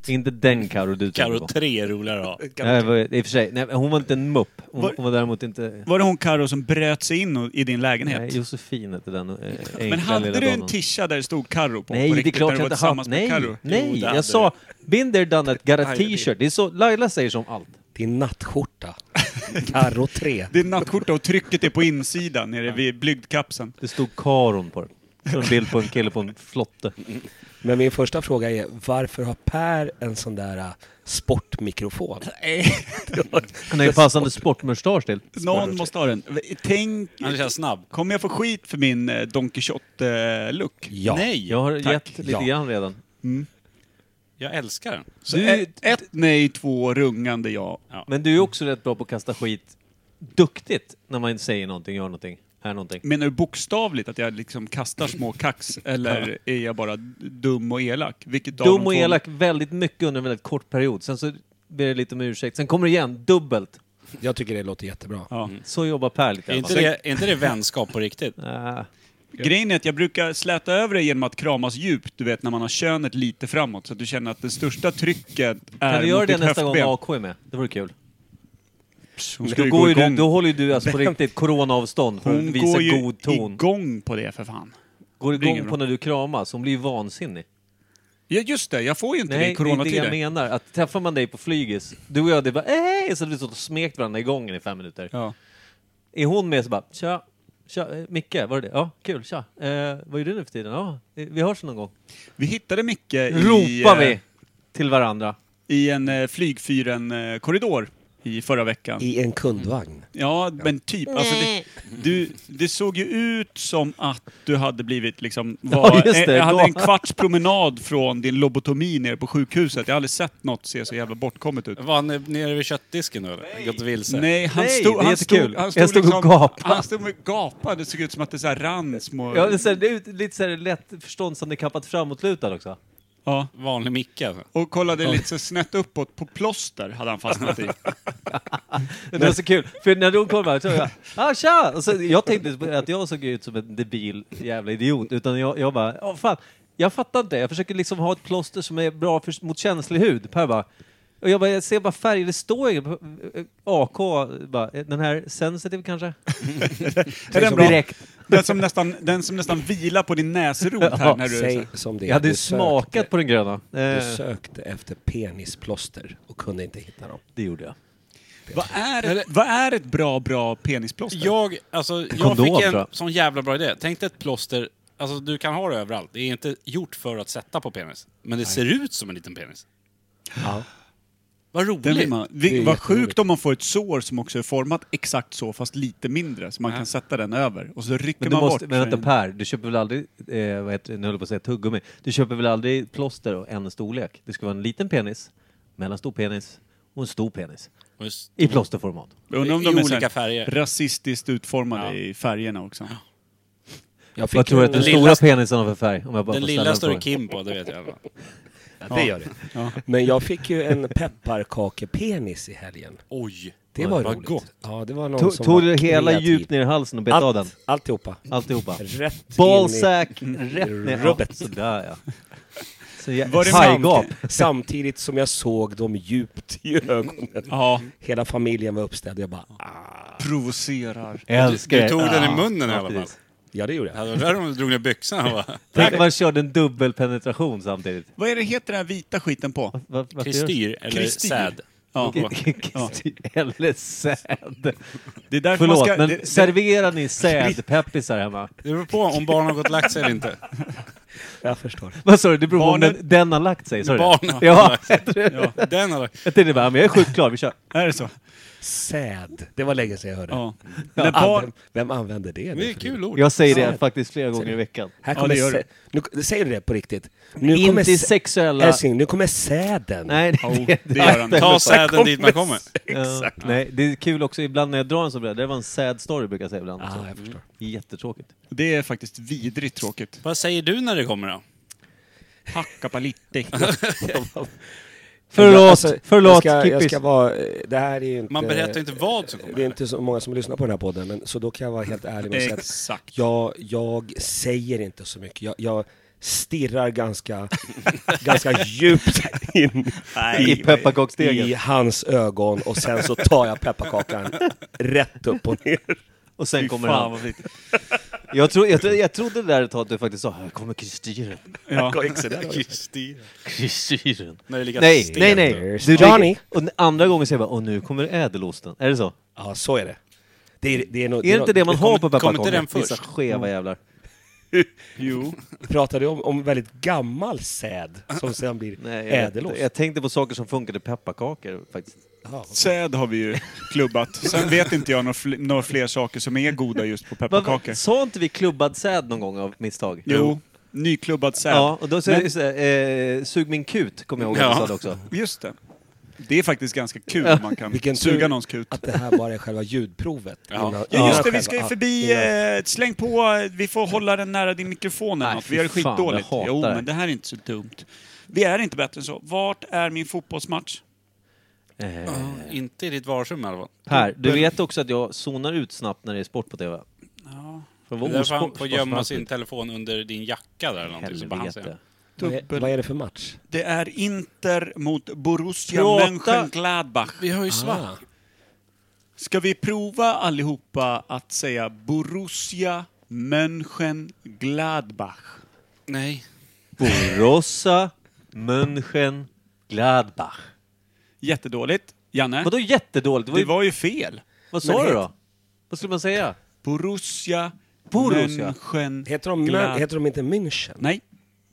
Exakt. Inte den Karo du tänker Karo på. 3 är roligare att ha. Nej, vad- i och för sig. Nej, men hon var inte en mupp. Hon var, hon var däremot inte... Var det hon Karo som bröt sig in och- i din lägenhet? Nej, Josefin hette den eh, enkla Men hade lilla du en donnan. tisha där det stod Karo på? på Nej, det är riktigt, klart när jag du var inte har. tillsammans med Nej, Karo? Jo, nej. det hade Jag sa, been there, done that, got a t-shirt. Det är så, Laila säger som allt. Din nattskjorta. Karo 3. Det är nattskjorta och trycket är på insidan nere vid blygdkapseln. Det stod Karon på den. Så en bild på en kille på en flotte. Men min första fråga är, varför har Per en sån där äh, sportmikrofon? Han har ju passande sportmustasch till. Någon måste ha den. Tänk... Han känns snabb. Kommer jag få skit för min eh, Don Quijote-look? Ja. Nej! Jag har Tack. gett lite Ja. grann redan. Jag älskar den. Så Du- ett, ett nej, två rungande ja. Men du är också rätt bra på att kasta skit duktigt när man säger någonting, gör någonting, är någonting. Menar du bokstavligt att jag liksom kastar små kax eller är jag bara dum och elak? Vilket av de Dum och två- elak väldigt mycket under en väldigt kort period. Sen så ber det lite om ursäkt. Sen kommer det igen, dubbelt. Jag tycker det låter jättebra. Ja. Så jobbar Per lite. Är i inte, alla fall. det, är inte det vänskap på riktigt? Ah, Grejen är att jag brukar släta över det genom att kramas djupt, du vet när man har könet lite framåt så att du känner att det största trycket är Kan du göra mot det ditt nästa gång höftben. AK är med? Det vore kul. Hon ska Då, ju går gå ju du, igång. då håller ju du alltså på riktigt coronaavstånd för Hon att visa går ju god ton. igång på det för fan. Går Det är inget igång på bra. när du kramas. Hon blir ju vansinnig. Ja just det, jag får ju inte det Nej, i det är det jag coronatider. menar. Att träffar man dig på flygis, du och jag, det är bara "Ey!" Så hade vi stått och smekt varandra i gången i fem minuter. Ja. Är hon med så bara, tja, tja, eh, Micke, var det det? Ja, kul, tja. Eh, vad gör du nu för tiden? Ja, eh, vi hörs någon gång. Vi hittade Micke i, Ropar eh, vi till varandra. i en eh, flygfyren-korridor i förra veckan. I en kundvagn. Ja, men typ. Alltså, det, du, det såg ju ut som att du hade blivit liksom... Ja, Var, just det. eh, hade Då- en kvarts promenad från din lobotomi nere på sjukhuset. Jag har aldrig sett något se så jävla bortkommet ut. Var han nere vid köttdisken då eller? Gått vilse? Nej, han Nej, stod... det är han jättekul. stod, han Jag stod och gapade. Han stod och gapade. Det såg ut som att det så här rann små... Ja, det är så här, det är lite så här lätt förståndshandikappat framåtlutad också. Ja. Vanlig Micke alltså. Och kollade lite så snett uppåt på plåster hade han fastnat i. Det var så kul, för när hon kom här så jag ah, tja! Och så, jag tänkte att jag såg ut som en debil jävla idiot, utan jag, jag bara, åh fan, jag fattar inte, jag försöker liksom ha ett plåster som är bra för, mot känslig hud. Per bara, och jag bara, jag ser bara färger, det står ju på- eh, AK, bara, eh, den här sensitive kanske? Är den, bra? liksom Direkt. Den, som nästan, den som nästan vilar på din näsrot här när du... är så här- Säg som det är. Jag hade ju Du smakat på den gröna. sökte- Eh, Du sökte efter penisplåster och kunde inte hitta dem. det gjorde jag. Vad är, ett, vad är ett bra, bra penisplåster? Jag, alltså, jag Kondom, fick tror en jag. sån jävla bra idé. Tänk dig ett plåster, alltså du kan ha det överallt. Det är inte gjort för att sätta på penis. Men det ser ut som en liten penis. Vad Den roligt! vill man. Vi, Det är vad jätteroligt. sjukt om man får ett sår som också är format exakt så, fast lite mindre, så man kan sätta den över. Och så rycker Men du man måste, bort. men vänta så- Per, du köper väl aldrig, eh, vad heter, det? nu höll jag på att säga tuggummi, du köper väl aldrig plåster och en storlek? Det ska vara en liten penis, mellanstor penis och en stor penis. Och s- I plåsterformat. Jag undrar om I de är olika så här färger. rasistiskt utformade Ja. i färgerna också. Jag Vad tror du att den en- lilla- stora penisen har för färg? Om jag bara Den får lilla ställa står det frågan. Kim på, det vet jag. Ja, det gör det. Men jag fick ju en pepparkakepenis i helgen. Oj! Det var vad roligt. gott. Ja, det var någon Tog- som Tog var du det hela kreativ. djupt ner i halsen och bet av den? Allt, alltihopa. Alltihopa? Rätt Ballsack, in i- rätt ner. rubbet. Ja, sådär ja. Så jag, Var det pajgap. Samtidigt som jag såg dem djupt i ögonen. Ja, Hela familjen var uppställd. Jag bara, ah, provocerar. Älskar Du det. tog den Ah, i munnen i ja, alla fall. precis. ja det gjorde Det jag. hade varit värre om du drog ner byxorna och bara... Tänk om man körde en dubbel penetration samtidigt. Vad är det heter den här vita skiten på? Var- varför görs- Kristyr eller Kristyr. säd. Ja. Och- Kristyr eller säd. Det är därför Förlåt, man ska... men det, det, serverar ni sädpeppisar hemma? Det beror på om barnen har gått och lagt sig eller inte. Jag förstår. Vad sa du? Det beror på om Barnen- den, den har lagt sig? Sa du det? Barnen har ja, lagt jag tror- Ja, den har... jag tänkte bara, men jag är sjukt klar, vi kör. är det så? Säd. Det var länge sedan jag hörde. Ja. Ja, När barn, vem, vem använder det? nu Det är för kul ord. Jag säger det Säd. faktiskt flera gånger i veckan. Här Ja, kommer det gör sä- nu, säger du det på riktigt? Nu kommer sä- Intersexuella... Älskling, nu kommer säden. Nej, det, oh, det gör han. Ta säden dit man kommer. ja, nej, det är kul också ibland när jag drar en sån där, det var en sad story brukar jag säga ibland. Ah, också. jag förstår. Jättetråkigt. Det är faktiskt vidrigt tråkigt. Vad säger du när det kommer då? Hakkapalitti. Förlåt, alltså, Jag- förlåt, jag ska, jag Kippis. ska vara, eh, det här är ju inte... Man berättar inte vad som kommer. Det är inte så många som lyssnar på den här podden, men, så då kan jag vara helt ärlig med att säga att Exakt. jag, jag säger inte så mycket. Jag, jag stirrar ganska, ganska djupt in I pepparkaksdegen. i hans ögon och sen så tar jag pepparkakan rätt upp och ner. Och sen Fy kommer fan, han. vad fint. Jag, tro, jag, tro- jag trodde det där ett tag att du faktiskt sa här kommer kristyren. Ja. Just det. Kristyren. När det ligger Nej, sten nej, där. nej. There's Du, det- Johnny. Och andra gången säger jag bara, och nu kommer ädelosten. Är det så? Ja, så är det. Det är, det är, nog, Är det inte det man har på kommer- kommer pepparkakor? inte den Vissa först? skeva jävlar. Jo. Vi pratade om, om väldigt gammal säd som sen blir Nej, jag, vet ädelost. inte. jag tänkte på saker som funkade i pepparkakor faktiskt. Säd har vi ju klubbat. Sen vet inte jag några fl- några fler saker som är goda just på Va- va- pepparkakor. Sa inte vi klubbad säd någon gång av misstag? Jo, nyklubbad säd. Ja, och då så, Men- så, eh, sug min kut, kommer jag ihåg att Ja. du sa det också. Just det. Det är faktiskt ganska kul Ja. om man kan Vilken tur suga någons kut. Att det här bara är själva ljudprovet. Ja. innan- Ja, just innan det, vi själva- ska ju ja, förbi... innan- Eh, släng på, eh, vi får hålla den nära din mikrofon eller Nej, något. Vi gör det fy fan, skitdåligt. jag hatar Jo, det. men det här är inte så dumt. Vi är inte bättre än så. Vart är min fotbollsmatch? Eh, Inte i ditt vardagsrum i alla fall. per, du vet också att jag zonar ut snabbt när det är sport på TV? Ja. För Det är därför han får gömma sin sin telefon under din jacka där eller någonting. Så bara han Helvete. säger. Vad är, vad är det för match? Det är Inter mot Borussia Prata. Ah. Mönchengladbach. Vi har ju svart. Ska vi prova allihopa att säga Borussia Mönchengladbach? Nej. Borossa, München, Gladbach. Jättedåligt. Janne, Vadå jättedåligt? Det var det ju, var ju fel. vad sa Men du det- då? Vad skulle man säga? Borussia, Borussia. Mönchen... Heter de, Mön- Glad- heter de inte München? Nej.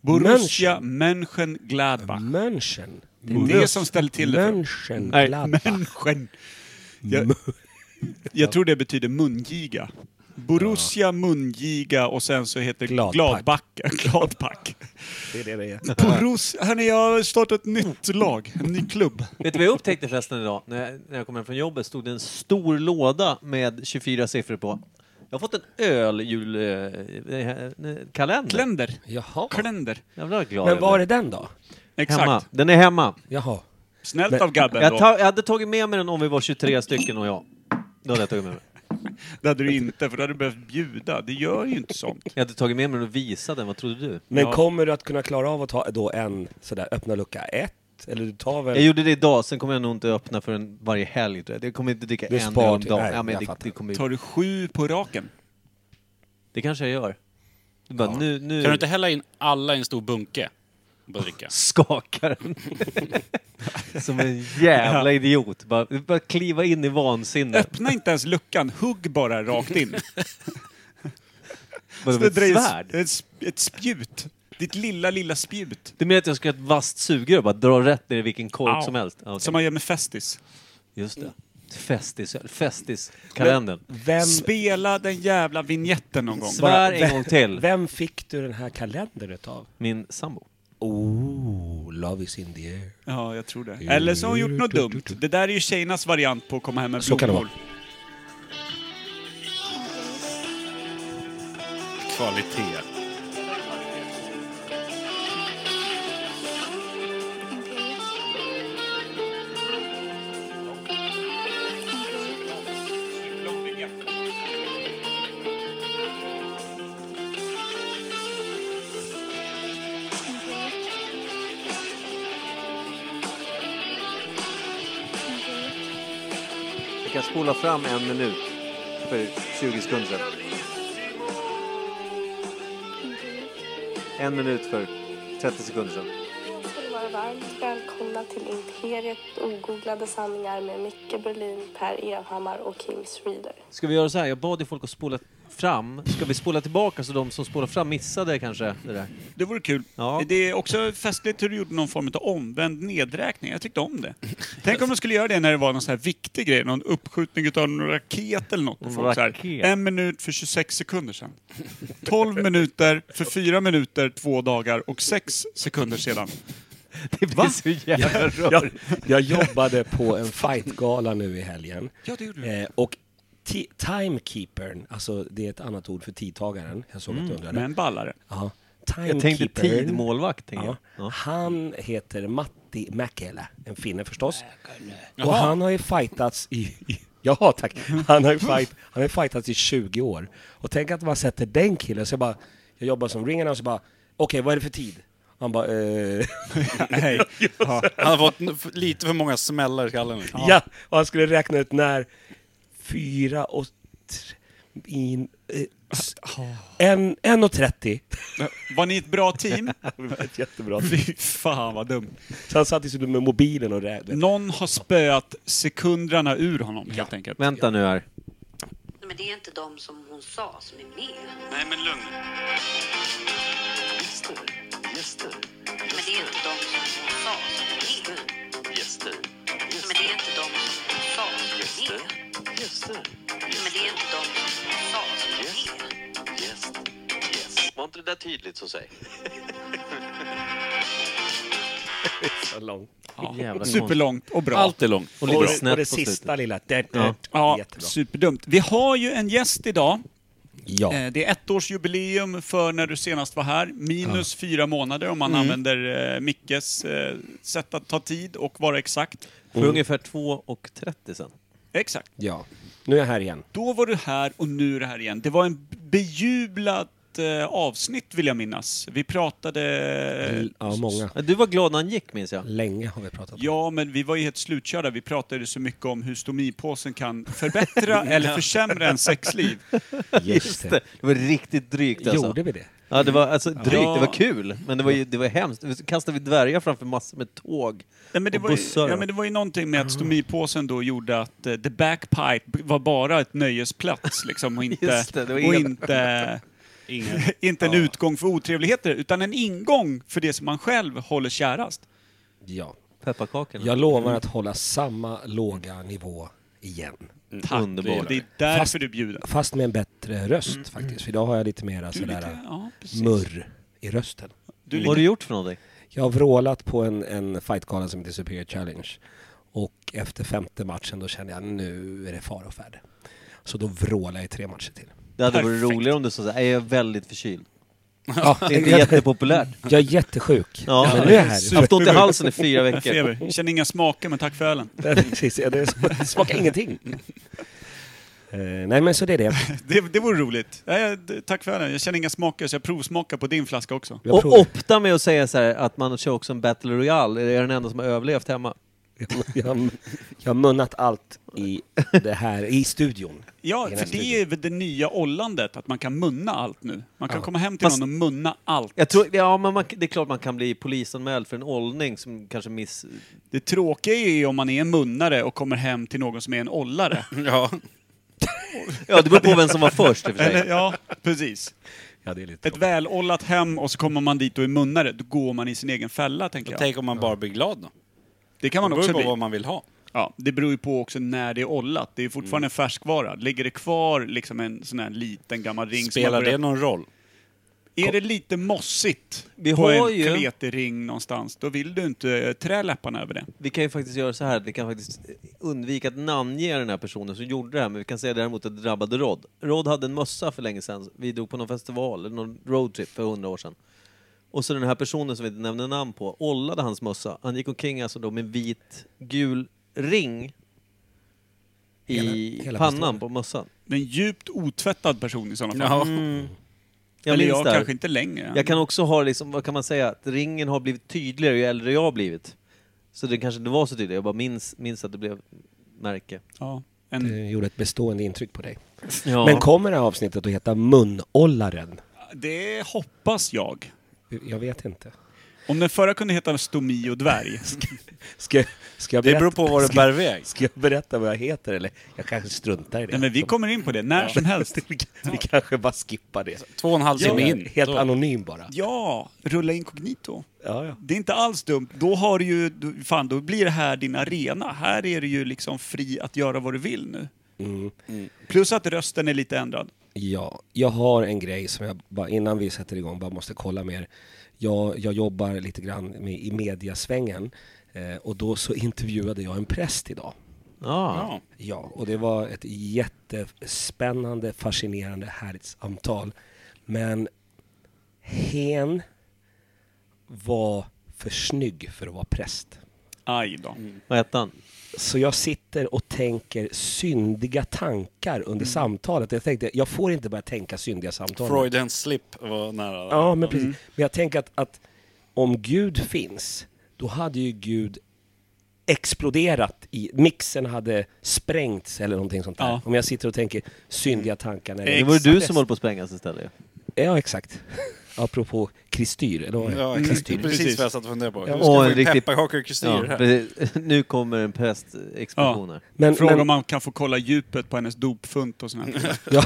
Borussia Mönchengladbach. München. Det är det som ställer till det för dem. München. Nej, Gladbach. Mönchen. Jag, jag tror det betyder mungiga. Borussia mungiga och sen så heter Gladpack. Gladbacka. Gladpack. Det är det det är. Borussia. Hörni, jag har startat ett nytt lag. En ny klubb. Vet du vad jag upptäckte förresten idag? När jag, när jag kom hem från jobbet stod det en stor låda med 24 siffror på. Jag har fått en eh, öljulkalender. Kalender. Jaha. Kalender. Jävlar vad glad Men jag var blev. är den då? Exakt. Hemma. Den är hemma. Jaha. Snällt Men- av Gabben Jag, då. ta, jag hade tagit med mig den om vi var 23 stycken och jag. Då hade jag tagit med mig. Det hade du inte, för då hade du behövt bjuda. Det gör ju inte sånt. Jag hade tagit med mig den och visat den. Vad trodde du? Men Ja. kommer du att kunna klara av att ta då en sådär öppna lucka ett? Eller du tar väl... Jag gjorde det idag, sen kommer jag nog inte öppna förrän varje helg. tror jag. Jag kommer inte dricka Du en spar öl om till- dagen. nej, ja, men jag det, fattar. det, kommer, ju- Tar du sju på raken? det kanske jag gör. Du bara, nu, nu Kan du inte hälla in alla i en stor bunke? Och bara dricka. skakar den. Som en jävla idiot. Bara, bara kliva in i vansinne. Öppna inte ens luckan. Hugg bara rakt in. Bara Så det med ett dröjer svärd. Ett, sp- ett spjut. Ditt lilla, lilla spjut. Du menar att jag ska ha ett vasst sugrör och bara dra rätt ner i vilken kork Au. som helst? Ja, okej. Som man gör med Festis. Just det. Festis, festis kalendern. Vem, Spela den jävla vignetten någon gång. Svär Bara- en gång till. vem fick du den här kalendern utav? Min sambo. Oh, love is in the air. Ja, jag tror det. Eller så har hon gjort något dumt. Det där är ju tjejernas variant på att komma hem med Så kan det blommor. Kvalitet. Jag kan spola fram en minut för 20 sekunder sedan. En minut för 30 sekunder sedan. ska ni vara varmt välkomna till Imperiet ogooglade sanningar med Micke Berlin, Per Evhammar och Kim Schreeder. Ska vi göra så här? Jag bad ju folk att spola fram. Ska vi spola tillbaka så de som spolar fram missade kanske det där? Det vore kul. Ja. Det är också festligt hur du gjorde någon form av omvänd nedräkning. Jag tyckte om det. Tänk om de skulle göra det när det var någon sån här viktig grej. Någon uppskjutning utav en raket eller något. Och folk så här, Raket. en minut för 26 sekunder sedan. 12 minuter för 4 minuter, 2 dagar och 6 sekunder sedan. Det blir så jävla Jag, jag jobbade på en fightgala nu i helgen. Ja, det gjorde du. Eh, och ti- timekeepern, alltså det är ett annat ord för tidtagaren. Jag såg att Mm. du undrade. Men ballare. Ja. Jag tänkte Timekeepern. tidmålvakt. Tänkte Ja. jag. Ja. Han heter Matti Mäkelä, en finne förstås. Och han har ju fightats i... i- Ja, tack. Han har ju fight, han har ju fightats i 20 år. Och tänk att man sätter den killen, så jag bara... Jag jobbar som ringen och så bara... okej vad är det för tid? Han bara, eh, Nej. Ja. Han har fått n- f- lite för många smällar i skallen. ja. Och han skulle räkna ut när fyra och... tre- In, eh, s- en, en och trettio. Var ni ett bra team? Det var ett jättebra Fy fan vad dumt. Så han satt ju så med mobilen och räknade. Någon har spöat sekunderna ur honom helt enkelt. Vänta nu här. Men det är inte de som hon sa som är med. Nej men lugn. Gäster. Gäster. Men det är inte de som hon sa som är med. Gäster. Men det är inte de som hon sa som är med. Gäster. Men det är inte de som hon sa som är med. Gäst. Yes. Var inte det där tydligt så säg? Så långt. Jävla konstigt. Superlångt och bra. Allt är långt. Och Och, lite det- och det snett på slutet. sista lilla... Det, det, Ja. Ja, Jättebra. superdumt. Vi har ju en gäst idag. Ja. Eh, Det är ettårsjubileum för när du senast var här. Minus fyra månader om Mm. man använder eh, Mickes eh, sätt att ta tid och vara exakt. För ungefär 2.30 sen. Exakt. ja. Nu är jag här igen. Då var du här och nu är du här igen. Det var en bejublat eh, avsnitt vill jag minnas. Vi pratade... Ja, många. Du var glad när han gick minns jag. Länge har vi pratat om. Ja, men vi var ju helt slutkörda. Vi pratade så mycket om hur stomipåsen kan förbättra eller försämra en sexliv. Just det. Det var riktigt drygt alltså. Gjorde vi det? Ja, det var alltså drygt. Ja. Det var kul. Men det var ju det var hemskt. Så Kastade vi dvärgar framför massor med tåg Nej, men det och var bussar. ju, ja, men det var ju någonting med att stomipåsen då gjorde att eh, the backpipe b- var bara ett nöjesplats liksom och inte, Just det, det var och inga- inte, inte en utgång för otrevligheter utan en ingång för det som man själv håller kärast. Ja. Pepparkakorna. Jag lovar att hålla samma låga nivå igen. Tack. Underbart. Det är därför Fast- du bjuder. Fast med en bättre röst Mm. faktiskt. För idag har jag lite mera Du är sådär lite, ja, precis. murr i rösten. Du är Vad har lite, du gjort för någonting? Jag har vrålat på en, en fightgala som heter Superior Challenge. Och efter femte matchen då kände jag nu är det fara och färde. Så då vrålade jag i tre matcher till. Det hade varit Perfekt. roligare om du sa såhär, jag är väldigt förkyld. Ja, Det är inte jättepopulärt. jag är jättesjuk. Ja. Men nu är Jag jag har här. stått i halsen i fyra veckor. feber. Jag Känner inga smaker men tack för ölen. Precis, ja, det sm- smakar ingenting. Eh, nej men så det är det. Det, det vore roligt. Nej, d- tack för ölen. Jag känner inga smaker så jag provsmakar på din flaska också. Jag Och provar. opta med att säga så här att man kör också en Battle Royale. Är jag den enda som har överlevt hemma? Jag, har- jag har munnat allt i det här, i studion. Ja, I för den det är väl det nya ollandet, att man kan munna allt nu. Man kan komma hem till Fast- någon och munna allt. Jag tror, ja, men man, det är klart man kan bli polisanmäld för en åldning som kanske miss... Det tråkiga är ju om man är en munnare och kommer hem till någon som är en ollare. Ja. Ja, det beror på vem som var först i och för Eller, sig. ja, precis. Ja, det är lite Ett välollat hem och så kommer man dit och är munnare, då går man i sin egen fälla, tänker jag. Tänk om man bara blir glad då. Det kan man Det beror också på bli. vad man vill ha. Ja, det beror ju på också när det är ollat. Det är ju fortfarande en färskvara. Ligger det kvar liksom en sån här liten gammal ring som Spelar man börjar- det någon roll? Är det lite mossigt Vi på har en ju- kletig ring någonstans, då vill du inte eh, trä läpparna över det. Vi kan ju faktiskt göra så här att vi kan faktiskt eh, undvika att namnge den här personen som gjorde det här, men vi kan säga däremot att det drabbade Rod. Rod hade en mössa för länge sedan. Vi drog på någon festival, eller någon roadtrip för hundra år sedan. Och så den här personen som vi inte nämner namn på, ollade hans mössa. Han gick omkring alltså då med en vit, gul ring i Hela- hela pannan festivalen. på mössan. En djupt otvättad person i sådana fall. Mm. Ja. Jag Eller minns jag det här. kanske inte längre. Jag kan också ha liksom, vad kan man säga, att ringen har blivit tydligare ju äldre jag har blivit. Så det kanske inte var så tydligt, jag bara minns, minns att det blev märke. Ja. En, Det Eh, gjorde ett bestående intryck på dig. Ja. Men kommer det här avsnittet att heta Munollaren? det hoppas jag. Jag vet inte. Om den förra kunde heta Stomi och dvärg. Ska, ska, jag Det berätta, beror på vad det bär väg. ska jag berätta vad jag heter eller? Jag kanske struntar i det. Nej, men vi kommer in på det när som helst. vi, vi kanske bara skippar det. Två och en halv timme in. Helt Då- anonym bara. Ja, rulla inkognito. Ja, ja. Det är inte alls dumt. Då har du ju, du- fan då blir det här din arena. Här är du ju liksom fri att göra vad du vill nu. Mm. Mm. Plus att rösten är lite ändrad. Ja, jag har en grej som jag bara innan vi sätter igång bara måste kolla med er. Jag, jag jobbar lite grann med, i mediasvängen eh, och då så intervjuade jag en präst idag. Ja. Ja. Ja, och det var ett jättespännande, fascinerande, härligt samtal. Men hen var för snygg för att vara präst. Aj då. Mm. Vad hette han? Så jag sitter och tänker syndiga tankar under samtalet. Jag tänkte, jag får inte börja tänka syndiga samtal. Freudens slip var nära. där. Ja, men precis. Men jag tänker att, att om Gud finns, då hade ju Gud exploderat i, mixen hade sprängts eller någonting sånt där. Ja. Om jag sitter och tänker syndiga tankar. När Det jag, var ju du som höll på att sprängas istället. ju. ja, exakt. Apropå kristyr, eller vad Ja, var det? exakt. Det är kristyr. precis Precis. vad jag satt och funderade på. Mm. Ja. Hur ska Och jag en få in riktig- pepparkakor och kristyr Ja, här? precis. nu kommer en prästexplosion här. Men, Fråga men, om man kan få kolla djupet på hennes dopfunt och sånt här. ja,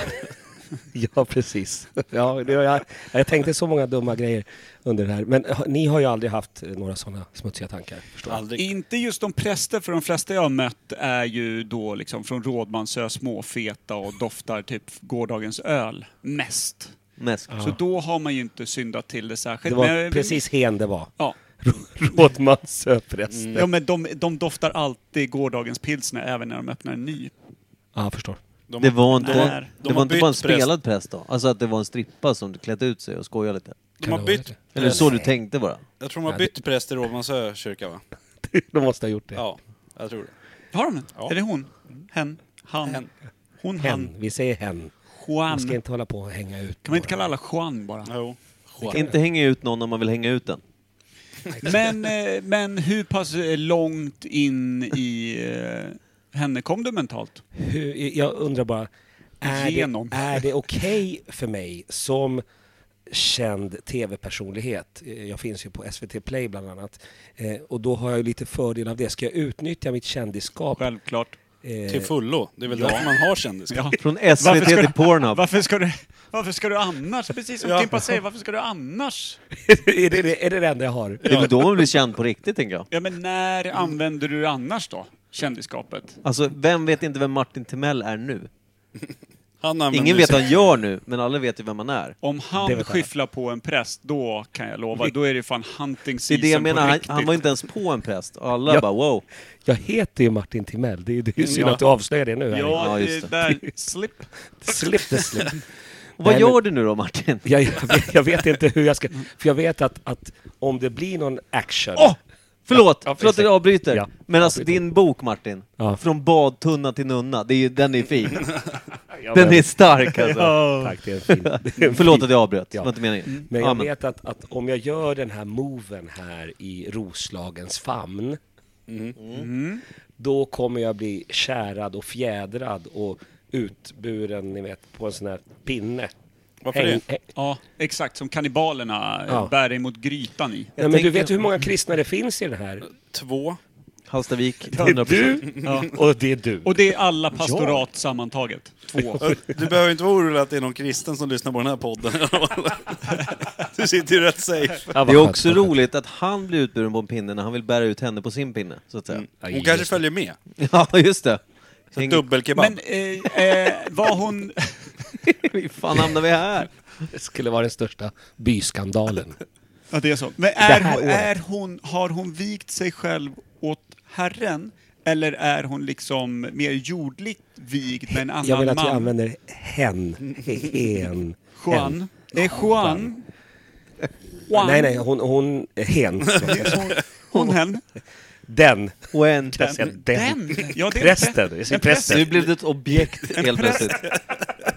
ja, precis. Ja, det, jag, jag tänkte så många dumma grejer under det här. Men ha- ni har ju aldrig haft eh, några sådana smutsiga tankar, förstår jag. Aldrig. Inte just om präster, för de flesta jag har mött är ju då liksom från Rådmansö, småfeta och doftar typ gårdagens öl. Mest. Mäsk. Så då har man ju inte syndat till det Det särskilt. var Men- precis hen det var. Ja. Rådmansö präst. Ja, men de, de doftar alltid gårdagens pilsner även när de öppnar en ny. Ja, jag förstår. De- Det var inte, Där. De det har var inte bytt bara en präst. spelad präst då? Alltså att det var en strippa som klädde ut sig och skojade lite? De har det bytt, vara Eller så du tänkte bara? jag tror de har Ja, det- bytt präst i Rådmansö kyrka, va? De måste ha gjort det. Ja, jag tror det. Har de den? Ja. Är det hon? Hen? Han? Hen. Hon, Hen. han? Vi säger hen. Man Juan? ska Kan inte hålla på och hänga ut. man inte kalla alla Juan bara? Jo. Inte hänga ut någon om man vill hänga ut den. Men, eh, men hur pass eh, långt in i eh, henne kom du mentalt? Hur, jag undrar bara, är Genom. det, är det okej för mig som känd tv-personlighet, eh, jag finns ju på SVT Play bland annat, eh, och då har jag ju lite fördel av det. Ska jag utnyttja mitt kändisskap? Självklart. Eh, Till fullo. Det är väl därför man har kändisskap. Ja. Från Varför SVT ska till du- Pornhub. Varför ska, du, varför ska du annars? Precis som Ja. Kimpa säger, varför ska du annars? är, det, det- är det det enda jag har? Det är väl då man blir känd på riktigt, tänker jag. Ja, men när använder du det annars då? Kändisskapet? Alltså, vem vet inte vem Martin Timell är nu? Han använder Ingen vet sig- vad han gör nu, men alla vet ju vem han är. Om Det han vet jag. skyfflar på en präst, då kan jag lova, då är det fan Det hunting är season det jag menar, på han, riktigt. han var inte ens på en präst. Och alla Ja. bara wow. Jag heter ju Martin Timell, det är ju det är ju synd Ja. att du avslöjar det nu. här. Ja, Ja, det just det. där, slip. Slip the slip. Och vad Nej, men- gör du nu då, Martin? Jag, jag, vet, jag vet inte hur jag ska... För jag vet att, att om det blir någon action... Åh! Förlåt! Ja, Förlåt att jag ursäkta. avbryter. Ja, men alltså avbryter. din bok Martin, Ja. Från badtunna till nunna, det är, ju- den är fin. Ja, Den men- är stark alltså. Tack, det är en fin... det är en Förlåt fin- att jag avbröt, det Ja. var inte meningen. Men jag Amen. vet att, att om jag gör den här moven här i Roslagens famn, Mm. då kommer jag bli kärad och fjädrad och utburen, ni vet, på en sån här pinne. Varför Häng- det? häng- Ja, exakt. Som kannibalerna eh, Ja. bär dig mot grytan i. Nej, men tänker- du vet hur många kristna det finns i den här? Två. Hallstavik, Det är 100%. du Ja. och det är du. Och det är alla pastorat sammantaget. Två. Du behöver inte vara orolig att det är någon kristen som lyssnar på den här podden. Du sitter ju rätt safe. Ja, vad Det är skönt, också vad skönt. roligt att han blir utburen på en pinne när han vill bära ut henne på sin pinne, så att säga. Aj, Hon kanske just följer med. Mm. Ja, just det. Häng... Dubbelkebab. Men eh, eh, var hon... Hur fan hamnar vi här? Det skulle vara den största byskandalen. Ja, det är så. Men är, hon- är hon, har hon vikt sig själv åt Herren? Eller är hon liksom mer jordligt vigd med en annan Jag vill att man? vi använder hen. Hen. Juan? Är Juan? Juan? Nej, nej, hon, hon hen. Hon, hon hen? Den. Och en... Kan jag säga den? Ja, det är en Prästen. prä- Jag en säger präst. prästen. Nu blev det ett objekt helt plötsligt.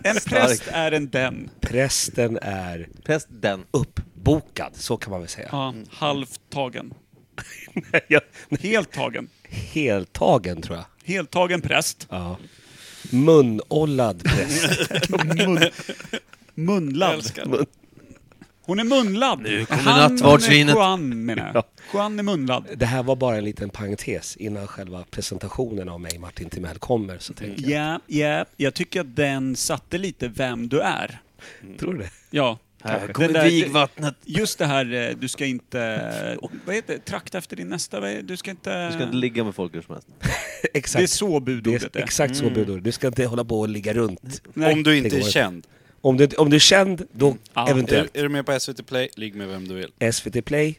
En präst är en den. Prästen är Präst den. uppbokad, så kan man väl säga. Ja, halvt tagen. Ja. Helt tagen. Heltagen, tror jag. Helt tagen präst. Ja. Munollad präst. Mun, munlad. Mun- Hon är munlad. Nu kommer nattvardsvinet. Juan menar jag. Juan är munlad. Det här var bara en liten parentes innan själva presentationen av mig, Martin Timell, kommer. Så tänker jag. Ja, ja. Jag tycker att den satte lite vem du är. Mm. Tror du det? Ja. Här Den kommer där- vigvattnet. Just det här, eh, du ska inte... eh, Vad heter det? Trakta efter din nästa... vad är- Du ska inte... Du ska inte ligga med folk hur som helst. Exakt. det är så Det är budordet är. Mm. exakt så budordet. Du ska inte hålla på och ligga runt. Nej. Om du inte det är går känd. Om du, om du är känd, då Ja. Är, eventuellt. är du med på SVT Play, ligg med vem du vill. SVT Play,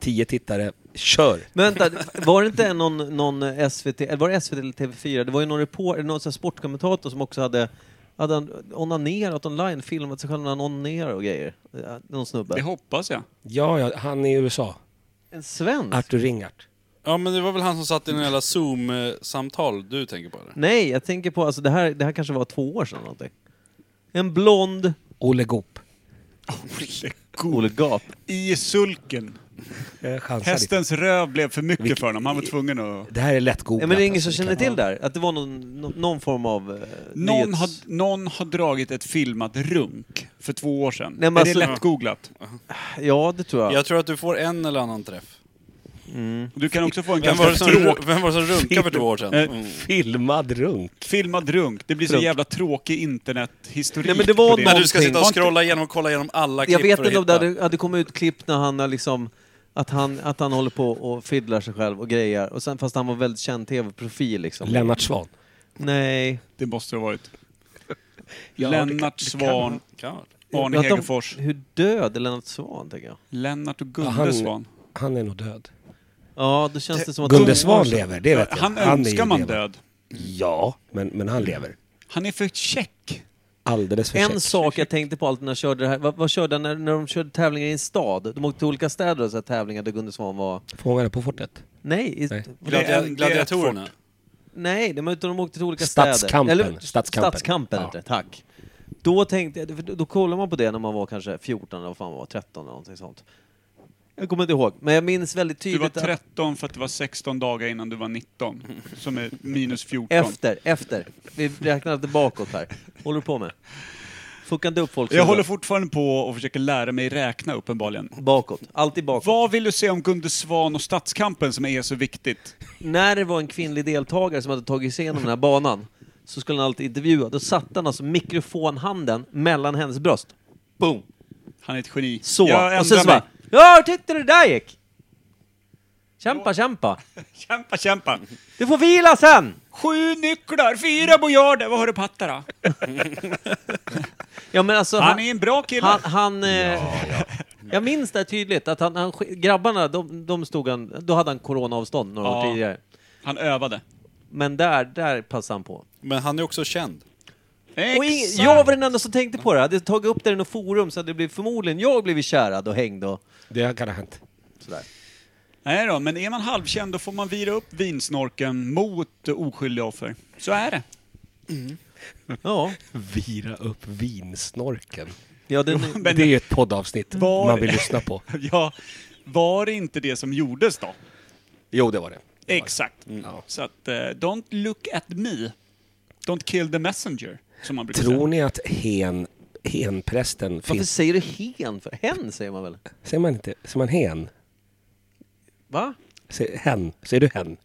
10 tittare, kör! Men vänta, var det inte någon, någon SVT, eller var det SVT eller TV4? Det var ju någon reporter, någon sån här sportkommentator som också hade, hade han onanerat online, filmat sig själv när han onanerar och grejer. Ja, Någon Det snubbe. hoppas jag. Ja, ja, han är i USA. En svensk? Mm. Arthur Ringart. Ja, men det var väl han som satt i den jävla Zoom-samtal du tänker på eller? Nej, jag tänker på, alltså det här, det här kanske var två år sedan eller någonting. En blond Olle Goop. Olle Gap. I sulken. Jag chansar lite. Hästens röv blev för mycket för honom. Han var tvungen att... Det här är lättgooglat. Ja, men det är ingen alltså, som det kan- känner till det här? Att det var någon, nå- någon form av... eh, nyhets- Någon har, någon har dragit ett filmat runk för två år sedan. Nej, men är alltså- det lättgooglat? Ja, det tror jag. Jag tror att du får en eller annan träff. Du kan också få en Vem var, ganska det som, tråkig... vem var det som runkade för två år sedan? Eh, Mm. Filmad runk. Filmad runk. Det blir så Runk. jävla tråkig internethistorik Nej, men det var på När du någonting. ska sitta Var och inte- scrolla igenom och kolla igenom alla klipp Jag vet för att inte om det hitta. hade, hade kommit ut klipp när han har liksom... Att han, att han håller på och fiddlar sig själv och grejer. Och sen, fast han var väldigt känd tv-profil liksom. Lennart Svan. Nej. Det måste det ha varit. Ja, det kan- Lennart det kan Svan, Kan vara. Arne Prata om Hegerfors. Hur död är Lennart Svan, tänker jag. Lennart och Ja, Gunde han- Svan. Han är nog död. Ja, då känns det som att... Gunde Svan lever, det vet jag. Han är ju önskar man levande. död. Ja, men, men han lever. Han är för check. Alldeles för En säker. sak jag tänkte på alltid när jag körde det här, vad, vad körde jag när, när de körde tävlingar i en stad? De åkte till olika städer och så här tävlingar där Gunde Svan var... Fångarna på fortet. Nej, i- Nej. Det är- Gladia- det är Gladiatorerna. Nej, de, utan de åkte till olika Stadskampen. städer. Eller, Stadskampen. Stadskampen Ja. heter det, tack. Då tänkte jag, för då, då kollade man på det när man var kanske 14 eller vad fan man var, 13 eller någonting sånt. Jag kommer inte ihåg, men jag minns väldigt Du var tydligt att- 13 för att det var 16 dagar innan du var 19. Som är minus 14. efter, efter. Vi räknar lite bakåt här. Håller du på med? Fucka inte upp folk. Jag håller fortfarande på och försöker lära mig räkna uppenbarligen. Bakåt, alltid bakåt. Vad vill du se om Gunde Svan och stadskampen som är så viktigt? när det var en kvinnlig deltagare som hade tagit sig igenom den här banan så skulle han alltid intervjua. Då satte han alltså mikrofonhanden mellan hennes bröst. Boom! Han är ett geni. Så. Jag och sen så ändrar bara, mig. ja, titta det där gick! Kämpa, kämpa! Kämpa, kämpa. Du får vila sen! Sju nycklar, fyra bojarder. Vad har du på hattar då? Ja men alltså, Han är en bra kille. han, han eh, Jag minns det här tydligt, att han, han, sk- grabbarna, de, de stod han, då hade han coronaavstånd några år Ja. tidigare. Han övade. Men där, där passade han på. Men han är också känd. Och ing- jag var den enda som tänkte på det. Hade jag tagit upp det i något forum så hade det blivit, förmodligen jag blivit kärad och hängd och Det kan ha hänt. sådär. Nej då, men är man halvkänd då får man vira upp vinsnorken mot oskyldiga offer. Så är det. Ja, Vira upp vinsnorken. ja den, Men- det är ju ett poddavsnitt Var- man vill lyssna på. Ja, var det inte det som gjordes då? Jo, det var det. Exakt. Så att, eh, don't look at me. Don't kill the messenger, som man brukar Tror säga. ni att hen, henprästen varför finns? säger du hen för? Hen säger man väl? Säger man inte? Säger man hen? Va? Säger, hen? Säger du hen?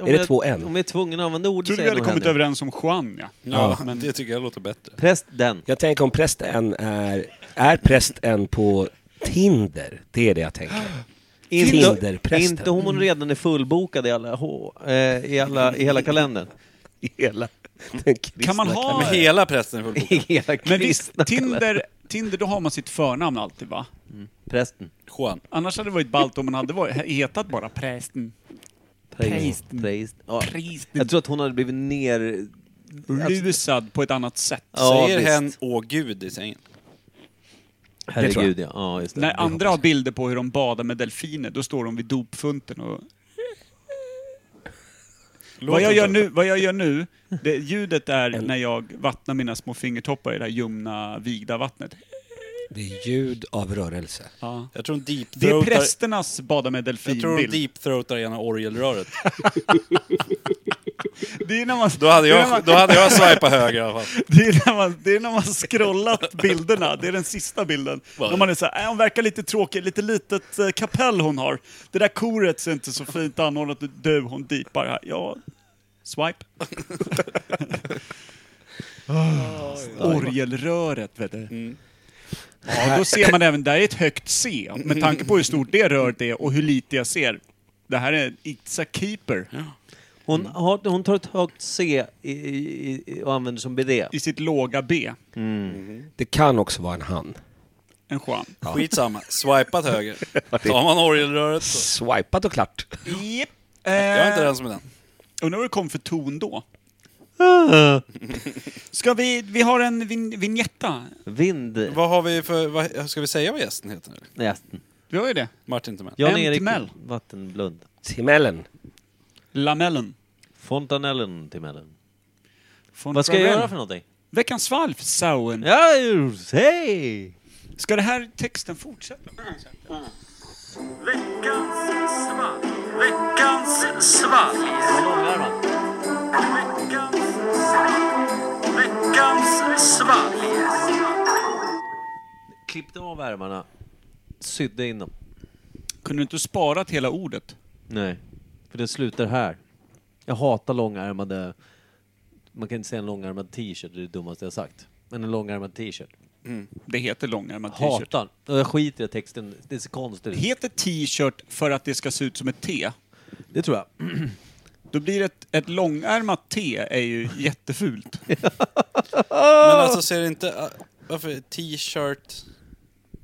Om är det jag- två n? Om vi är tvungna att använda ord Tror du säger vi hade nog hen, kommit ja. överens om Juan, ja. Ja, men- Det tycker jag låter bättre. Präst den. Jag tänker om prästen är... Är prästen på Tinder? Det är det jag tänker. Tinderprästen. inte om hon redan är fullbokad i alla, H, eh, i alla i hela kalendern. I Hela den kristna Kan man Men ha... hela prästen är fullbokad. I hela Men visst, kristna kalendern. Tinder, Tinder, då har man sitt förnamn alltid, va? Prästen. Juan. Annars hade det varit ballt om man hade varit, hetat bara prästen. Präst. Präst. Ja. Jag tror att hon hade blivit ner... Alltså, Lusad på ett annat sätt. Ja, Säger visst. hen åh gud i sängen? Herregud ja. ja just det. När andra har bilder på hur de badar med delfiner, då står de vid dopfunten och... Vad jag gör nu, vad jag gör nu det, ljudet är när jag vattnar mina små fingertoppar i det här ljumna, vigda vattnet. Det är ljud av rörelse. Jag tror hon deep Det är throatar- prästernas bada med Jag tror hon delfinbild. deep-throatar ena orgelröret. Det är när man, Då hade det är när jag, man- då hade jag swipat höger i alla fall. Det är, när man, det är när man scrollat bilderna, det är den sista bilden. När man är så här, äh, hon verkar lite tråkig, lite litet eh, kapell hon har. Det där koret ser inte så fint anordnat ut. Du, hon deepar här. Ja, swipe. Orgelröret, vet du. Ja, då ser man även, där är ett högt C. Med tanke på hur stort det röret är och hur lite jag ser. Det här är It's a keeper Hon, har, hon tar ett högt C i, i, i, och använder som bidé. i sitt låga B. Det kan också vara en han. En Juan. Skitsamma. Swipat höger. Tar man orgelröret så... Swipat och klart. Yep. Jag är Eh. inte den som är den. Undrar vad det kom för ton då? Ah. Ska vi, vi har en vin, vignetta. Vind... Vad har vi för... Vad, ska vi säga vad gästen heter? nu? Nej, Vi har ju det. Martin Timell. En Jan-Erik Timell. Vattenblund. Timellen. Lamellen. Fontanellen till mellan. Von Vad ska jag Ravel. göra för någonting? Veckans valp, Sauen. Ja, just- hej! Ska det här texten fortsätta? Klippte av ärmarna, sydde in dem. Kunde du inte sparat hela ordet? Nej, för den slutar här. Jag hatar långärmade... Man kan inte säga en långärmad t-shirt, det är det dummaste jag sagt. Men en långärmad t-shirt. Det heter långärmad t-shirt. Hatar. Och jag skiter i texten, det ser konstigt ut. Heter t-shirt för att det ska se ut som ett T? Det tror jag. Då blir ett, ett långärmat T är ju jättefult. Men alltså ser det inte... äh, Varför t-shirt...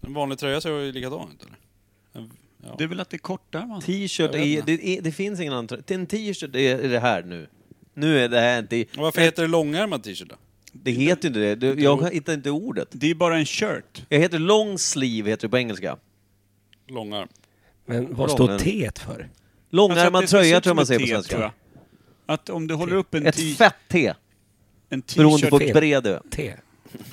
En vanlig tröja ser ju likadan ut eller? Ja. Det är väl att det är kortärmat? T-shirt är, det, är, det finns ingen annan En t-shirt är är det här nu. Nu är det här inte... Och Varför heter det långärmad t-shirt då? Det heter ju inte det. Du- Jag hittar inte ordet. Det är bara en shirt. Alltså Jag heter long sleeve, heter det på engelska. Långärm. Men vad Lång, står men- T för? Långärmad Alltså att det tröja ser ut tror jag som man ett säger på T, tror jag. svenska. Att om du håller upp en, t- Ett fett T, en beroende t-shirt... på T-shirt. bred du är. T.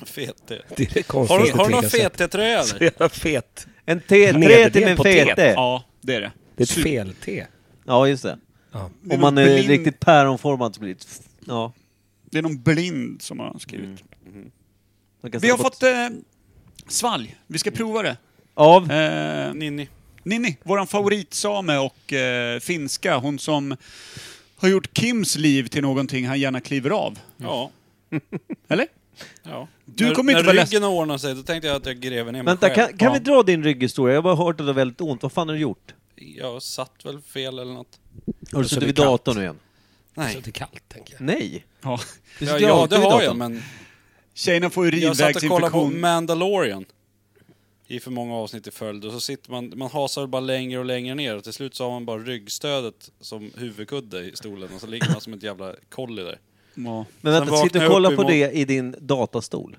Fet det. Det är det Har du, konstigaste har du T någon jag sett. fet-tröja Så eller? jävla fet. En T, tre Nederdel till min på T. fete. Ja, det är det. Det är ett fel-T. Ja, just det. Ja. Om man är blind- riktigt päronformad så blir det... ett f- Ja. Det är någon blind som har skrivit. man kan Vi har sätta fått eh, svalg. Vi ska prova det. Av? Eh, Ninni. Ninni, våran favoritsame och eh, finska. Hon som har gjort Kims liv till någonting han gärna kliver av. Ja. Eller? ja. Du Mm. när, kommer inte När vara ryggen har ordnat sig, då tänkte jag att jag gräver ner mig Vänta, själv. kan, kan vi dra din rygghistoria? Jag har bara hört att det är väldigt ont. Vad fan har du gjort? Jag satt väl fel eller något. Har du så är suttit det vid kallt. datorn igen? Så Nej. det är kallt, tänker jag. Nej! Ja. Du Ja, sitter ja det alltid vid har jag, datorn. men Tjejerna får jag satt och kollade på urinvägsinfektion. Mandalorian. I för många avsnitt i följd. Och så sitter man, man hasar bara längre och längre ner. Och till slut så har man bara ryggstödet som huvudkudde i stolen. Och så ligger man som ett jävla kolli där. Ja. Men Sen vänta, sitter du vaknade jag och kollar upp på imorgon. det i din datastol?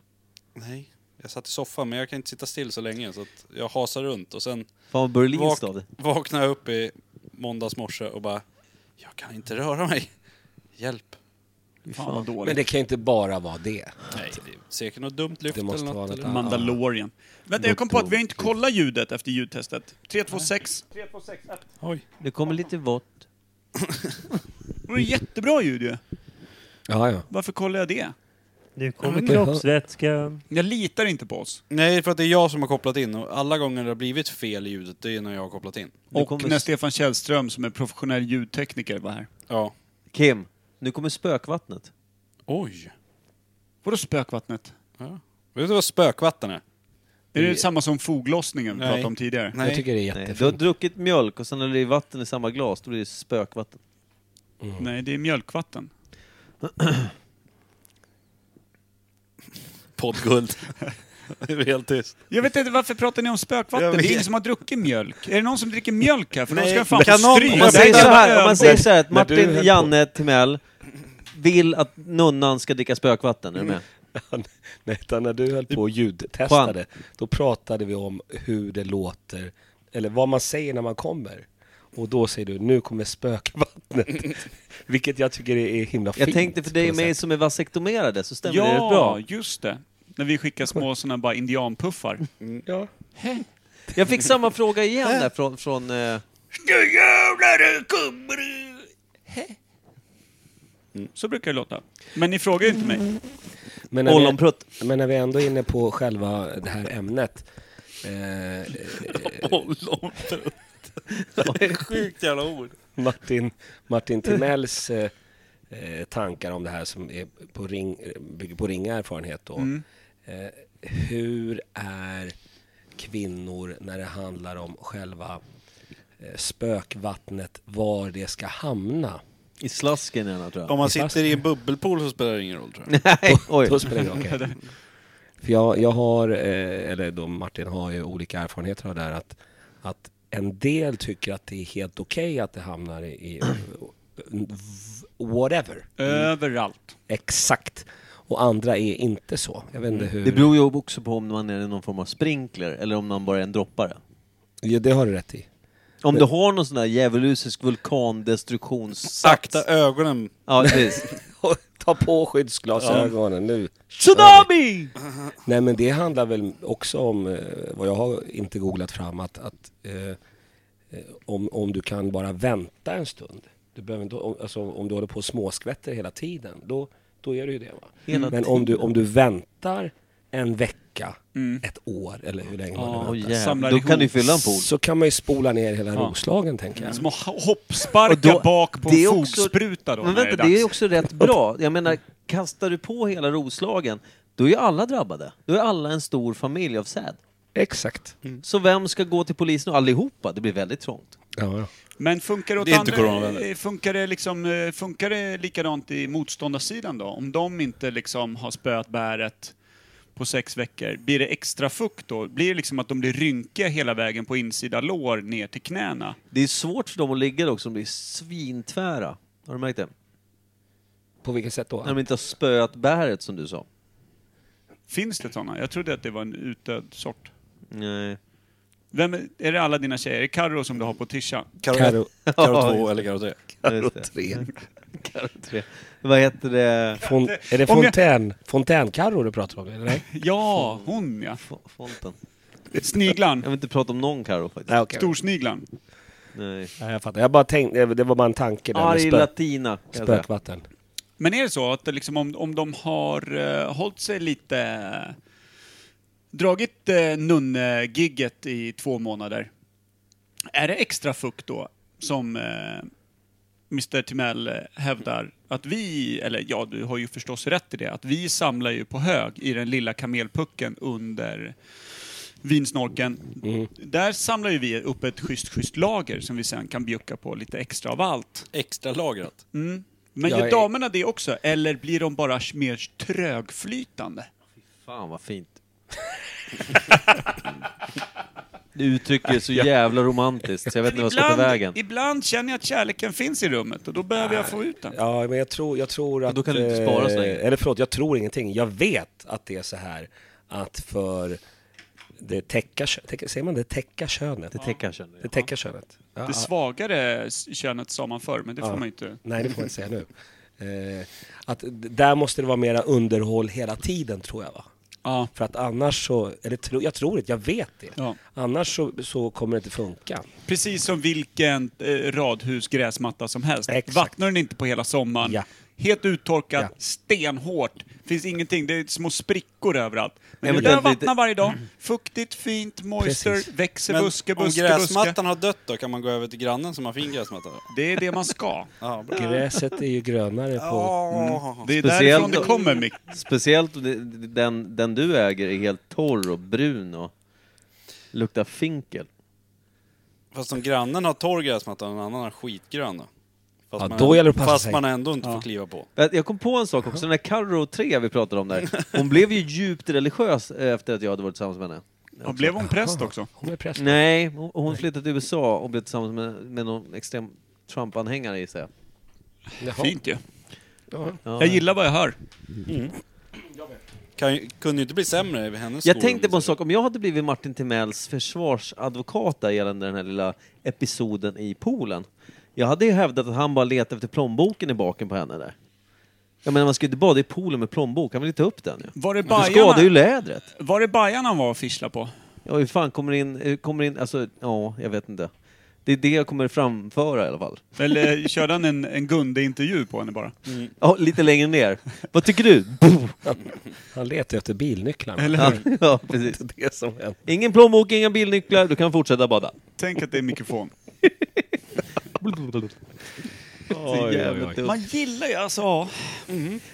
Nej. Jag satt i soffan, men jag kan inte sitta still så länge. Så att jag hasar runt och sen Fan vad berlinskt av vak- det. vaknade jag upp i måndags morse och bara... Jag kan inte röra mig. Hjälp. Fy Fan vad fan. Men dåligt. det kan ju inte bara vara det. Nej, det är säkert något dumt lyft Det måste eller vara något. något Eller? annat. Mandalorian. Vänta, jag kom på att vi har inte kollat ljudet efter ljudtestet. 3, 2, 6. Oj. Det kommer lite vått. Det var jättebra ljud ju. Ja, ja. Varför kollar jag det? Nu kommer det hör- kroppsvätskan. Jag litar inte på oss. Nej, för att det är jag som har kopplat in och alla gånger det har blivit fel i ljudet, det är när jag har kopplat in. Nu Och kommer när s- Stefan Källström som är professionell ljudtekniker var här. Ja. Kim, nu kommer spökvattnet. Oj. Vadå spökvattnet? Ja. Vet du vad spökvatten är? Är det samma som foglossningen vi Nej. pratade om tidigare? Mm. Nej. Jag tycker det Nej, är du har jättefint. druckit mjölk och sen när det är vatten i samma glas, då blir det spökvatten. Nej, det är mjölkvatten. Poddguld. det är helt tyst. Jag vet inte, varför pratar ni om Jag spökvatten? vet. Det är ingen som har druckit mjölk. Är det någon som dricker mjölk här? För de Nej, ska fan kan få någon- stryk. Om man Nej, säger men- så här, om man Men- säger så här att när du höll Martin på- Janne Timell vill att nunnan ska dricka spökvatten, är du Mm. med? Nej, utan när du höll på och ljudtestade, då pratade vi om hur det låter, eller vad man säger när man kommer. Och då säger du, nu kommer spökvattnet. Vilket jag tycker är himla fint. Jag tänkte för på dig något och mig sätt. som är vasektomerade så stämmer det rätt Ja, bra. just det. När vi skickar små sådana bara indianpuffar. Mm. Ja. Jag fick samma fråga igen där från... från eh, Så brukar det låta. Men ni frågar ju inte Mm. mig. Men, när vi, Ollonprutt. men när vi ändå är inne på själva det här ämnet. Eh, eh, Ollonprutt. det är sjukt jävla ord. Martin, Martin Timells eh, eh, tankar om det här som är på ring, bygger på ringa erfarenhet då. Eh, hur är kvinnor när det handlar om själva eh, spökvattnet, var det ska hamna? I slasken gärna tror Om jag. man sitter i en bubbelpool så spelar det ingen roll tror jag. Nej, oj. Då spelar det okej. För jag, jag har, eh, eller då Martin har ju olika erfarenheter av det här att, att en del tycker att det är helt okej att det hamnar i, i whatever. Överallt. Exakt. Och andra är inte så. Jag vet inte hur... Det beror ju också på om man är i någon form av sprinkler eller om man bara är en droppare. ja, det har du rätt i. Om du har någon sån där djävulusisk vulkandestruktionssats. Sakta ögonen. Ja, precis. Ta på skyddsglasögonen nu. Tsunami! Nej men det handlar väl också om, eh, vad jag har inte googlat fram, att, att eh, eh, om, om du kan bara vänta en stund. Du behöver inte, om, alltså, om du håller på och småskvätter hela tiden, då, då är det ju det. Va? Hela men om du, om du väntar en vecka, ett år eller hur länge man Åh, nu väntar, jävlar. Samlar Då ihop. kan du fylla en Mm. pool. så kan man ju spola ner hela Roslagen tänker jag. Små ho- hoppsparkar Och då- bak på det en är också- fogspruta då. Men när vänta, är det är dags. också rätt bra. Jag menar, kastar du på hela Roslagen, då är ju alla drabbade. Då är alla en stor familj av säd. Exakt. Mm. Så vem ska gå till polisen? och Allihopa. Det blir väldigt trångt. Ja, ja. Men funkar det, åt Det är inte andra- coronavänligt. eh, funkar, det liksom, eh, funkar det likadant i motståndarsidan då? Om de inte liksom har spöat bäret på sex veckor, blir det extra fukt då? Blir det liksom att de blir rynkiga hela vägen på insida lår ner till knäna? Det är svårt för dem att ligga dock, som blir svintvära. Har du märkt det? På vilket sätt då? När de inte har spöat bäret, som du sa. Finns det sådana? Jag trodde att det var en utdöd sort. Nej. Vem är, är det alla dina tjejer? Är det Carro som du har på tishan? Karo, Karo- karo, Ja, två eller karo tre. Just det. Mm. Tre. Tre. Vad heter det? Fon, är det Om jag- fontän, fontänkarror du pratar om? Eller? Nej, Ja, hon ja. F- Fonten. Sniglan. Jag vill inte prata om någon Karo faktiskt. Nej, okej. Storsniglan. Nej. Nej, jag fattar. Jag bara tänkte, det var bara en tanke där med Arg spök, latina. kan jag säga. spökvatten. Men är det så att det liksom, om, om de har uh, hållit sig lite... dragit uh, nunnegigget i två månader. Är det extra fukt då som eh, Mr Timell eh, hävdar att vi, eller ja du har ju förstås rätt i det, att vi samlar ju på hög i den lilla kamelpucken under vinsnorken. Där samlar ju vi upp ett schysst, schysst lager som vi sen kan bjucka på lite extra av allt. Extra lagrat. Men Jag gör är- damerna det också, eller blir de bara mer trögflytande? Fan vad fint. Du uttrycker det så jävla romantiskt så jag vet inte vad jag ska ta vägen. ibland känner jag att kärleken finns i rummet och då behöver jag få ut den. Ja, men jag tror, jag tror att... då kan du inte spara så eh, länge. Eller förlåt, jag tror ingenting. Jag vet att det är så här att för det täcka kö- täcka, Säger man det täcka könet? Det täcker känner Det jag. täcka könet. Ja, Det svagare s- könet sa man förr, men det får man ju inte. Nej, det får jag inte säga nu. Eh, att d- där måste det vara mera underhåll hela tiden, tror jag. Va? Ja. För att annars så... Eller tro, jag tror inte, jag vet det. Ja. Annars så, så kommer det inte funka. Precis som vilken eh, radhus, gräsmatta som helst. Exakt. Vattnar den inte på hela sommaren. Ja. Helt uttorkad, Ja. stenhårt. Finns ingenting, det är små sprickor överallt. Men du Eventuellt behöver vattna lite- varje dag. Fuktigt, fint, moisture, Mm. Precis. växer Men buske, om buske, buske. gräsmattan har dött då, kan man gå över till grannen som har fin gräsmatta? då? Det är det man ska. Ja, bra. Gräset är ju grönare på... Mm. Det är Speciellt därifrån det om- kommer, Mick. Speciellt om det- den, den du äger är helt torr och brun och luktar finkel. Fast om grannen har torr gräsmatta och en annan har skitgrön då? Fast, Ja, då gäller det att passa fast sig. man ändå inte får kliva på. Äh, Jag kom på en sak också, den här Carro 3 vi pratade om där. Hon blev ju djupt religiös eh, efter att jag hade varit tillsammans med henne. Och blev hon präst också? Hon är präst. Nej, hon- hon flyttade till USA och blev tillsammans med, med någon extrem Trump-anhängare gissar jag. Jaha. Fint ju. Ja. Jag gillar vad jag hör. Kan, ju- kunde ju inte bli sämre i hennes Jag skor, liksom. tänkte om på man en säger. sak, om jag hade blivit Martin Timells försvarsadvokat där gällande den här lilla episoden i poolen. Jag hade ju hävdat att han bara letade efter plånboken i baken på henne där. Jag menar man ska ju inte bada i poolen med plånbok, han vill inte ta upp den ju. Var det Du skadar ju Bajarna, lädret. var det bajarna han var och fischla på? Ja, hur fan kommer det in, hur kommer det in, alltså ja, jag vet inte. Det är det jag kommer framföra i alla fall. Eller körde han en, en Gunde-intervju på henne bara? Ja, lite längre ner. Vad tycker du? Boom! Han letar efter bilnycklarna. Eller hur? Ja, precis. det som händer. Ingen plånbok, inga bilnycklar, du kan fortsätta bada. Tänk att det är mikrofon. Oj, jävligt dumt. Man gillar ju alltså... ja.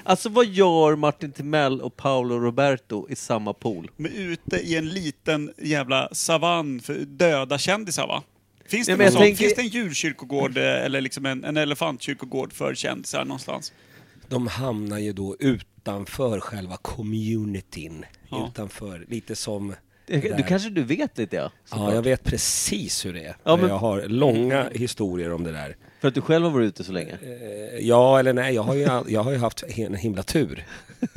Alltså vad gör Martin Timell och Paolo Roberto i samma pool? Men ute i en liten jävla savann för döda kändisar va? Finns det, Nej, men jag någon sån? tänker- Finns det en djurkyrkogård eh, eller liksom en, en elefantkyrkogård för kändisar någonstans? De hamnar ju då utanför själva communityn. Ja. Utanför, lite som... det där. Du kanske du vet lite ja? Ja, jag vet precis hur det är. Ja, men- Jag har långa historier om det där. För att du själv har varit ute så länge? Eh, Ja eller nej, jag har ju, all- jag har ju haft en himla tur. Ja,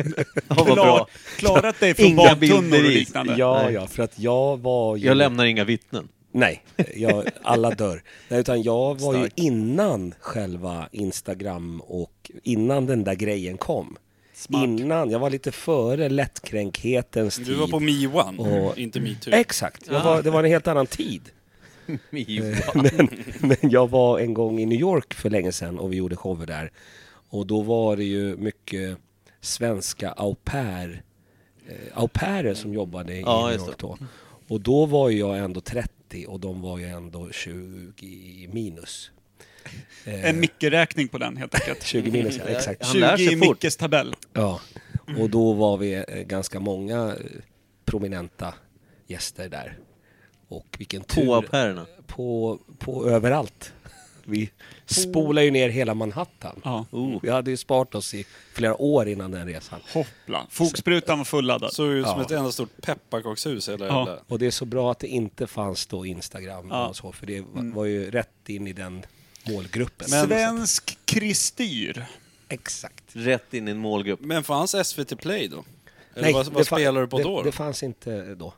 vad bra. Klarat dig från Inga badtunnor och bilder i. liknande? Ja, ja, för att jag var ju... Jag lämnar inga vittnen. Nej, jag, alla dör. Nej, utan jag var Stark. ju innan själva Instagram och innan den där grejen kom. Smart. Innan, jag var lite före lättkränkhetens tid. Du var på MeOne, Och- inte MeToo. Exakt, jag var, det var en helt annan tid. Eh, men, men jag var en gång i New York för länge sedan och vi gjorde shower där. Och då var det ju mycket svenska au pair, eh, au pairer som jobbade i Ja, New just York det. då. Och då var ju jag ändå 30 och de var ju ändå 20 minus. Eh, En Micke-räkning på den helt enkelt. 20 minus, ja, exakt. Han lär 20 sig i fort. Mickes tabell. Ja, och då var vi eh, ganska många eh, prominenta gäster där. Och vilken tur. På au pairerna. på, på överallt. Vi spolar ju ner hela Manhattan. Ja. Vi hade ju sparat oss i flera år innan den resan. Hoppla. Fogsprutan var fulladdad. Såg ut som Ja. ett enda stort pepparkakshus hela Ja. jävla... Och det är så bra att det inte fanns då Instagram Ja. Mm. och så, för det var, var ju rätt in i den målgruppen. Svensk kristyr. Exakt. Rätt in i en målgrupp. Men fanns SVT Play då? Eller Nej, vad, det vad fa- spelade du på det, då? Det fanns inte då.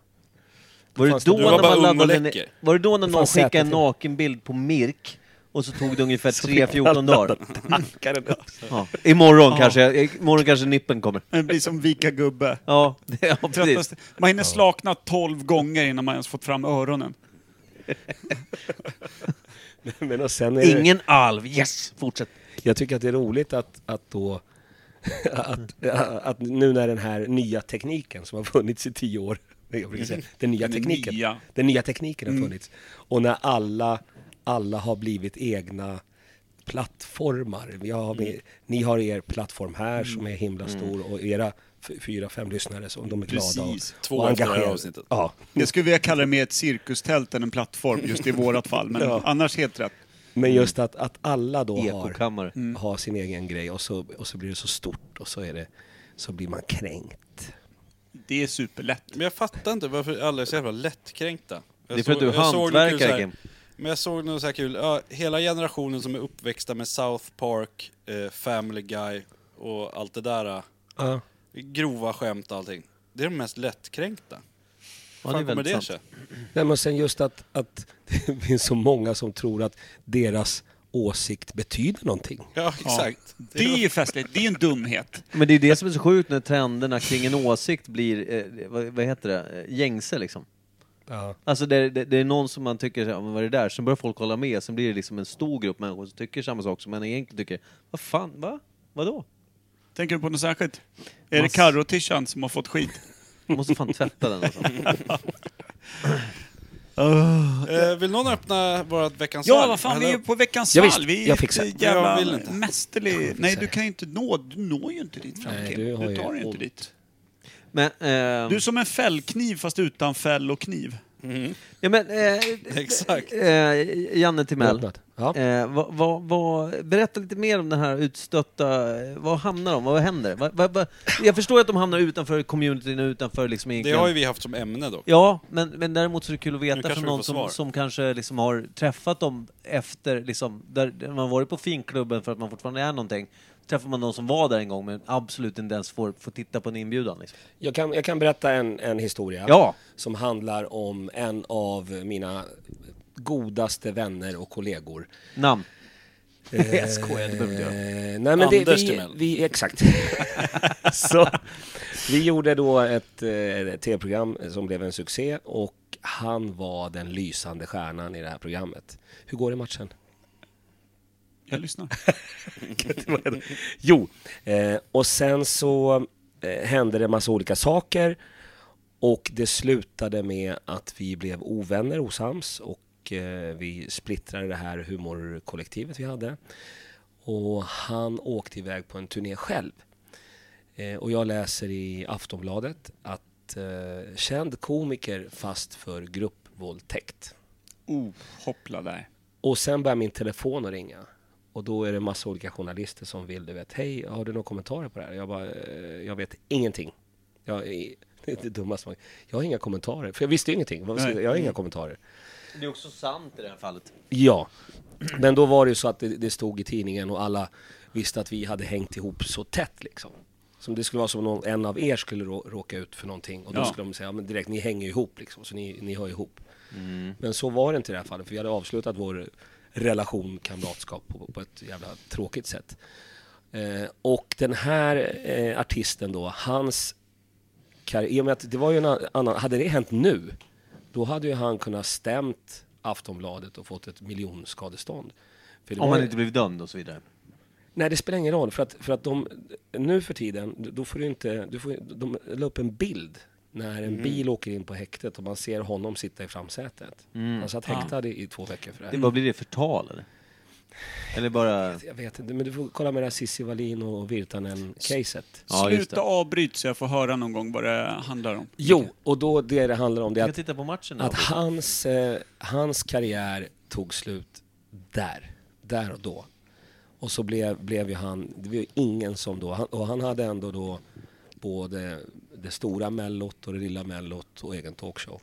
Var det, fanns det- då Du var när bara man ung och laddade ner, läcker. var det då när någon fanns skickade en säkert. nakenbild på Mirk och så tog det ungefär man 3-14 dagar? Hackade den upp. Ja. Imorgon, kanske, imorgon kanske nippen kommer. Det blir som vika gubbe. Ja, det- ja precis. Tröttaste. Man hinner slakna tolv gånger innan man ens fått fram öronen. Men och sen är det- Ingen alv, yes! Fortsätt. Jag tycker att det är roligt att, att då att, att nu när den här nya tekniken som har funnits i tio år, jag brukar säga, den nya Den tekniken, nya. Mm. den nya tekniken har funnits. Och när alla, alla har blivit egna plattformar. Vi har, Ni har er plattform här som Mm. är himla stor och era f- fyra, fem lyssnare som de är glada och, Precis. Två och efter det här engagerade. avsnittet. Ja, Det skulle vi kalla det mer ett cirkustält än en plattform just i vårat fall. Men Ja. annars helt rätt. men just att, att alla då har, Mm. Ekokammare. har sin egen grej och så, och så blir det så stort och så, är det, så blir man kränkt. Det är superlätt. Men jag fattar inte varför alla är så jävla lättkränkta. Jag Det är för att såg- du är jag såg något kul så här- hantverkare, Kim. Men jag såg något så här kul, ja, hela generationen som är uppväxta med South Park, eh, Family Guy och allt det där. eh, Ja. Grova skämt och allting. Det är de mest lättkränkta. Ja, det Hur är fan kommer väldigt det sant. sig? Nej, men sen just att, att det finns så många som tror att deras åsikt betyder någonting. Ja, exakt. Ja. Det är ju festligt. Det är en dumhet. Men det är det som är så sjukt när trenderna kring en åsikt blir, eh, vad, vad heter det, Eh, gängse liksom. Ja. Alltså det, det, det är någon som man tycker, så här, "Men vad är det där? Sen börjar folk hålla med, sen blir det liksom en stor grupp människor som tycker samma sak som man egentligen tycker, vad fan, va? Vadå? Tänker du på något särskilt? Är det Mass- Carro-tishan som har fått skit? Man måste fan tvätta den alltså. Eh, vill någon öppna vårt veckans Ja, svalg? vad fan, vi är Eller- ju på veckans Ja, visst, svalg. Vi är jag fixar. ett Jag jävla vill inte. mästerlig... Nej, du det. kan ju inte nå... Du når ju inte dit fram, Nej, Kim. du har Du ju tar ju inte ont. dit. Men, ehm, Du är som en fällkniv fast utan fäll och kniv. ja, men eh, Exakt. eh, Janne Timell, Öppnat. Ja. eh, vad, vad, vad, berätta lite mer om den här utstötta, eh, vad hamnar de, vad händer? Vad, vad, vad, jag förstår att de hamnar utanför communityn och utanför liksom Det egentligen... har ju vi haft som ämne dock. Ja, men, men däremot så är det kul att Nu veta kanske från vi någon får som, svar. som kanske liksom har träffat dem efter, liksom, där där man varit på finklubben för att man fortfarande är någonting. Träffar man någon som var där en gång men absolut inte ens får, får titta på en inbjudan. Liksom. Jag, kan, jag kan berätta en, en historia Ja. som handlar om en av mina godaste vänner och kollegor. Namn. Jag skojar, det behöver inte göra. Eh, nej, men det, Anders vi, Timell. vi, exakt. så, vi gjorde då ett eh, tv-program som blev en succé och han var den lysande stjärnan i det här programmet. Hur går det i matchen? Jag lyssnar. Jo, eh, och sen så eh, hände det massa olika saker och det slutade med att vi blev ovänner, osams och eh, vi splittrade det här humorkollektivet vi hade. Och han åkte iväg på en turné själv. Eh, och jag läser i Aftonbladet att eh, känd komiker fast för gruppvåldtäkt. Oh, hoppla där. Och sen börjar min telefon att ringa. Och då är det massa olika journalister som vill, du vet, hej, har du några kommentarer på det här? Jag bara, "Eh, jag vet ingenting. Jag, är- det är det dummaste man Jag har inga kommentarer, för jag visste ju ingenting. Vad ska- Nej. Jag har inga kommentarer. Det är också sant i det här fallet. Ja, men då var det ju så att det, det stod i tidningen och alla visste att vi hade hängt ihop så tätt liksom. Som det skulle vara som någon, en av er skulle rå, råka ut för någonting och då Ja. skulle de säga, ja, men direkt, ni hänger ju ihop liksom, så ni, ni hör ihop. Men så var det inte i det här fallet, för vi hade avslutat vår relation, kamratskap, på, på ett jävla tråkigt sätt. Eh, och den här eh, artisten då, hans karriär, i och med att det var ju en a- annan, hade det hänt nu, då hade ju han kunnat stämt Aftonbladet och fått ett miljonskadestånd. För det Om var han ju- inte blivit dömd och så vidare. Nej, det spelar ingen roll. För att, för att de, nu för tiden, då får du inte, du får, de la upp en bild när Mm. en bil åker in på häktet och man ser honom sitta i framsätet. Han satt häktad i, i två veckor för det här. Vad blir Mm. det? Förtal eller? Eller bara... Jag vet inte, men du får kolla med det här Cissi Wallin och Virtanen-caset. Ja, just Sluta det. avbryt så jag får höra någon gång vad det handlar om. Jo, och då det det handlar om det Vi är kan att, titta på matchen nu. att hans, eh, hans karriär tog slut där, där och då. Och så blev, blev ju han, det var ju ingen som då, han, och han hade ändå då både det stora mellot och det lilla mellot och egen talkshow.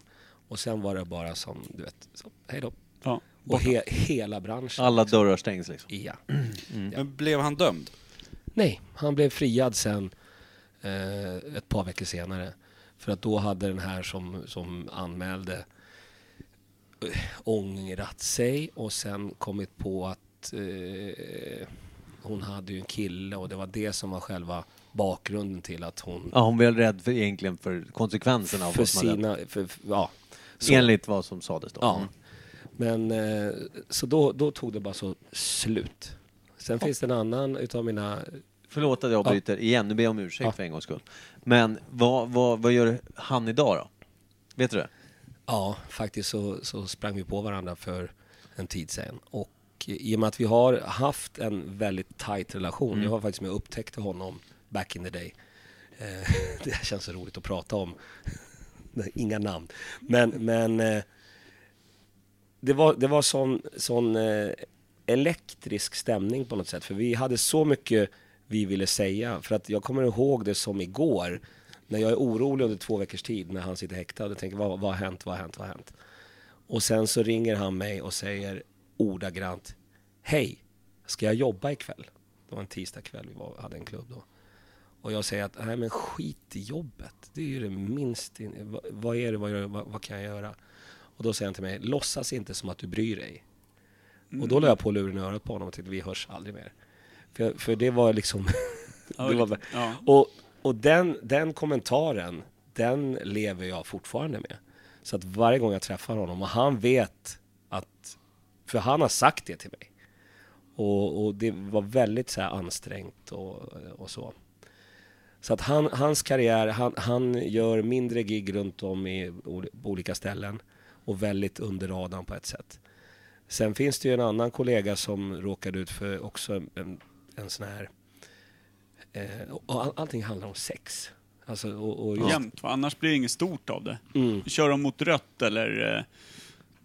Och sen var det bara som, du vet, så, hej då. Ja. Och he, hela branschen. Alla dörrar stängs liksom. Ja. Men blev han dömd? Nej, han blev friad sen eh, ett par veckor senare. För att då hade den här som, som anmälde eh, ångrat sig och sen kommit på att eh, hon hade ju en kille och det var det som var själva bakgrunden till att hon Ja, hon var väl rädd för, egentligen för konsekvenserna av för vad som hade hänt. sina, för, för, ja, så- Enligt vad som sades då. Mm. Ja. Men eh, så då, då tog det bara så slut. Sen finns det en annan utav mina Förlåt att jag bryter igen, nu ber jag om ursäkt Ja. för en gångs skull. Men vad, vad, vad gör han idag då? Vet du det? Ja, faktiskt så, så sprang vi på varandra för en tid sedan. Och i och med att vi har haft en väldigt tight relation, jag var faktiskt med och upptäckte honom back in the day. Eh, det här känns så roligt att prata om. Nej, Inga namn. Men, men eh, det var, det var sån, sån eh, elektrisk stämning på något sätt. För vi hade så mycket vi ville säga. För att jag kommer ihåg det som igår. När jag är orolig under två veckors tid när han sitter häktad och tänker vad, vad har hänt, vad har hänt, vad har hänt? Och sen så ringer han mig och säger ordagrant Hej, ska jag jobba ikväll? Det var en tisdagkväll, vi var, hade en klubb då. Och jag säger att, nej men skit i jobbet. Det är ju det minst, in, vad, vad är det, vad, gör jag, vad, vad kan jag göra? Och då säger han till mig, låtsas inte som att du bryr dig. Och då la jag på luren i örat på honom och tänkte, vi hörs aldrig mer. För, för det var liksom... Ja, det var, lite- ja. Och, och den, den kommentaren, den lever jag fortfarande med. Så att varje gång jag träffar honom, och han vet att... För han har sagt det till mig. Och, och det var väldigt så här ansträngt och, och så. Så att han, hans karriär, han, han gör mindre gig runt om i ol- på olika ställen och väldigt under radarn på ett sätt. Sen finns det ju en annan kollega som råkade ut för också en, en, en sån här... Eh, och all, allting handlar om sex. Alltså, och, och just, Jämt, va? annars blir det inget stort av det. Mm. Kör de mot rött eller... eh,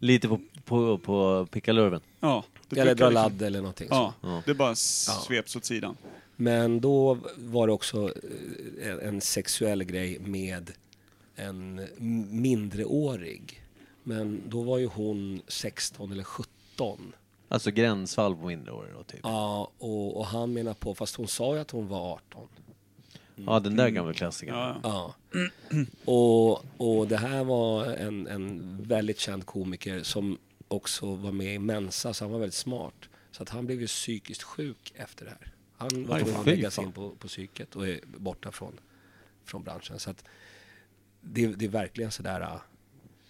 Lite på, på, på pickalurven. Ja, det eller brukar dra liksom- ladd eller någonting så. Ja, det bara s- sveps åt sidan. Men då var det också eh, en- en sexuell grej med en m- mindreårig. Men då var ju hon 16 eller 17. Alltså gränsfall på mindreåriga då typ. Ja. Ja, och, och han menar på, fast hon sa ju att hon var 18. den där gamla klassikern. Ja, Ja. Och, och det här var en, en väldigt känd komiker som också var med i Mensa, så han var väldigt smart. Så att han blev ju psykiskt sjuk efter det här. Han var Oj, tvungen att fy läggas fan. in på, på psyket och är borta från, från branschen. Så att det, det är verkligen sådär... äh,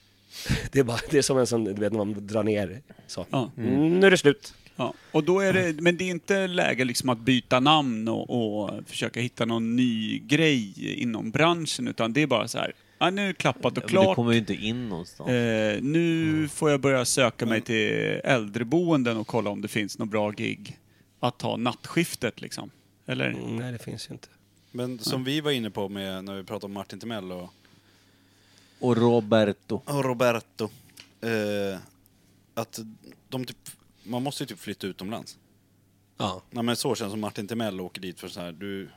Det är, bara, det är som en sån, du vet när man drar ner så. Ja. Mm. Nu är det slut. ja. Och då är det, men det är inte läge liksom att byta namn och, och försöka hitta någon ny grej inom branschen, utan det är bara så här, ja, nu är det klappat och Men klart. Du kommer ju Mm. inte in någonstans. Eh, nu får jag börja söka Mm. mig till äldreboenden och kolla om det finns något bra gig att ta nattskiftet liksom. Eller? Mm. Mm, Nej, det finns ju inte. Men som vi var inne på med, när vi pratade om Martin Timell och Och Roberto. och Roberto. Eh, att de typ, man måste ju typ flytta utomlands. Ja. Nej men så känns det som Martin Timell åker dit för så här, du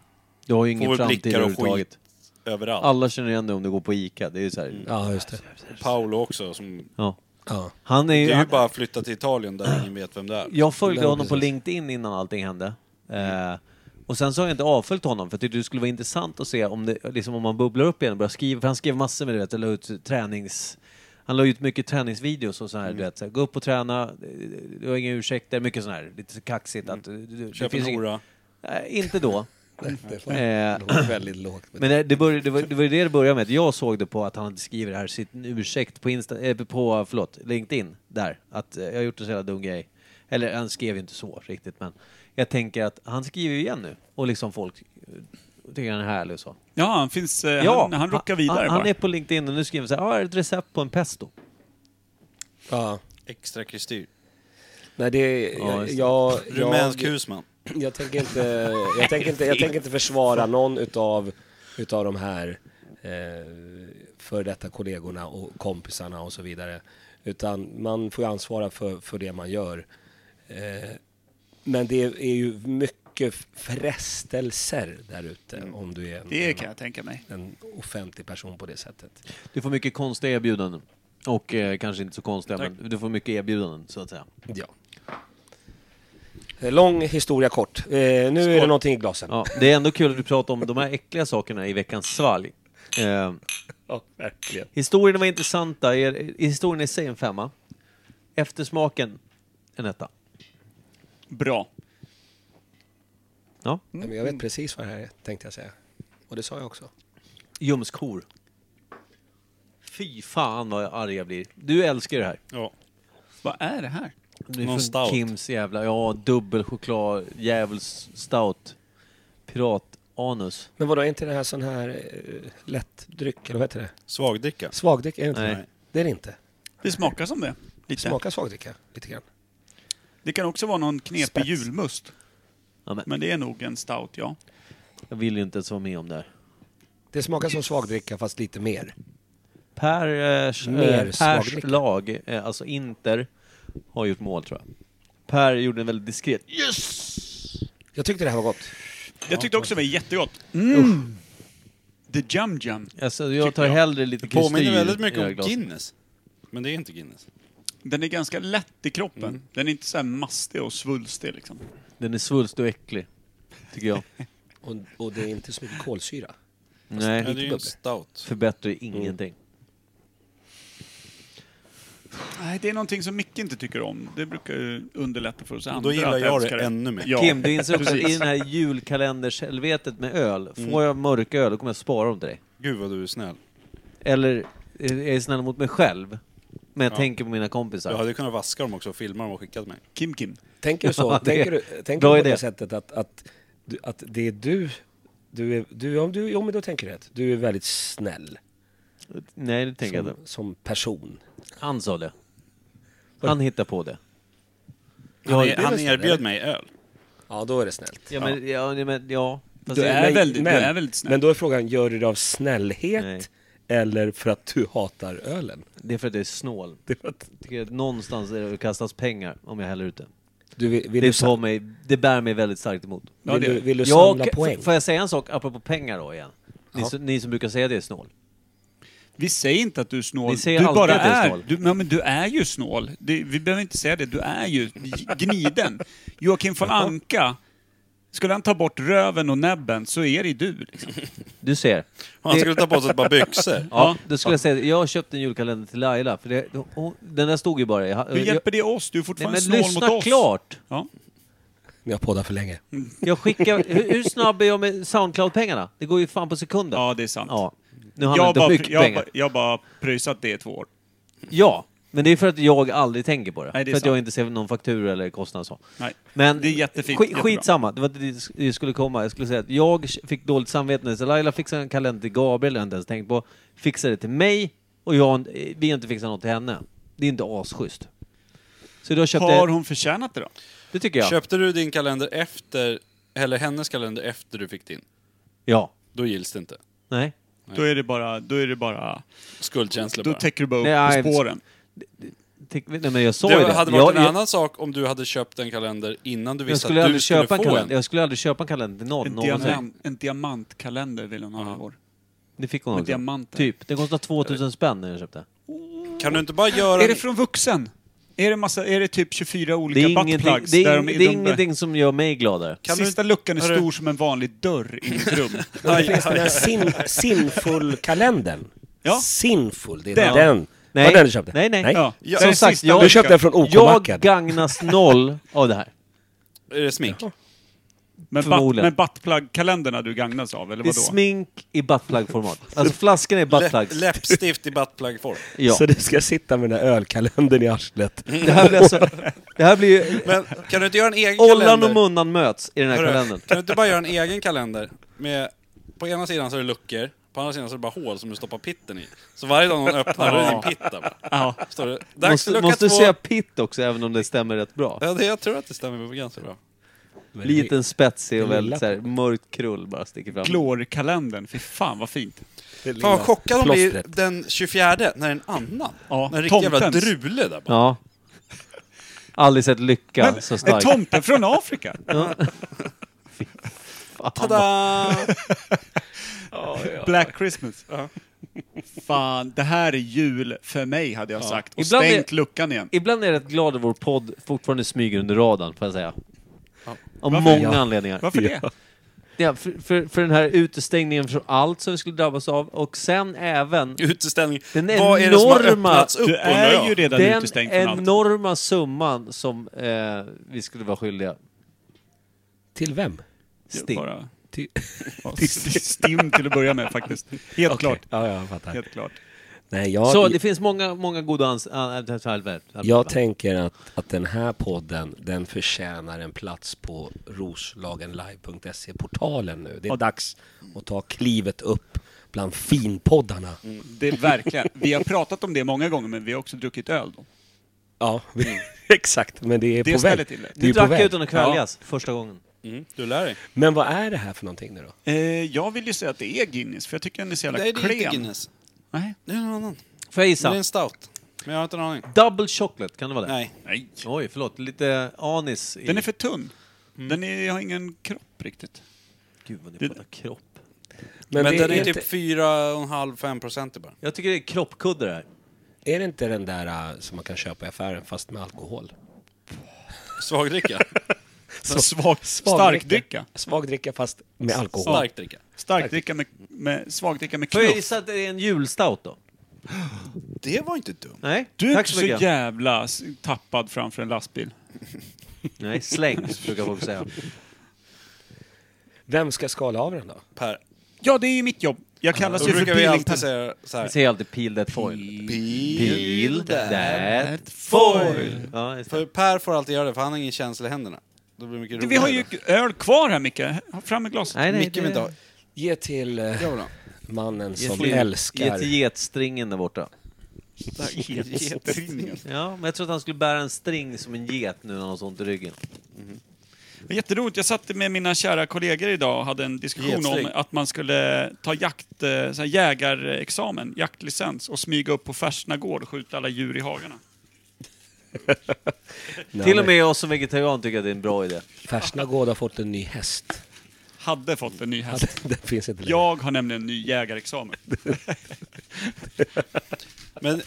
Du har ju Får ingen väl framtid blickar och överhuvudtaget. överallt. Alla känner igen dig om du går på ICA. Det är ju så här. ja, just det. Paolo också som, Ja. Ja. Han är ju... det är ju han- bara att flytta till Italien där ingen vet vem det är. Jag följde Ja, honom på precis. LinkedIn innan allting hände. Mm. Eh, och sen så har jag inte avföljt honom för jag tyckte det skulle vara intressant att se om, det, liksom om man bubblar upp igen och börjar skriva. För han skrev massor med det, vet, eller ut träningsartiklar Han la ut mycket träningsvideos och så Mm. här, du vet, så här, gå upp och träna, eh, du har inga ursäkter, mycket sån här, lite kaxigt att... du- du- det Mm. Köp en finns inget- hora. Nej, inte då. Det Eh, låg väldigt lågt. Men det, det, började, det, var, det var ju det det började med. Jag såg det på att han hade skrivit det här, sin ursäkt på, Insta, eh, på förlåt, LinkedIn. Där. Att eh, jag har gjort en så jävla dum grej. Eller han skrev ju inte så riktigt men. Jag tänker att han skriver ju igen nu. Och liksom folk eh, tycker han är härlig och så. Ja, han finns... eh, han, han rockar vidare han, han bara. är på LinkedIn och nu skriver han så här, ah, ett recept på en pesto. Ja. Extra kristyr. Nej, det... Ja, Jag, just det. jag, Rumänsk jag, husman. jag, tänker inte, jag, tänker inte, jag tänker inte försvara någon utav, utav de här eh, för detta kollegorna och kompisarna och så vidare. Utan man får ju ansvara för, för det man gör. Eh, men det är ju mycket frestelser där ute om du är en, Det kan jag tänka mig. en, en offentlig person på det sättet. Du får mycket konstiga erbjudanden. Och eh, kanske inte så konstiga men du får mycket erbjudanden så att säga. Ja. Eh, Lång historia kort. Eh, nu är det någonting i glasen. Ja, det är ändå kul att du pratar om de här äckliga sakerna i veckans svalg. Eh, Ja, verkligen. Historien var intressanta. Er- Historien i sig en femma. Eftersmaken en etta. Bra. Ja. Ja, men jag vet precis vad det här är, tänkte jag säga. Och det sa jag också. Ljumskor. Fy fan vad arg jag blir. Du älskar det här. Ja. Vad är det här? Det är Någon från stout. Kims jävla... Ja, dubbel choklad, djävuls stout. Pirat-anus. Men vadå, är inte det här sån här eh, lättdryck, eller vad heter det? Svagdricka. Svagdryck, är det inte Nej. det? Det är det inte. Det smakar som det. Lite. Smaka svagdricka, lite grann. Det kan också vara någon knepig Spets. julmust. Ja, men, Men det är nog en stout, ja. jag vill ju inte ens vara med om det här. Det smakar som svagdricka, fast lite mer. Per, eh, Sch- Mer eh, Pers svagdricka. lag, eh, alltså Inter, har gjort mål tror jag. Per gjorde en väldigt diskret... Jag tyckte det här var gott. Jag tyckte också det var jättegott. Mm. The Jum Jum. Alltså, jag Tyckte tar jag. hellre lite Det påminner kristyr i väldigt det här mycket om glaset. Guinness. Men det är inte Guinness. Den är ganska lätt i kroppen. Mm. Den är inte så här mastig och svulstig liksom. Den är svulst och äcklig, tycker jag. Och, och det är inte så mycket kolsyra. Nej, det är Nej, ju en stout. förbättrar ju ingenting. Nej, det är någonting som Micke inte tycker om. Det brukar ju underlätta för oss andra Då gillar att jag älska det ännu mer. Ja, Kim, du inser också att precis. i den här julkalendershelvetet med öl, får jag mörka öl då kommer jag spara dem till dig. Gud vad du är snäll. Eller eh, jag är snäll mot mig själv, men jag tänker på mina Du kompisar. hade ju kunnat vaska dem också och filma dem och skicka till mig. Kim Kim. Tänker du så? Ja, det- tänker du, tänker bra du på idé. det sättet att, att, du- att det är du... du, är, du, om du jo, men då tänker du rätt. Du är väldigt snäll Nej, det tänker jag som, inte. som person. Han sa det. Han hittar på det. Han, det är han väl snäll, erbjöd eller? mig öl. Ja, då är det snällt. Ja, men ja. nej, men, ja. Fast Alltså, Du jag- är Men- väldigt- du men- är väldigt snäll. Men då är frågan, gör du det av snällhet Nej. eller för att du hatar ölen? Det är för att jag är snål. Det var att- Jag tycker att någonstans är det kastas pengar om jag häller ut det. Du, vill, vill, du, Det, tar sam- mig, det bär mig väldigt starkt emot. Ja, vill, det- du, vill du Jag- samla f- poäng? Får jag säga en sak apropå pengar då igen? Ni, Ja. som, ni som brukar säga det är snål. Vi säger inte att du är snål. Vi säger du alltid bara att jag är är, snål. Du, ja, men du är ju snål. Det, vi behöver inte säga det. Du är ju gniden. Joakim von Anka, skulle han ta bort röven och näbben så är det du. Liksom. Du ser. Han Det- skulle ta på sig ett par byxor. Ja, då skulle jag säga det. Jag köpte en julkalender till Laila, för det, hon, den där stod ju bara... Jag, Hur jag, hjälper det oss? Du är nej, fortfarande men snål mot lyssna oss. klart! Ja. Ni har poddat för länge. Jag skickar, hur, hur snabb är jag med Soundcloud-pengarna? Det går ju fan på sekunden. ja, det är sant. Ja. Nu handlar det Jag inte om bara, mycket jag, bara, pengar. jag bara pröjsat det i två år. Ja, men det är för att jag aldrig tänker på det. Nej, det är för att jag sant. inte ser någon faktura eller kostnad så. Nej. Men Det är jättefint, sk- jättebra. skitsamma, det var inte dit jag skulle komma. Jag skulle säga att jag fick dåligt samvete när så Laila fixade en kalender till Gabriel, jag hade inte ens tänkt på. Fixade det till mig och jag, vi har inte fixat något till henne. Det är inte asschysst. Så då köpte Har jag, hon förtjänat det då? det tycker jag. Köpte du din kalender efter, eller hennes kalender efter du fick din? Ja. Då gills det inte. Nej. Då är det bara... Då, är det bara, Skuldkänsla då bara. täcker du bara upp Nej, på spåren. Tänk- Nej men jag sa ju Det det. hade jag, varit en jag, annan sak om du hade köpt en kalender innan du jag visste skulle att du aldrig skulle köpa en få en. kalender. Jag skulle aldrig köpa en kalender till någon En, någonsin. diamant, en diamantkalender vill hon ha i år. Det fick hon Med också. diamanter. Typ. Det kostade 2000 spänn när jag köpte. Kan du inte bara göra... Är det från vuxen? Är det, massa, är det typ 24 Det olika är, ingenting, buttplugs? det där är, de- det är de- ingenting som gör mig gladare. Kan du- Sista luckan är hörru. stor som en vanlig dörr i ett rum. Men det finns den här sin, sinful-kalendern. Ja. Sinful, det är Den. den Nej. Var det den du köpte? Nej, nej. Nej. Ja. Ja, Det är som sagt, sista jag- veckan. Du köpte den från Jag OK-macken? gagnas noll av det här. Är det smink? Men, butt, förmodligen. men buttplug-kalendrarna du gagnas av, eller Det är vadå? smink i buttplug-format. Alltså flaskan är buttplug. Lä- läppstift i buttplug-form. Ja. Så du ska sitta med den här ölkalendern i arslet? Det här blir alltså... Det här blir ju... Men kan du inte göra en egen Ollan kalender? och Munnan möts i den här Hörru, kalendern. Kan du inte bara göra en egen kalender? Med, på ena sidan så är det luckor, på andra sidan så är det bara hål som du stoppar pitten i. Så varje dag någon öppnar, då är det din pitt där bara. Ja. Står det, dags för Måste, lucka måste du två. säga pitt också, även om det stämmer rätt bra. Ja, det, jag tror att det stämmer ganska bra. Liten spetsig och lilla väldigt så här, mörkt krull bara sticker fram. Glorkalendern, fy fan vad fint. Det lilla Fan vad chockad de blir plåstret. den 24 när en annan. Ja, när en riktig jävla tomtens. drule där bara. Ja. Aldrig sett lycka Men, så Är stark. tomten från Afrika? Tada! Black Christmas. Fan, det här är jul för mig, hade jag sagt. Och Ibland stängt är- luckan igen. Ibland är jag rätt glad att vår podd fortfarande smyger under radarn, får jag säga. Av Varför? många Ja. anledningar. Varför det? Ja, för, för, för den här utestängningen från allt som vi skulle drabbas av och sen även Uteställning. Den Vad är det som har enorma- öppnats upp Du undrar är jag? ju redan den utestängd från allt. enorma summan som eh, vi skulle vara skyldiga Till vem? Sting. Bara- Till... Ja, Stim till att börja med faktiskt. Helt klart. Ja, ja, jag fattar. Helt klart. Nej, jag, Så det finns många, många goda ans... Äh, jag tänker att, att den här podden, den förtjänar en plats på roslagenlive.se-portalen nu. Det är dags att ta klivet upp bland finpoddarna. Det är verkligen. Vi har pratat om det många gånger, men vi har också druckit öl. Då. Ja, exakt. Men det är Det på ställer väg. till det. är Nu ju på drack jag väg. utan att kväljas första gången. Mm, du lär dig. Men vad är det här för någonting nu då? Eh, jag vill ju säga att det är Guinness, för jag tycker den är så jävla Nej, det är klen. inte Guinness. Nej. Det är någon annan. Får jag Det är gissa? en stout. Men jag har inte en aning. Double chocolate, kan det vara det? Nej. Nej. Oj, förlåt. Lite anis i... Den är för tunn. Mm. Den är, har ingen kropp riktigt. Gud vad ni pratar kropp. Men, det den är, inte- typ 4,5-5 procent bara. Jag tycker det är kroppkudde det här. Är det inte den där äh, som man kan köpa i affären fast med alkohol? Svagdricka. Så svag, Svagdricka. starkdricka. Svagdricka fast med alkohol. Starkdricka. Starkdricka med, med svagdricka med Får jag knuff. gissa att det är en julstout då? Det var inte dumt. Nej, Du är tack inte så så mycket. jävla s- tappad framför en lastbil. Nej, slängs brukar folk säga. Vem ska skala av den då? Per. Ja, det är ju mitt jobb. Jag kallas Då ju för brukar vi alltid peelingpennor. säga så Vi här. säger alltid peel that foil. Peel that foil. Ja, just det. För Per får alltid göra det, för han har ingen känsla i händerna. Då blir det mycket roligare. Vi har ju öl kvar här, Micke. Ha Fram med glaset. Nej, nej, Micke vill inte ha. Ge till eh, Jag vill ha. mannen Ge som till- Ge älskar... till getstringen där borta. Jätteroligt. Ja, men jag tror att han skulle bära en string som en get nu när han har så ont i ryggen. Jätteroligt. Jag satt med mina kära kollegor idag och hade en diskussion Getsträng. om att man skulle ta jakt, eh, så här jägarexamen, jaktlicens och smyga upp på Färsna gård och skjuta alla djur i hagarna. Nej, Till och med jag som vegetarian tycker att det är en bra idé. Färsna gård har fått en ny häst. Hade fått en ny häst. den finns inte längre. Jag har nämligen en ny jägarexamen. Men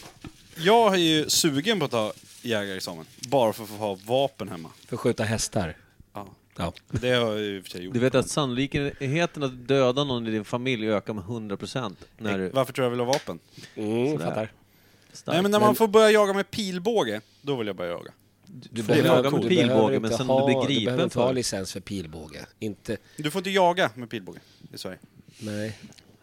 jag är ju sugen på att ta jägarexamen. Bara för att få ha vapen hemma. För att skjuta hästar. Ja. Ja. Det har jag ju i och för sig gjort. Du vet att sannolikheten att döda någon i din familj ökar med 100% när du... Varför tror jag vill ha vapen? Mm, Sådär. fattar. Stark. Nej men när man får börja jaga med pilbåge, då vill jag börja jaga. Du får jaga med du pilbåge, behöver men inte sen om du blir gripen Du behöver inte ha för- licens för pilbåge. Inte... Du får inte jaga med pilbåge i Sverige. Nej.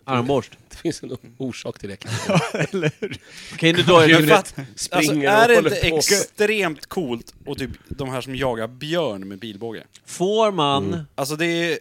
Armborst. Det finns en orsak till det kanske. Eller hur? Kan du dra Men en... fatt- springer alltså, och är det håller inte på. extremt coolt och typ de här som jagar björn med pilbåge? Får man... Alltså det är,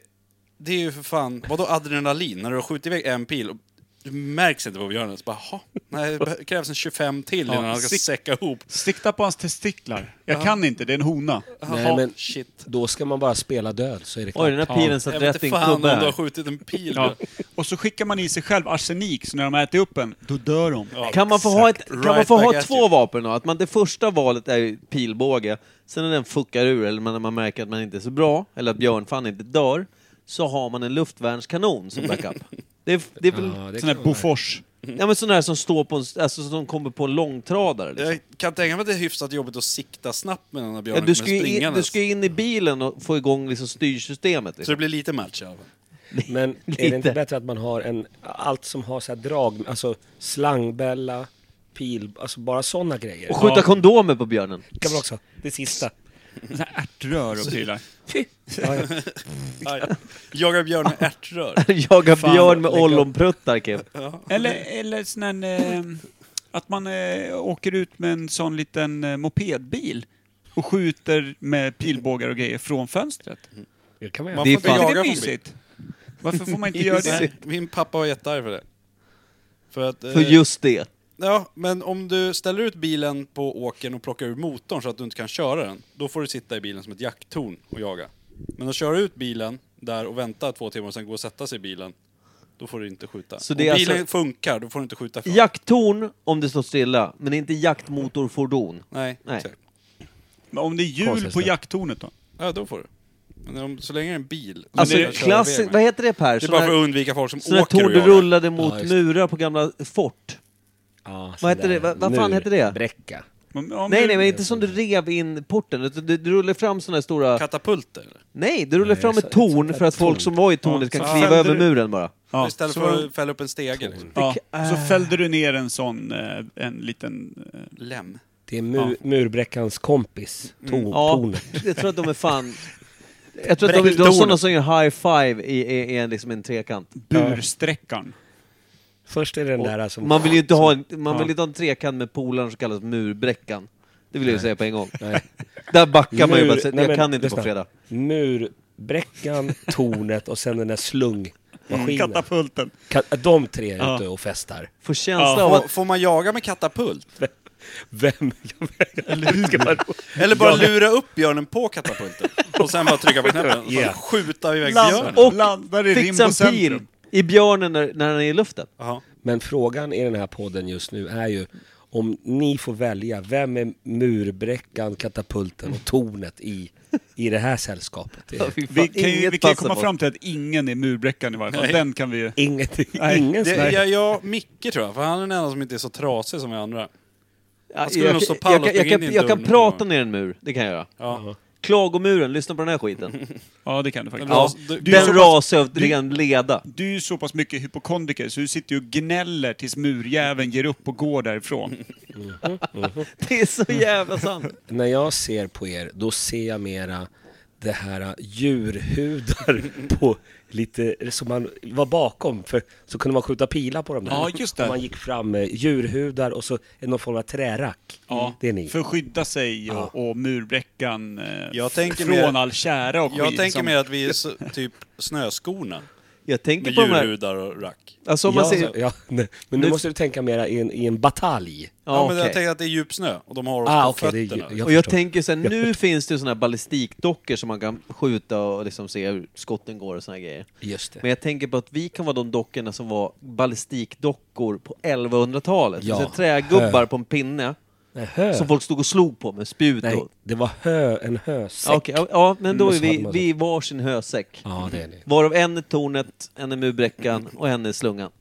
det är ju för fan, vadå adrenalin? När du har skjutit iväg en pil och du märks inte på björnen, så bara "Jaha, nej, det krävs en 25 till innan Ja, han ska sick. säcka ihop. Sikta på hans testiklar. Jag kan inte, det är en hona. Jaha, men- shit. Då ska man bara spela död så är det klart. Oj, den här pilen satt Jag alltså, rätt vet i inte en fan om klubba du har här. skjutit en pil. Ja. Och så skickar man i sig själv arsenik, så när de äter upp en, då dör de. Kan man få ha, ett, kan man Right få back ha at två you. vapen då? Att man, det första valet är ju pilbåge, sen när den fuckar ur eller när man märker att man inte är så bra, eller att björnfan inte dör, så har man en luftvärnskanon som backup. Det är, det är väl Ja, det Sån här kan man- Bofors. ja, men sådana här som står på en, alltså, som kommer på en långtradare. Liksom. Jag kan tänka mig att det är hyfsat jobbigt att sikta snabbt med den här Ja, björnen du, som ska ju är in, du springandes. ska ju in i bilen och få igång liksom styrsystemet. Så Liksom. det blir lite match i alla fall. Men är det Lite. inte bättre att man har en, allt som har så här drag, alltså slangbälla, pil, alltså bara sådana grejer. Och skjuta kondomer på björnen. kan man också. Det sista. Såna här ärtrör och prylar. Ja, ja. Aj. Jagar björn med ärtrör. Jaga Fan, björn med lägg av. ollonpruttar, Kim. Eller, eller sån här, eh, att man eh, åker ut med en sån liten eh, mopedbil och skjuter med pilbågar och grejer från fönstret. Det kan man Man göra. får Det är inte fan- Är inte jaga det från mysigt? Varför får man inte göra det? Nej, min pappa var jättearg för det. För att... eh, För just det. Ja, men om du ställer ut bilen på åkern och plockar ur motorn så att du inte kan köra den, då får du sitta i bilen som ett jakttorn och jaga. Men att köra ut bilen där och vänta två timmar och sen gå och sätta sig i bilen, då får du inte skjuta. Så Så det är om bilen alltså- funkar, då får du inte skjuta från. Jakttorn om det står stilla, men inte jaktmotorfordon. Nej, Nej. exakt. Men om det är jul Konstigt på det. jakttornet då? Ja, då får du. Men om, så länge det är en bil... så Alltså, kan du köra iväg klassik, med. vad heter det Per? Det är Såna bara här- för att undvika folk som såna här åker torn och du jagar. rullade mot Ja, just det. murar på gamla fort. Ja, Vad heter sån det? där Vad- vad fan mur- heter det? Bräcka. Men om Nej, du- nej, men inte som du rev in porten. utan Du, du rullar fram såna här stora... Katapulter? eller? Nej, du rullar Nej, fram så- ett torn så- för att folk som var i tornet Ja, kan så kliva fällde över du- muren bara. Ja, Istället så- för att fälla upp en stege liksom. Ja, så fällde du ner en sån, eh, en liten... eh, Lem. Det är mur, murbräckans kompis, Tor, Ja, tornet. jag tror att de är fan... Jag tror att de, de är sådana som gör high five i, i, i en, liksom en trekant. Bursträckan. Först är det den där som... Man vill ju inte ha en, man Ja. vill inte ha en trekant med polaren som kallas murbräckan. Det vill jag ju säga på en gång. Nej. Där backar man ju Mur- bara. Jag nej, men kan inte på lyssna. fredag. Murbräckan, tornet och sen den där slungmaskinen. Katapulten. Ka- de tre är Mm, Ja. ute och festar. Får känsla av Får, att... får man jaga med katapult? Vem? Eller hur? Ska man... Eller bara lura upp björnen på katapulten och sen bara trycka på knappen och så Yeah. skjuta iväg Land, björnen. Och och landar i Fixa Rimbo en pil centrum. i björnen när, när den är i luften. Jaha. Men frågan i den här podden just nu är ju om ni får välja, vem är murbräckan, katapulten och tornet i, i det här sällskapet? Det Ja, är fy fan, Vi kan ju inget vi kan passar ju komma på. fram till att ingen är murbräckan i varje fall. Den kan vi ju... inget, Nej, ingen som Det, är... jag, jag, Micke tror jag, för han är den enda som inte är så trasig som vi andra. Ja, skulle jag, nog stå jag, pall och jag, jag, springa kan- in i jag kan dörren. prata ner en mur, det kan jag göra. Ja. Klagomuren, lyssna på den här skiten. Ja, det kan du faktiskt. Ja, Ja, Du, du- är den så pass- rasövdringen leda. du är ju så pass mycket hypokondriker så du sitter ju och gnäller tills murjäveln ger upp och går därifrån. Det är så jävla sant. När jag ser på er, då ser jag mera det här äh, djurhudar på lite, som man var bakom, för så kunde man skjuta pilar på dem där. Ja, just det. Och Man gick fram med djurhudar och så är någon form av trärack. Mm. Ja, Det är ni. För att skydda sig och, och murbräckan eh, Jag tänker från mer- all tjära och skit Jag tänker som- mer att vi är så, typ snöskorna Jag tänker med på de här... djurhudar och rack. Alltså om man Ja, ser... ja, nej. Men nu Nu- måste du tänka mera i en, i en batalj. Ja, Ja, men jag okej. tänker att det är djup snö och de har oss Ah, på okej, det är- fötterna. jag Och jag förstår. tänker så här, nu finns det ju såna här ballistikdockor som man kan skjuta och liksom se hur skotten går och såna här grejer. Just det. Men jag tänker på att vi kan vara de dockorna som var ballistikdockor på 1100-talet. Ja. Så här Trägubbar på en pinne Nej, hö. som folk stod och slog på med spjut Nej, och... det var hö, en hösäck. Ja, okej, ja, ja, men då Mm, är och så hade vi, man så. vi i varsin hösäck. Ja, det är det. Varav en är tornet, en är murbräckan och en är slungan.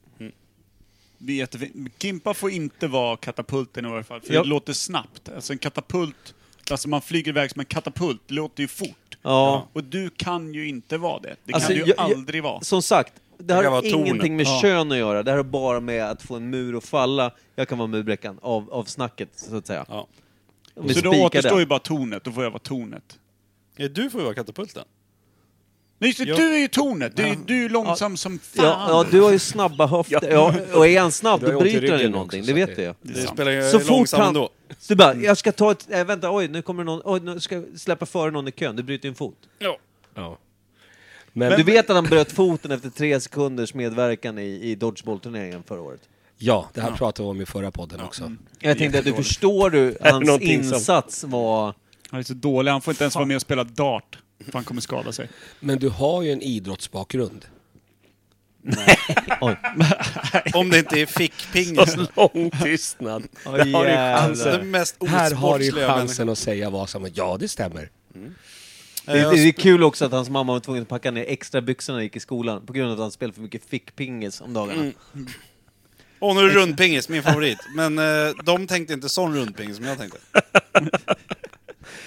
Det är jättefint. Gimpa får inte vara katapulten i varje fall, för Ja. det låter snabbt. Alltså en katapult, alltså man flyger iväg som en katapult, det låter ju fort. Ja. Och du kan ju inte vara det. Det Alltså, kan du ju jag- jag- aldrig vara. Som sagt, det kan här har vara ingenting tornet. med Ja. kön att göra. Det här har bara med att få en mur att falla. Jag kan vara murbräckan av, av snacket, så att säga. Ja. Om vi Så då spikar återstår den. ju bara tornet, då får jag vara tornet. Ja, Du får ju vara katapulten. Nej, just det, Ja. du är ju tornet! Du, är- du är långsam som fan! Ja, ja, du har ju snabba höfter. Ja. och är han snabb, Du har ju då ont i bryter han ju ryggen någonting. också, det så vet det- jag. Det, spelar ju Så fort långsamt han... ändå. Du bara, jag ska ta ett... Äh, vänta, oj, nu kommer någon... Oj, nu ska jag släppa före någon i kön. Du bryter ju en fot. Ja. Men, Du vet att han bröt foten efter tre sekunders medverkan i, i Dodgeball-turneringen förra året? ja, det här pratade vi om i förra podden också. Jag tänkte att du förstår du, det hans någonting som- insats var... Han är så dålig, han får inte ens vara med och spela dart. För han kommer skada sig. Men du har ju en idrottsbakgrund. Om det inte är fickpingis. Alltså, lång tystnad. Åh, Där har du jävlar. Alltså, chansen. den mest Här har du osportsliga chansen att säga vad som Ja, det stämmer. Det, det, människan. det är kul också att hans mamma var tvungen att packa ner extra byxorna när han gick i skolan på grund av att han spelade för mycket fickpingis om dagarna. Mm. Och nu är det rundpingis, min favorit. Men eh, de tänkte inte sån rundpingis som jag tänkte.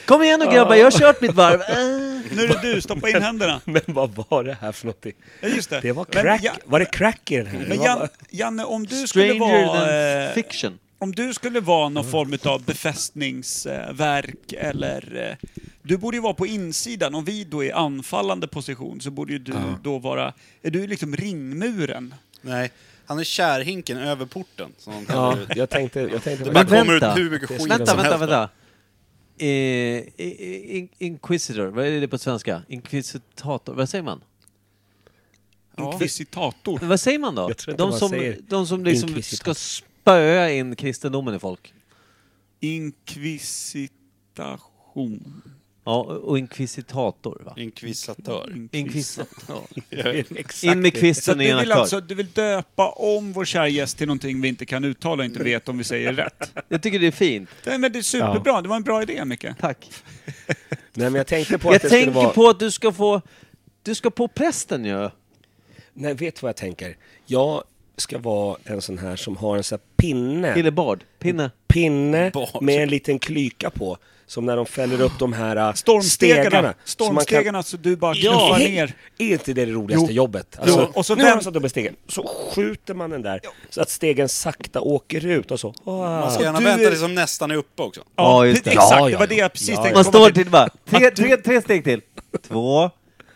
Kom igen nu grabbar, jag har kört mitt varv! Äh. Nu är det du, stoppa in händerna! Men vad var det här för någonting? Ja, just det. Det var Men crack. Ja- Var det crack i den här? Det Men var Jan, bara- Janne, om du skulle Stranger vara... than eh, fiction. om du skulle vara någon form av befästningsverk eller... eh, Du borde ju vara på insidan. Om vi då är i anfallande position så borde ju du då vara... Är du liksom ringmuren? Nej, han är kärhinken över porten. Som han Ja, kallar det. jag tänkte... Jag tänkte Det bara Men kommer ut vänta. hur mycket skit Vänta, som vänta, helst. vänta. Eh, i- i- in- inquisitor, vad är det på svenska? Inquisitator, vad säger man? Inkvisitator. Vad säger man då? Jag tror inte De man som, säger de som liksom ska inquisitor. spöa in kristendomen i folk. Inkvisitation. Ja, och inkvisitator va? Inkvisatör. Mm. Inkvisitor. Exakt. In med Så att kvisten i du ena vill kör. alltså, du vill döpa om vår kära gäst till någonting vi inte kan uttala och inte Mm. vet om vi säger rätt. Jag tycker det är fint. Nej, men det är superbra, det var en bra idé Micke. Tack. Nej, men jag tänkte på att Jag det skulle tänker vara... på att du ska få... Du ska på prästen ju. Nej, vet du vad jag tänker? Jag ska vara en sån här som har en sån här pinne. Hillebard. Pinne. pinne Bak. med en liten klyka på. Som när de fäller upp de här äh, Stormstegarna. stegarna. Stormstegarna, Så man så du bara kan... knuffar ner. Är inte det det roligaste Jo. jobbet? Alltså, Jo. Och så nu vänd- har de satt upp en stegen, så skjuter man den där så att stegen sakta åker ut och så. Ah. Man ska gärna du vänta är- tills de nästan är uppe också. Ja, just det. Exakt, Ja, det ja, var det ja. jag precis Ja, tänkte Man komma står till. till bara. Tre, tre, tre steg till. Två.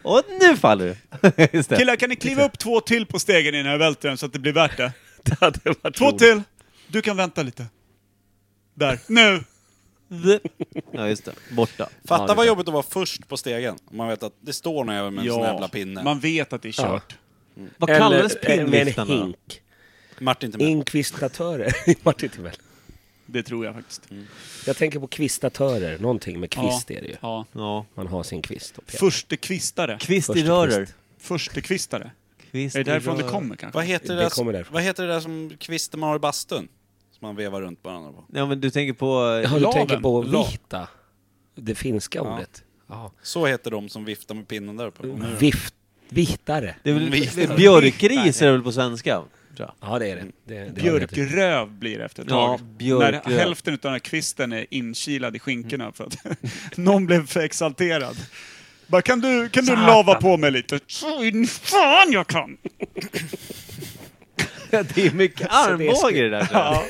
Och nu faller du. Just det. Killar, kan ni kliva upp två till på stegen innan jag välter den så att det blir värt det? Det hade varit Två roligt. till! Du kan vänta lite. Där. Nu! Ja, just det. Borta. Fatta ja, vad jobbigt att vara först på stegen. Om Man vet att det står någon jävel med en sån jävla pinne. man vet att det är kört. Vad Eller- kallades eller med en pinnviftarna? då? hink. Martin till mig. Inkvistatörer. Martin Timell. Det tror jag faktiskt. Jag tänker på kvistatörer, någonting med Mm. kvist är det ju. Ja. Ja. Man har sin kvist. och petar. Förstekvistare. Kvist i Första rörer. Förstekvistare. Kvist Är det i därifrån det rör. kommer kanske? Vad heter Det det, kommer där, därifrån. vad heter det där som kvisten man har i bastun? Som man vevar runt varandra på. Ja, men du tänker på... eh, Jaha, du Laven. tänker på Lav. vita. Det finska ordet. Ja. Så heter de som viftar med pinnen där uppe. Mm. Och nu- Vift, vitare. Det är väl Viftar. björkris är det väl på svenska? tror jag. Ja, det är det. det, det har du rätt i. Björkröv blir det efter ett Ja, tag. björkröv. När hälften av den här kvisten är inkilad i skinkorna för att någon blev för exalterad. Bara, kan du, kan du lava på mig lite? Så in fan jag kan! Det är mycket armbåge i det där. tror jag. Ja.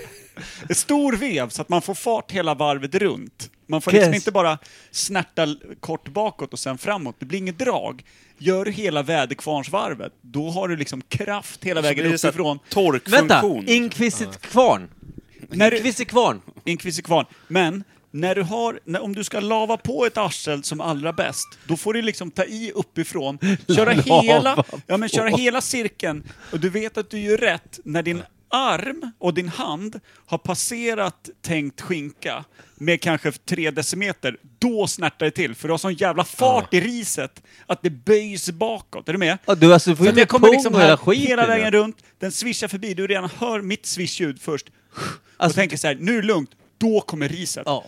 En Stor vev så att man får fart hela varvet runt. Man får liksom Yes. inte bara snärta l- kort bakåt och sen framåt. Det blir inget drag. Gör du hela väderkvarnsvarvet, då har du liksom kraft hela Så vägen blir det så här uppifrån. Vänta! Torkfunktion. Inkvisit kvarn. När du, Inquisit kvarn. Inkvisikvarn. Men när du har, när, om du ska lava på ett arsel som allra bäst, då får du liksom ta i uppifrån, köra, Lava hela, på. ja, men köra hela cirkeln och du vet att du gör rätt när din arm och din hand har passerat tänkt skinka med kanske tre decimeter, då snärtar det till för du har sån jävla fart i riset att det böjs bakåt. Är du med? Ja, du, alltså, du får Så ju att jag inte kommer pung liksom liksom här hela skiten. hela, vägen runt, den svischar förbi, du redan hör mitt swish-ljud först. och Alltså- tänker så här, nu är det lugnt, då kommer riset. Ja.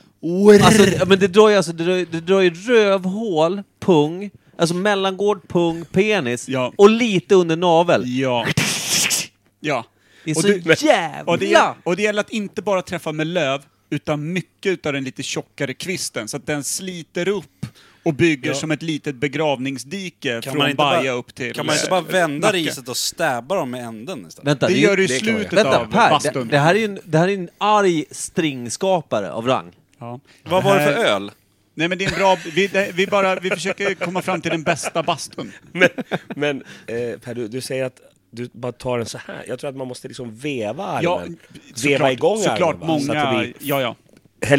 Alltså, ja, men det drar ju alltså, det drar, ju- det drar ju rövhål, pung, alltså mellangård, pung, penis Ja. och lite under navel. Ja. Ja. Det är Och så du- jävla... Och det, gäller, och det gäller att inte bara träffa med löv, utan mycket utav den lite tjockare kvisten, så att den sliter upp och bygger som ett litet begravningsdike Kan man från inte bara- Baja upp till... Kan man inte eh, bara vända Nacka. riset och stäba dem med änden istället? Vänta, Det är gör du i det kan man göra. slutet Vänta, av Per, det, bastun. det, här är ju en, det här är en arg stringskapare av rang. Ja. Vad var det för här- öl? Nej men det är en bra... Vi, det, vi, bara, vi försöker komma fram till den bästa bastun. Men, men eh, Per, du, du säger att du bara tar den så här. Jag tror att man måste liksom veva armen. veva såklart- igång Såklart armen. va? Så att det många... blir Ja, ja.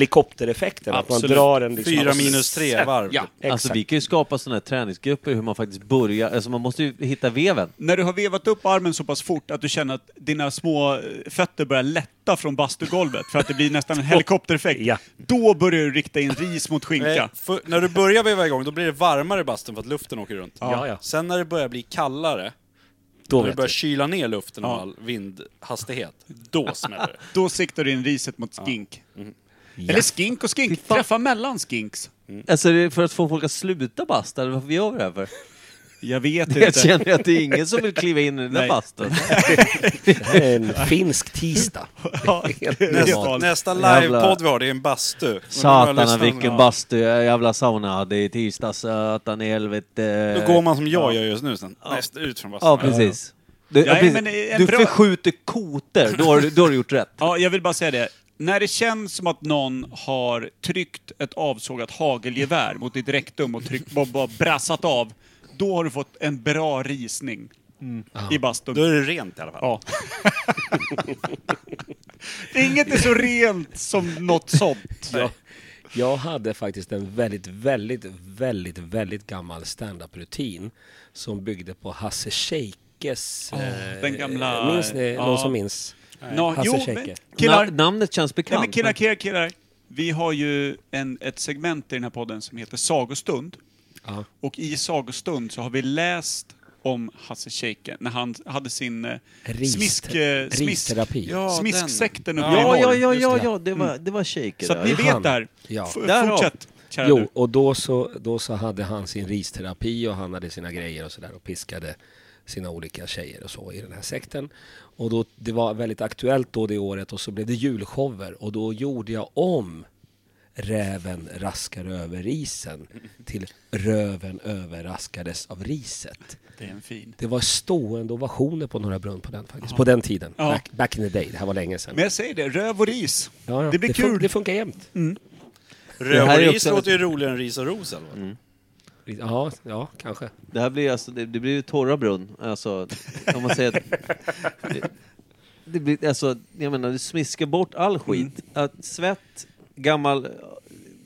helikoptereffekten. Att man Absolut. drar den liksom. Fyra minus tre varv. ja. Exakt. Alltså vi kan ju skapa sådana här träningsgrupper hur man faktiskt börjar, alltså man måste ju hitta veven. När du har vevat upp armen så pass fort att du känner att dina små eh, fötter börjar lätta från bastugolvet för att det blir nästan en helikoptereffekt. Ja. Då börjar du rikta in ris mot Eh, skinka. för, när du börjar veva igång, då blir det varmare i bastun för att luften åker runt. Ja, ja. Sen när det börjar bli kallare, Då när du vet börjar du. kyla ner luften av Ja. all vindhastighet, då smäller det. Mm. Då siktar du in riset mot skink. Eller skink och Fy skink. fan. Träffa mellan skinks. Alltså är det för att få folk att sluta basta, eller varför gör vi det här för? Typ Jag vet Jag inte. känner att det är ingen som vill kliva in i den där Nej. bastun. Det här är en finsk tisdag. Ja, det är Nästa- galet. Nästa Jävla- livepodd vi har, det är en bastu. Satan vilken bastu jag jävla sauna hade i tisdags, satan i helvete. Då går man som jag gör just nu sen. Näst ut från bastun. Ja, precis. Du, ja, Nej, precis. men eh, en du bra- förskjuter koter, då har du, då har du gjort rätt. Ja, jag vill bara säga det. När det känns som att någon har tryckt ett avsågat hagelgevär mot ditt rektum och tryckt, bara, bara brassat av, då har du fått en bra risning i bastun. Då är det rent i alla fall. Ja. Inget är så rent som något sånt. Jag, jag hade faktiskt en väldigt, väldigt, väldigt, väldigt gammal standup-rutin som byggde på Hasse Scheikes... eh, den gamla- Minns ni? ja. Någon som minns? Nå, Hasse jo, men Scheike. killar, Na- namnet känns nej, bekant. men killar, men- killar, killar. Vi har ju en, ett segment i den här podden som heter Sagostund. Ja. Och i Sagostund så har vi läst om Hasse Scheike när han hade sin eh, Ris- smisk, eh, smisk, risterapi. Ja, den. smisksekten uppe i Ja, ja, norr. ja, ja, det. ja, det var, det var shaker Mm. Så att ni där. vet han. det här. Ja. F- Därav. Fortsätt, kära Jo, du. och då så, då så hade han sin risterapi och han hade sina grejer och sådär och piskade sina olika tjejer och så i den här sekten. Och då, det var väldigt aktuellt då det året och så blev det julshower och då gjorde jag om Räven raskar över isen till Röven överraskades av riset. Det är en fin. Det var stående ovationer på Norra Brunn på den faktiskt, på den tiden. Ja. Back, back in the day, det här var länge sedan. Men jag säger det, röv och ris. Ja, ja. Det blir det fun- kul. Mm. Det funkar jämt. Det Röv här och är ris också- låter ju roligare än ris och ros eller? vad? Mm. Ja, ja, kanske. Det här blir alltså, det, det blir ju torra brunn. Alltså, om man säger att, det, det blir, alltså, jag menar, du smiskar bort all skit. Mm. Att svett, gammal,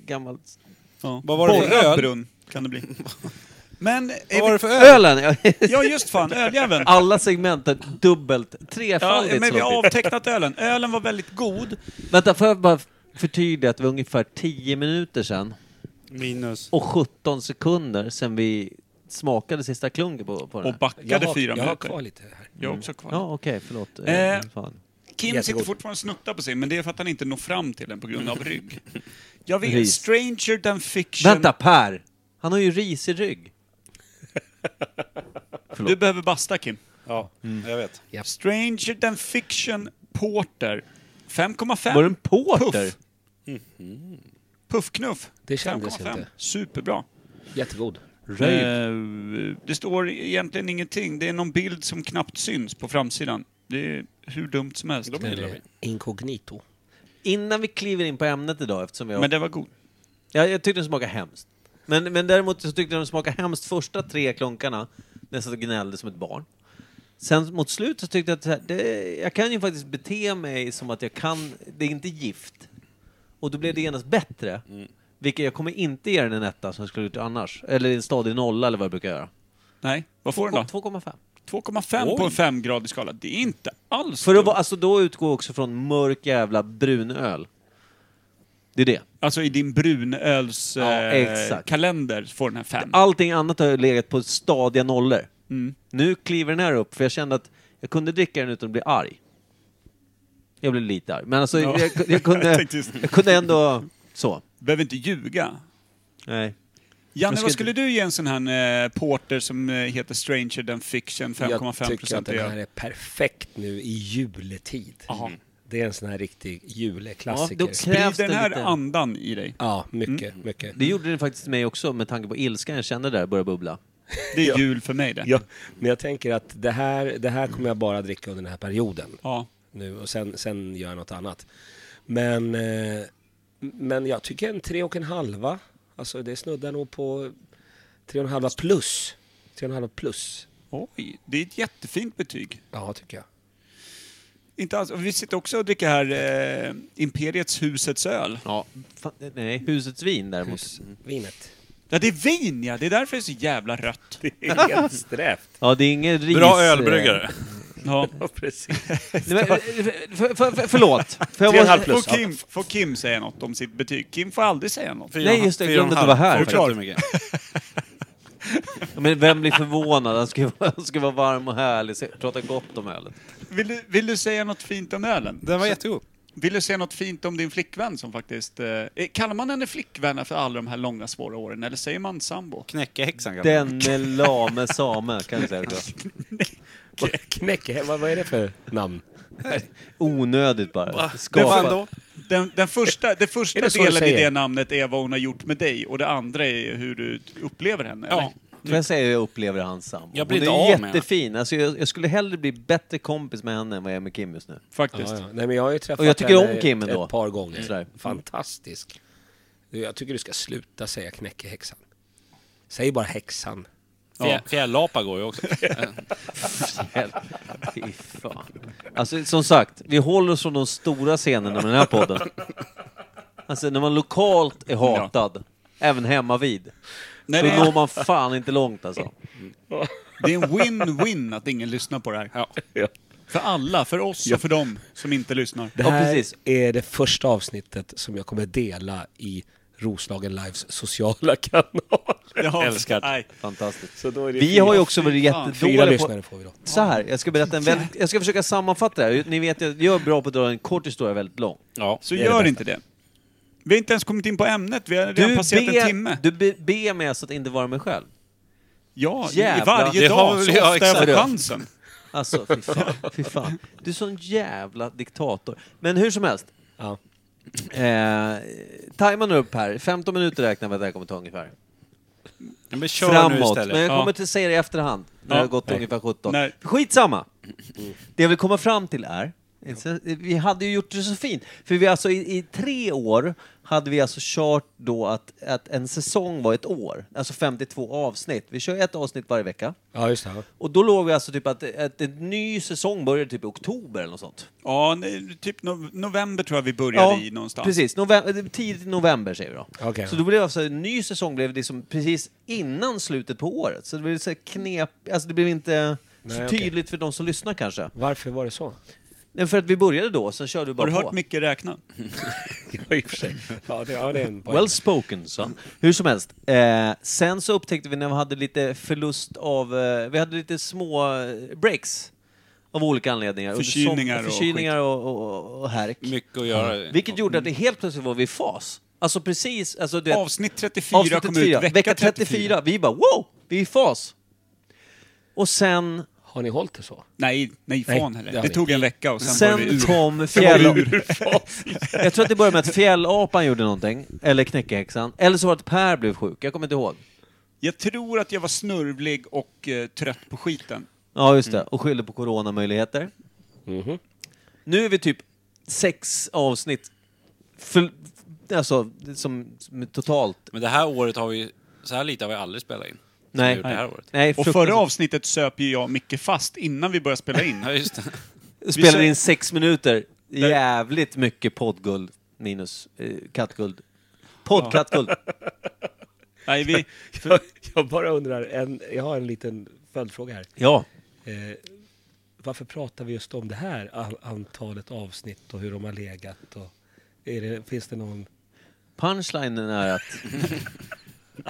gammal... Ja. Vad var det för Borrad öl? brunn kan det bli. Men... Vad var det för öl? Ölen! ja. Ja, just fan, öljäveln. Alla segment är dubbelt, Ja, trefaldigt men vi har sloppigt. avtecknat ölen. Ölen var väldigt god. Vänta, får jag bara förtydliga att det var ungefär 10 minuter sedan Minus. och 17 sekunder sedan vi smakade sista klunken på, på den här. Och Jag backade har, fyra jag har minuter. kvar lite här. Jag har också kvar. Ja, okej, förlåt. Eh, Fan. Kim sitter Jättegod. fortfarande och snuttar på sig, men det är för att han inte når fram till den på grund av rygg. Jag vill Ris. Stranger than fiction. Vänta, Per! Han har ju risig rygg. Du behöver basta, Kim. Ja, Mm. jag vet. Stranger than fiction porter. 5,5. Var det en porter? Puff. Puffknuff. Det kändes 5,5. inte. Superbra. Jättegod. Eh, det står egentligen ingenting. Det är någon bild som knappt syns på framsidan. Det är hur dumt som helst. Eller inkognito. Innan vi kliver in på ämnet idag, eftersom jag... Men det var god. jag, jag tyckte den smakade hemskt. Men, men däremot så tyckte jag den smakade hemskt första tre klunkarna, när jag satt och gnällde som ett barn. Sen mot slutet så tyckte jag att så här, det, jag kan ju faktiskt bete mig som att jag kan, det är inte gift. Och då blev det genast bättre. Mm. Vilket jag kommer inte ge den en etta som jag skulle gjort annars. Eller en stadig nolla eller vad jag brukar göra. Nej, vad får den då? 2,5. 2,5 på en 5-gradig skala. Det är inte alls För att dumt. vara, alltså då utgår jag också från mörk jävla brunöl. Det är det. Alltså i din brunöls Ja, eh, exakt. kalender så får den här 5. Allting annat har ju legat på stadiga nollor. Mm. Nu kliver den här upp, för jag kände att jag kunde dricka den utan att bli arg. Jag blev lite arg, men alltså jag, jag, Jag kunde, tänkte just- jag kunde ändå så. Behöver inte ljuga. Nej. Janne, Men ska vad inte- skulle du ge en sån här eh, porter som eh, heter Stranger than fiction, 5,5 Jag tycker att procent? den här är perfekt nu i juletid. Mm. Aha. Det är en sån här riktig Ja, juleklassiker. då Sprid krävs det den här lite. andan i dig. Ja, mycket, mycket. Det gjorde den faktiskt mig också med tanke på ilskan jag kände där började bubbla. Det är jul för mig det. Ja, men jag tänker att det här, det här kommer jag bara dricka under den här perioden. Ja. Nu och sen, sen gör jag något annat. Men, eh, men jag tycker en tre och en halva. Alltså det snuddar nog på tre och en halva plus. Tre och en halva plus. Oj, det är ett jättefint betyg. Ja, tycker jag. Inte alls. och Vi sitter också och dricker här eh, Imperiets husets öl. Ja. Fan, nej, husets vin däremot. Vinet. Ja, det är vin ja! Det är därför det är så jävla rött. Det är helt strävt. Ja, det är ingen ris... Bra ölbryggare. Ja. Ja, precis. Nej, men, eh, för, för, för, förlåt. För jag Tre och en måste- halv plus. Får Kim, får Kim säga något om sitt betyg? Kim får aldrig säga något. Nej, just det, jag glömde att du var här Förklara faktiskt. Men vem blir förvånad? Han ska, ju- han ska vara varm och härlig, se- prata gott om ölet. Vill du, vill du säga något fint om ölen? Den var jättegod. Vill du säga något fint om din flickvän som faktiskt... Eh, eh, kallar man henne flickvän för alla de här långa svåra åren, eller säger man sambo? Knäckehäxan kanske. Denne lame same, kan jag säga också. Knäcke, vad, vad är det för namn? Onödigt bara. Vad Skapa. ändå? Den, den första, det första Är det så du delen i säger? det namnet är vad hon har gjort med dig och det andra är hur du upplever henne, Ja. eller? Får jag säga hur jag upplever hans sambo? Jag blir Hon inte är av med jättefin. Alltså, jag, jag skulle hellre bli bättre kompis med henne än vad jag är med Kim just nu. Faktiskt. Ja, ja. Nej, men jag har ju träffat Och jag tycker om henne Kim ett, ändå. ett par gånger. Sådär. Mm. Fantastisk. Du, Jag tycker du ska sluta säga knäckehäxan. Säg bara häxan. Fjär, fjällapa går ju också. Fy fan. Alltså, som sagt, vi håller oss från de stora scenerna med den här podden. Alltså, när man lokalt är hatad, även hemma vid, Nej, då det, når är, man fan inte långt alltså. det är en win-win att ingen lyssnar på det här. Ja. För alla, för oss och för dem som inte lyssnar. Det Ja, här precis. är det första avsnittet som jag kommer dela i Roslagen Lives sociala kanal. Jag Älskar. Nej. Fantastiskt. Så då är det Vi har ju också varit fyra jättedåliga på... lyssnare får vi då. Så här, jag ska berätta en väldigt... Jag ska försöka sammanfatta det här. Ni vet, jag jag är bra på att dra en kort historia väldigt lång. Ja. Så Det är gör det inte det. Vi har inte ens kommit in på ämnet, vi har redan Du passerat en ber, timme. du be- ber mig alltså att inte vara mig själv. ja, Jävlar. i varje Det har dag, väl så jag ofta jag exakt. får chansen. Alltså, fy fan, fy fan. Du är sån jävla diktator. Men hur som helst. Ja. Eh, tajmar nu upp här. 15 minuter räknar vi att det här kommer ta ungefär. Men kör nu Framåt. istället. Men jag Ja. kommer att säga det i efterhand. När det Ja. har gått ungefär 17. Nej. Skitsamma. Det jag vill komma fram till är. Vi hade ju gjort det så fint. För vi alltså i, i tre år hade vi alltså kört då att, att en säsong var ett år. Alltså 52 avsnitt. Vi kör ett avsnitt varje vecka. Ja, just det. ja. Och då låg vi alltså typ att, att en ny säsong började typ i oktober eller något sånt. Ja, nej, typ no- november tror jag vi började i någonstans. precis. November, tidigt i november säger vi då. Okej. Så då blev alltså, en ny säsong blev liksom precis innan slutet på året. Så det blev så här knep, alltså det blev inte Nej, så okej. tydligt för de som lyssnar kanske. Varför var det så? Nej, för att vi började då, sen körde vi Har bara du på. hört Micke räkna? Ja, i och för sig. Ja, det, ja, det är en poäng. Well spoken, son. Mm. Hur som helst. Eh, sen så upptäckte vi när vi hade lite förlust av... Eh, vi hade lite små eh, breaks. Av olika anledningar. Under som- Förkylningar och förkylningar och, och, och, och härk. Mycket att göra. Vilket gjorde att det helt plötsligt var vi i fas. Alltså precis, alltså du vet, mm. Avsnitt 34 avsnitt kom 34, ut vecka, vecka 34. 34. Vi bara wow, vi är i fas. Och sen, Har ni hållit det så? Nej, nej fan Nej, heller. det har Det vi. tog en vecka och sen, var vi sen ur. kom fjäll... Jag tror att det började med att fjällapan gjorde någonting, eller knäckehäxan. Eller så var det att Per blev sjuk, jag kommer inte ihåg. Jag tror att jag var snörvlig och eh, trött på skiten. Ja, just det. Och skyllde på coronamöjligheter. Nu är vi typ sex avsnitt för, alltså, som, som totalt... Men det här året har vi... Så här lite har vi aldrig spelat in. Som vi har Nej. Gjort det här året. Nej, Och fruktansvärt. förra avsnittet söp ju jag Micke fast innan vi började spela in. Ja, just det. Spelade Vi in sex minuter. Jävligt mycket poddguld minus eh, kattguld. Poddkattguld. Nej, vi, Jag, jag bara undrar, en, jag har en liten följdfråga här. Ja. Eh, varför pratar vi just om det här a- antalet avsnitt och hur de har legat? Och är det, finns det någon... Punchlinen är att...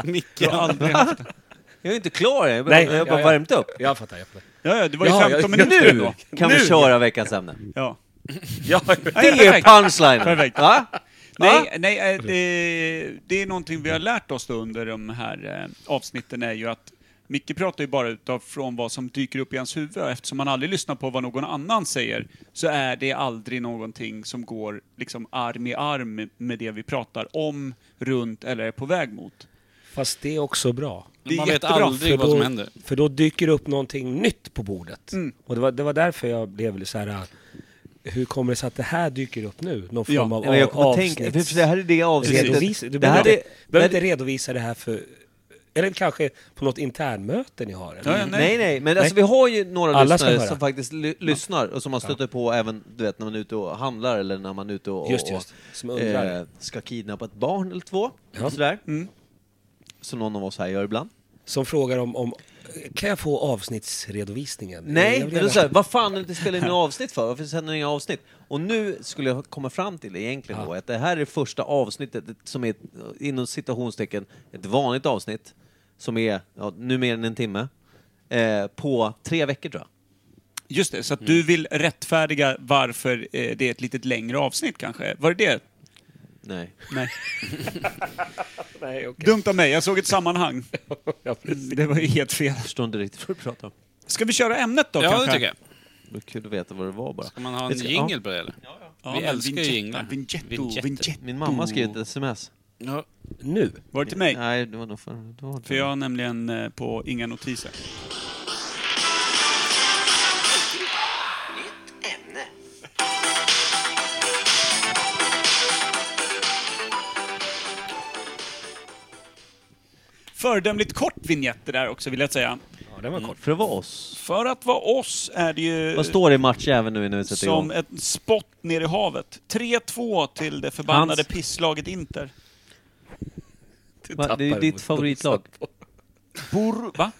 Micke. jag har aldrig haft det. Jag är inte klar än. Jag, bara- jag har bara ja, ja. värmt upp. Jag fattar, jag fattar. Ja, ja, det var ju Ja, 15 jag- minuter ändå. Kan vi köra veckans ämne? Ja. Ja, Det Nej, är perfekt. punchlinen. Perfekt. Va? Nej, nej eh, det, det är någonting vi har lärt oss då under de här eh, avsnitten är ju att Micke pratar ju bara utifrån vad som dyker upp i hans huvud och eftersom han aldrig lyssnar på vad någon annan säger så är det aldrig någonting som går liksom arm i arm med det vi pratar om, runt eller är på väg mot. Fast det är också bra. Det är Man vet jättebra, aldrig för vad som då- händer. För då dyker det upp någonting nytt på bordet. Mm. Och det var, det var därför jag blev så här... ah, Hur kommer det sig att det här dyker upp nu? Någon form Ja, av Ja, men jag kommer avsnitt. tänka... För det här är det Redovisa. avsnittet. Du Det här behöver, är... inte, behöver nej, inte redovisa det här för... Eller kanske på något internmöte ni har? Eller? Ja, ja, Nej, nej, men alltså vi har ju några Alla ska lyssnare höra. som faktiskt ly- lyssnar och som man stöter på även du vet, när man är ute och handlar eller när man är ute och, Just, just. och eh, Som undrar. Mm. ska kidnappa ett barn eller två. Sådär. Som någon av oss här gör ibland. Som frågar om, om... Kan jag få avsnittsredovisningen? Nej, Jag men vill det är gärna- såhär, vad fan är det inte spelar in några avsnitt för? Varför sänder ni inga avsnitt? Och nu skulle jag komma fram till egentligen då att det här är det första avsnittet som är inom citationstecken ett vanligt avsnitt som är ja, nu mer än en timme eh, på tre veckor tror jag. Just det, så att Mm. du vill rättfärdiga varför eh, det är ett litet längre avsnitt kanske? Var det det? Nej. Nej. Nej, okej. Dumt av mig, jag såg ett sammanhang. Ja, precis. Det var ju helt fel. förstår inte riktigt vad du pratar om. Ska vi köra ämnet då Ja, kanske? det tycker jag. Det var kul att veta vad det var bara. Kan man ha en Jag ska- jingle på det eller? Ja, Vi men älskar ju Vinjetta, jinglar. Vinjetto, Vinjetter. Vinjetto. Min mamma skrev ett sms. Ja. Nu? Var det till mig? Nej, det var nog för... Det var För jag har nämligen eh, på inga notiser. Nytt ämne. Föredömligt kort vignett det där också vill jag säga. Ja, den var kort. För att vara oss. För att vara oss är det ju Vad står det i matchjäveln nu när vi sätter som igång? ett spott ner i havet. 3-2 till det förbannade Hans. pisslaget Inter. Va, det är ju ditt favoritlag. Bor... Va?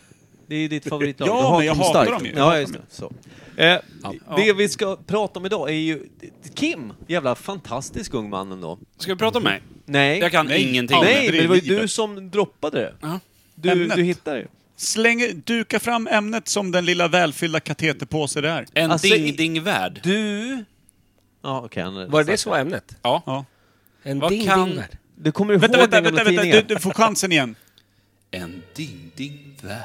Det är ju ditt favoritlag. Ja, Du hatar men jag dem hatar starkt. dem ju. Jag Ja, hatar just det. dem Så. Eh, Det vi ska prata om idag är ju Kim. Jävla fantastisk ung man ändå. Ska vi prata om mig? Nej. Jag kan Nej. ingenting. Aldrig Nej, men det var i ju livet. du som droppade det. Ja. Du, Ämnet. du hittade det. Släng, duka fram ämnet som den lilla välfyllda kateterpåse det är. En Alltså, i- ding-ding-värld. Du... Ja, okej. han- Var det det som var ämnet? Ja. Ja. En Vad ding kan- ding där. Du kommer ihåg Vänta, vänta, vänta, vänta, vänta. Du, tidningar. du får chansen igen. En ding-ding-värld.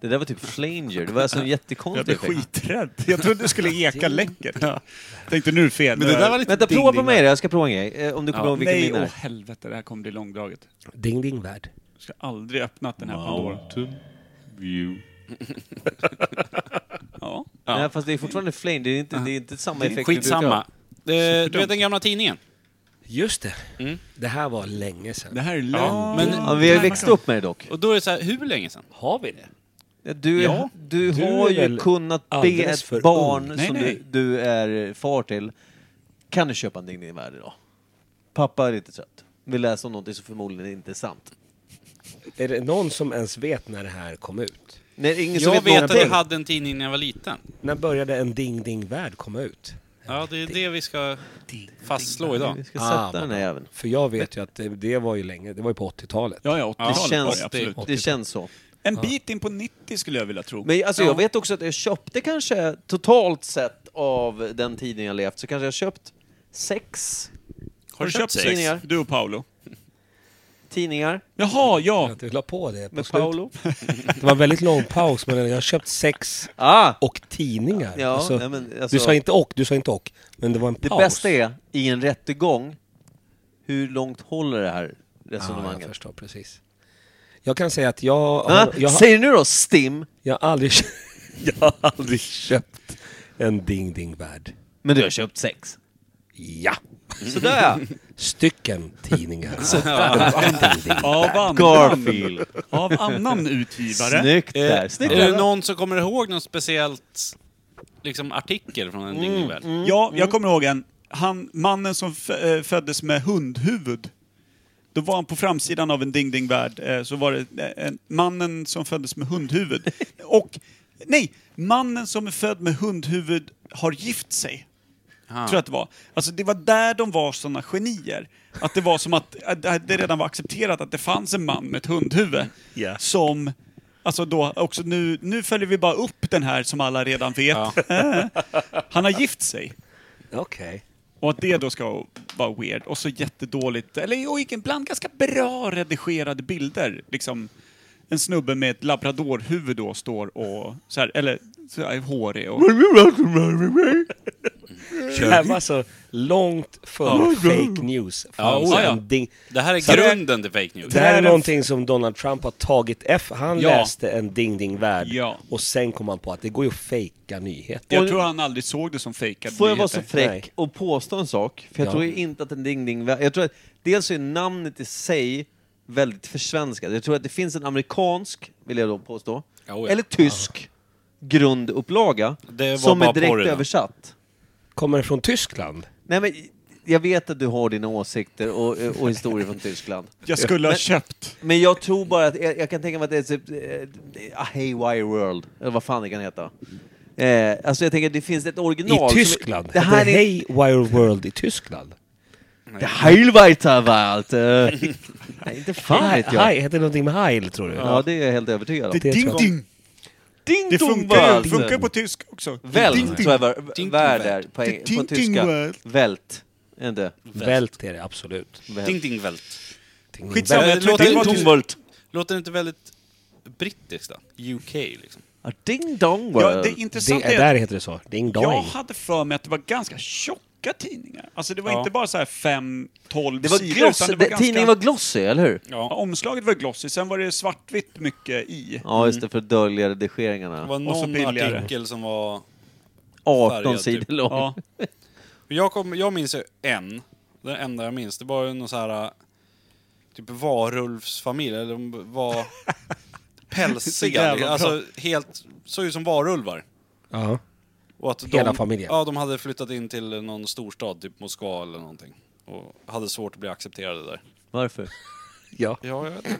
Det där var typ flanger. Det var alltså en Jag jättekonstig blev effekt. skiträdd. Jag trodde du skulle eka läcker. Ja. Tänkte nu är det fel. Men det där var lite Vänta, prova ding-ding-värld. på mig det. Jag ska prova en grej. Eh, Om du kommer Ja, ihåg vilken liksom. Nej, min åh är. helvete, det här kommer bli långdraget. Ding ding värld. Jag ska aldrig öppna den här Pandoran. Ja. Nej, fast det är fortfarande flanger. Det är inte, det är inte samma effekt vi brukar Skitsamma. ha. Eh, Du vet den gamla tidningen? Just det. Mm. Det här var länge sedan. Det här är lögn. Men Ja, vi har Mm. ju växt upp med det dock. Och då är det så här, hur länge sedan? Har vi det? Ja, Du, Ja, du, du har är ju väl kunnat be alldeles ett för barn ung. Nej, som nej. Du, du är far till, kan du köpa en Ding Ding Värld idag? Pappa är lite trött. Vill läsa om någonting som förmodligen inte är sant. Är det någon som ens vet när det här kom ut? Nej, ingen som Jag vet att någonting. jag hade en tidning när jag var liten. När började en ding ding värld komma ut? Ja, det är det vi ska fastslå Vi idag. ska Ah, sätta den här vad jäveln. För jag vet ju att det, det var ju länge, det var ju på 80-talet. Ja, ja, 80-talet Det var det känns, absolut. det känns så. En bit in på 90 skulle jag vilja tro. Men alltså, jag vet också att jag köpte kanske, totalt sett av den tiden jag levt, så kanske jag köpt sex har du köpt sex? tidningar? Du och Paolo? tidningar Jaha, ja. Att du la på det på med slutet. Paolo. Det var en väldigt lång paus mellan, jag har köpt sex Ah! och tidningar. Ja, Alltså, nej, men alltså- du sa inte och, du sa inte och. Men det var en Det paus. bästa är, i en rättegång, hur långt håller det här Ja, Ah, jag resonemanget? förstår precis. Jag kan säga att jag, Ah, har, jag, har- Säg det nu då, Stim! jag, har aldrig, kö- jag har aldrig köpt en Ding Ding Värld. Men du har köpt sex. Ja! Sådär ja. Stycken tidningar. Av annan, Garfield. av annan utgivare. Snyggt Eh, där. Snyggt Är det där. någon som kommer ihåg någon speciellt liksom, artikel från en ding ding-värld? Ja, jag kommer ihåg en. Han, mannen som f- eh, föddes med hundhuvud. Då var han på framsidan av en Ding Ding Värld, eh, så var det eh, en, mannen som föddes med hundhuvud. Och, nej, mannen som är född med hundhuvud har gift sig. Tror jag att det var. Alltså det var där de var sådana genier. Att det var som att, att det redan var accepterat att det fanns en man med ett hundhuvud. Ja. Som, alltså då också nu, nu följer vi bara upp den här som alla redan vet. Han har gift sig. Okej. Och att det då ska vara weird. Och så jättedåligt, eller och ibland ganska bra redigerade bilder. Liksom en snubbe med ett labradorhuvud då står och så här, eller så här, hårig och... Det här var så långt före fake news. Fanns oh ja. en ding... Det här är Så- grunden till fake news. Det här är någonting som Donald Trump har tagit efter. Han Ja. läste en Ding Ding Värld Ja. och sen kom han på att det går ju att fejka nyheter. Jag tror han aldrig såg det som fejkad Får jag vara så nyheter. fräck Nej. och påstå en sak? För jag Ja. tror ju inte att en ding ding... Jag tror att dels är namnet i sig väldigt försvenskat. Jag tror att det finns en amerikansk, vill jag då påstå, Ja, oh ja. eller tysk grundupplaga Det var som bara är direkt porr då. översatt. Kommer det från Tyskland? Nej men, jag vet att du har dina åsikter och, och historier från Tyskland. Jag skulle ha Men- köpt. Men jag tror bara att, jag, jag kan tänka mig att det är typ, eh, A Haywire World, eller vad fan det kan heta. Eh, alltså jag tänker att det finns ett original. som I är- Tyskland? Det här är... Hey Wire World i Tyskland? Det Heilweiterwald! eh. Nej, inte fan vet jag. Heter det någonting med Heil, tror du? Ja, det är jag helt övertygad om. Det, är ding, ding. Ding det dong funkar, world! ju- funkar på tysk också. Vält, Ding, ding. tror jag var- värld är på, Ding, på ding, tyska. world. Vält. Är inte? Vält är det, absolut. Vält. Ding-ding-vält. Ding- Skitsamma, Det jag tror inte låter, det var inte- tysk. låter det inte väldigt brittiskt då? UK liksom. Ja, Ding dong Ja, det world. Det, intressanta är där heter det så. Ding Jag dong. hade för mig att det var ganska tjockt tjocka tidningar. Alltså det var Ja. inte bara så här 5-12 Det var sidor. gloss, utan det var det- ganska... tidningen var glossy, eller hur? Ja, Ja. omslaget var glossy, sen var det svartvitt mycket i. Ja, just det, för att dölja redigeringarna. Det var Och så någon billigare. artikel som var... 18 färgad, typ. sidor lång. Ja. Jag, kom, jag minns ju en. Den enda jag minns. Det var ju någon så här... äh, Typ varulvsfamilj. Eller de var jävla pälsiga. bra. alltså helt... Såg ut som varulvar. Ja. Och att Hela de, familjen. Ja, de hade flyttat in till någon storstad, typ Moskva eller någonting. Och hade svårt att bli accepterade där. Varför? Ja. Ja, jag vet inte.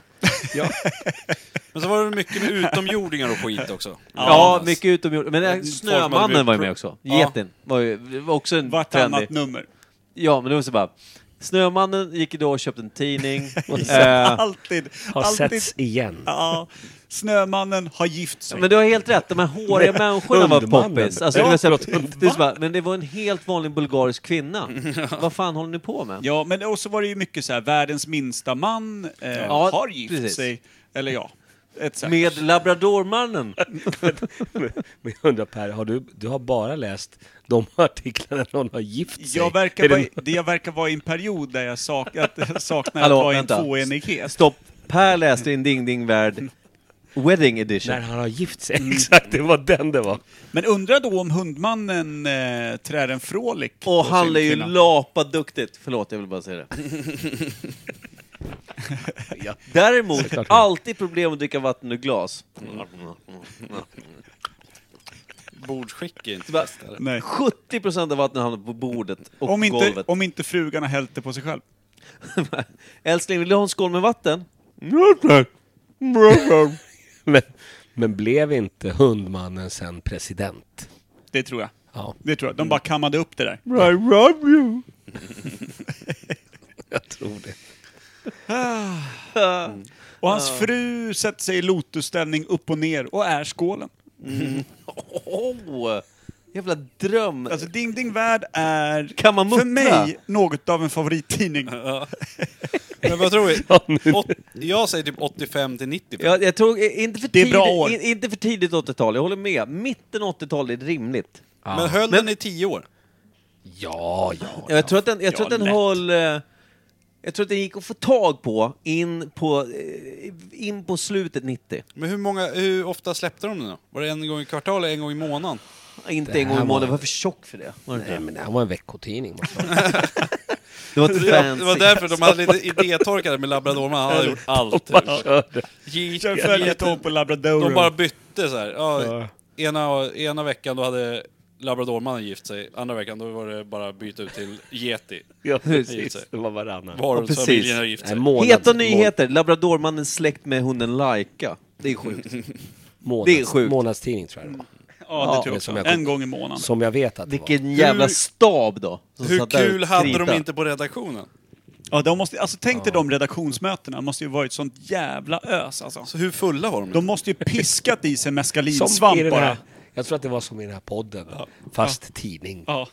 Men så var det mycket med utomjordingar och skit också. Ja, men- mycket utomjord. Men det här Folk Snömannen hade var ju blivit- med också. Ja. Getin var ju det var också en Vartannat trendig. nummer. Ja, men det var så bara... Snömannen gick då och köpte en tidning. eh, alltid. Har alltid. setts igen. Ja, snömannen har gift sig. men du har helt rätt, de här håriga människorna var Hundmannen. poppis. Alltså, det Ja, var så här, förlåt. det är så bara, men det var en helt vanlig bulgarisk kvinna. Vad fan håller ni på med? Ja, men och så var det ju mycket så här, världens minsta man eh, Ja, har gift precis. sig. Eller ja, etc. Med labradormannen. Men jag undrar Per, har du, du har bara läst de artiklarna där någon har gift sig? Jag verkar, Är vara, det, i- det jag verkar vara i en period där jag sak, att, jag saknar Hallå, att vara i en vänta. tvåenighet. Stopp. Per läste in Ding Ding Värld Wedding Edition. När han har gift sig, exakt. Det var den det var. Men undra då om hundmannen eh, trär en frålik. Och på han sin är ju kvinna. lapaduktigt. Förlåt, jag vill bara säga det. Däremot, alltid problem att dricka vatten ur glas. Mm. Mm. Bordsskick är inte Va? bäst. eller? Nej. 70% av vattnet hamnar på bordet och Om inte, golvet. om inte frugan har hällt det på sig själv. Älskling, vill du ha en skål med vatten? Men, men blev inte hundmannen sen president? Det tror jag. Ja. Det tror jag. De bara kammade upp det där. I love you! jag tror det. Och hans fru sätter sig i lotusställning upp och ner och är skålen. Åh! jävla dröm! Alltså Ding Ding Värld är Kan man för muttra? mig något av en favorittidning. Men vad tror vi? Ja, nu. Åt, jag säger typ 85 till 90. jag, jag tror eh, inte för, Det är bra år. tidigt, in, inte för tidigt 80-tal, jag håller med. Mitten 80-tal är rimligt. Men höll den i 10 år? Ja, ja. Ja, jag tror att den, jag Ja, tror att den lätt. höll... eh, Jag tror att den gick att få tag på in på, eh, in på slutet 90. Men hur, många, hur ofta släppte de den då? Var det en gång i kvartal eller en gång i månaden? Inte Det en gång i här månaden, var- jag var för tjock för det. Var det, inte? Nej, men det här var en veckotidning. måste jag säga. det var ett fancy. Det var därför de hade lite idétorkade med labradorman. Han hade gjort allt. Gick- Kör följetong på Labrador. De bara bytte så här. Ja, ena, ena veckan då hade labradormannen gift sig, andra veckan då var det bara att byta ut till yeti. Ja, Just det. precis. Det var varannan. Varulvsfamiljen har gift Nej, sig. månad, Heta må- nyheter, labradormannen släkt med hunden Laika. Det är sjukt. Månads, Det är sjukt. Månadstidning tror jag det var. ja, det Ja, tror jag som också. jag- En gång i månaden. Som jag vet att det var. Vilken jävla stab då! som Hur satt där och kul hade de kritade. inte på redaktionen? Ja, de måste, alltså, tänk dig de redaktionsmötena. Det måste ju varit sånt jävla ös alltså. Så hur fulla var de? De måste ju piskat i sig Som i mescalinsvamp den bara. här, jag tror att det var som i den här podden. Fast tidning. Ja.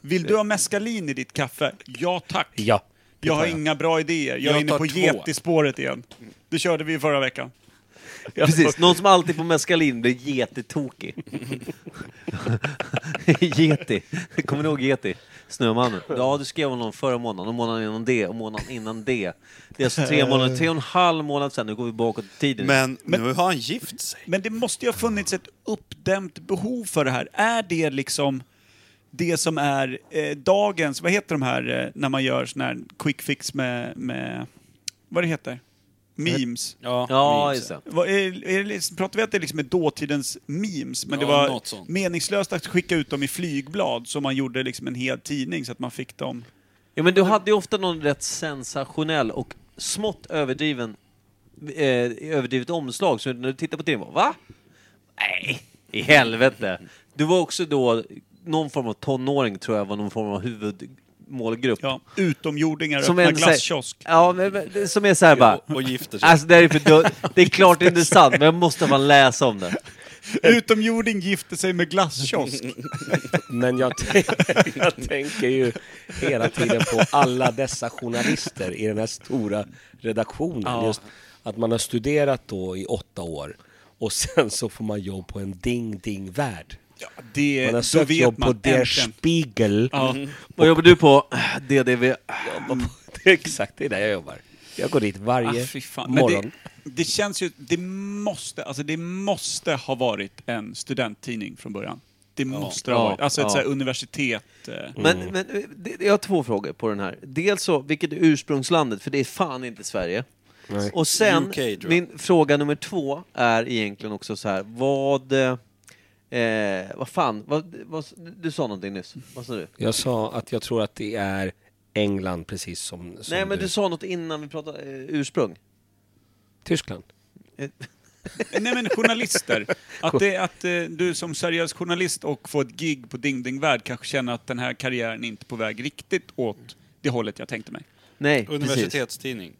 Vill du ha mescalin i ditt kaffe? Ja tack. Ja. det Jag har tar inga bra idéer. Jag, Jag är inne tar på två. yeti-spåret igen. Det körde vi förra veckan. Precis, någon som alltid får mescalin blir jättetokig. Geti. Kommer ni ihåg Geti? Snömannen. Ja, du skrev om någon förra månaden och månaden innan det och månaden innan det. Det är alltså tre månader, tre och en halv månad sedan. Nu går vi bakåt i tiden. Men, nu har han gift sig. Men det måste ju ha funnits ett uppdämt behov för det här. Är det liksom det som är eh, dagens, vad heter de här eh, när man gör sån här quick fix med, med vad det heter? Memes. Ja, ja, minns just det. Vad är, är det, liksom- pratar vi att det liksom är dåtidens memes, men det Ja, var något sånt. meningslöst att skicka ut dem i flygblad så man gjorde liksom en hel tidning så att man fick dem. Ja, men du hade ju ofta någon rätt sensationell och smått överdriven, eh, överdrivet omslag. Så när du tittar på tidningen, bara, va? Nej, i helvete. Du var också då någon form av tonåring, tror jag var någon form av huvudmålgrupp. Ja, utomjordingar Som öppna en så här- glasskiosk. Ja, men, men, som är såhär bara... Och gifter sig. Alltså det här är för dumt. Det är klart det inte är sant, men jag måste fan läsa om det. Utomjording gifte sig med glasskiosk. Men jag, tän- jag tänker ju hela tiden på alla dessa journalister i den här stora redaktionen. Just att man har studerat Eh, då i åtta år och sen så får man jobb på en ding-ding-värld. Ja, det, Man har då sökt vet jobb på man Der äntligen. Mm. Spiegel. Ja. Vad jobbar du på? DDV. Det är exakt, det är där jag jobbar. Jag går dit varje Ah, fy fan. Men morgon. det, det känns ju, det måste, alltså det måste ha varit en studenttidning från början. Det måste det ha Ja, varit. Alltså ja. ett så här universitet. eh, Men, men eh, det, jag har två frågor på den här. Dels så, vilket är ursprungslandet? För det är fan inte Sverige. Och sen, UK, tror jag. min fråga nummer två är egentligen också så här, vad... Eh, vad fan, vad, vad, du sa någonting nyss. Vad sa du? Jag sa att jag tror att det är England precis som, som Nej, men du sa något innan vi pratade eh, ursprung. Eh, Tyskland. Nej men journalister. Att, det, att eh, du som seriös journalist och får ett gig på Ding Ding Värld kanske känner att den här karriären inte är på väg riktigt åt det hållet jag tänkte mig. Nej, precis. Universitetstidning.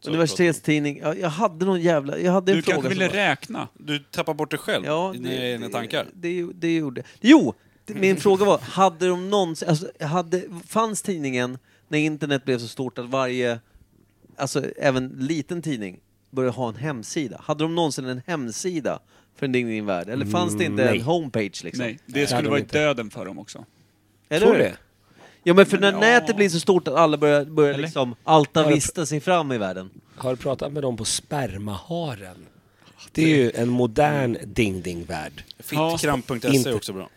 Så Universitetstidning. Ja, jag hade någon jävla... Jag hade Du en fråga kanske som ville var- räkna? Du tappar bort dig själv Ja, i dina egna tankar. Det, det, det gjorde... Jo! det- Min fråga var, hade de någonsin... Alltså, hade, fanns tidningen när internet blev så stort att varje, alltså även liten tidning, började ha en hemsida? Hade de någonsin en hemsida för en Ding Ding Värld? Eller fanns det inte en homepage liksom? Nej, det hade skulle de varit inte. döden för dem också. Eller Tror hur? du det? Ja men för när Ja. nätet blir så stort att alla börjar, börjar Eller? liksom alta vista sig fram i världen. Har du pratat med dem på Spermaharen? Det är ju en modern ding-ding-värld. Fittkramp.se Inte. är också bra.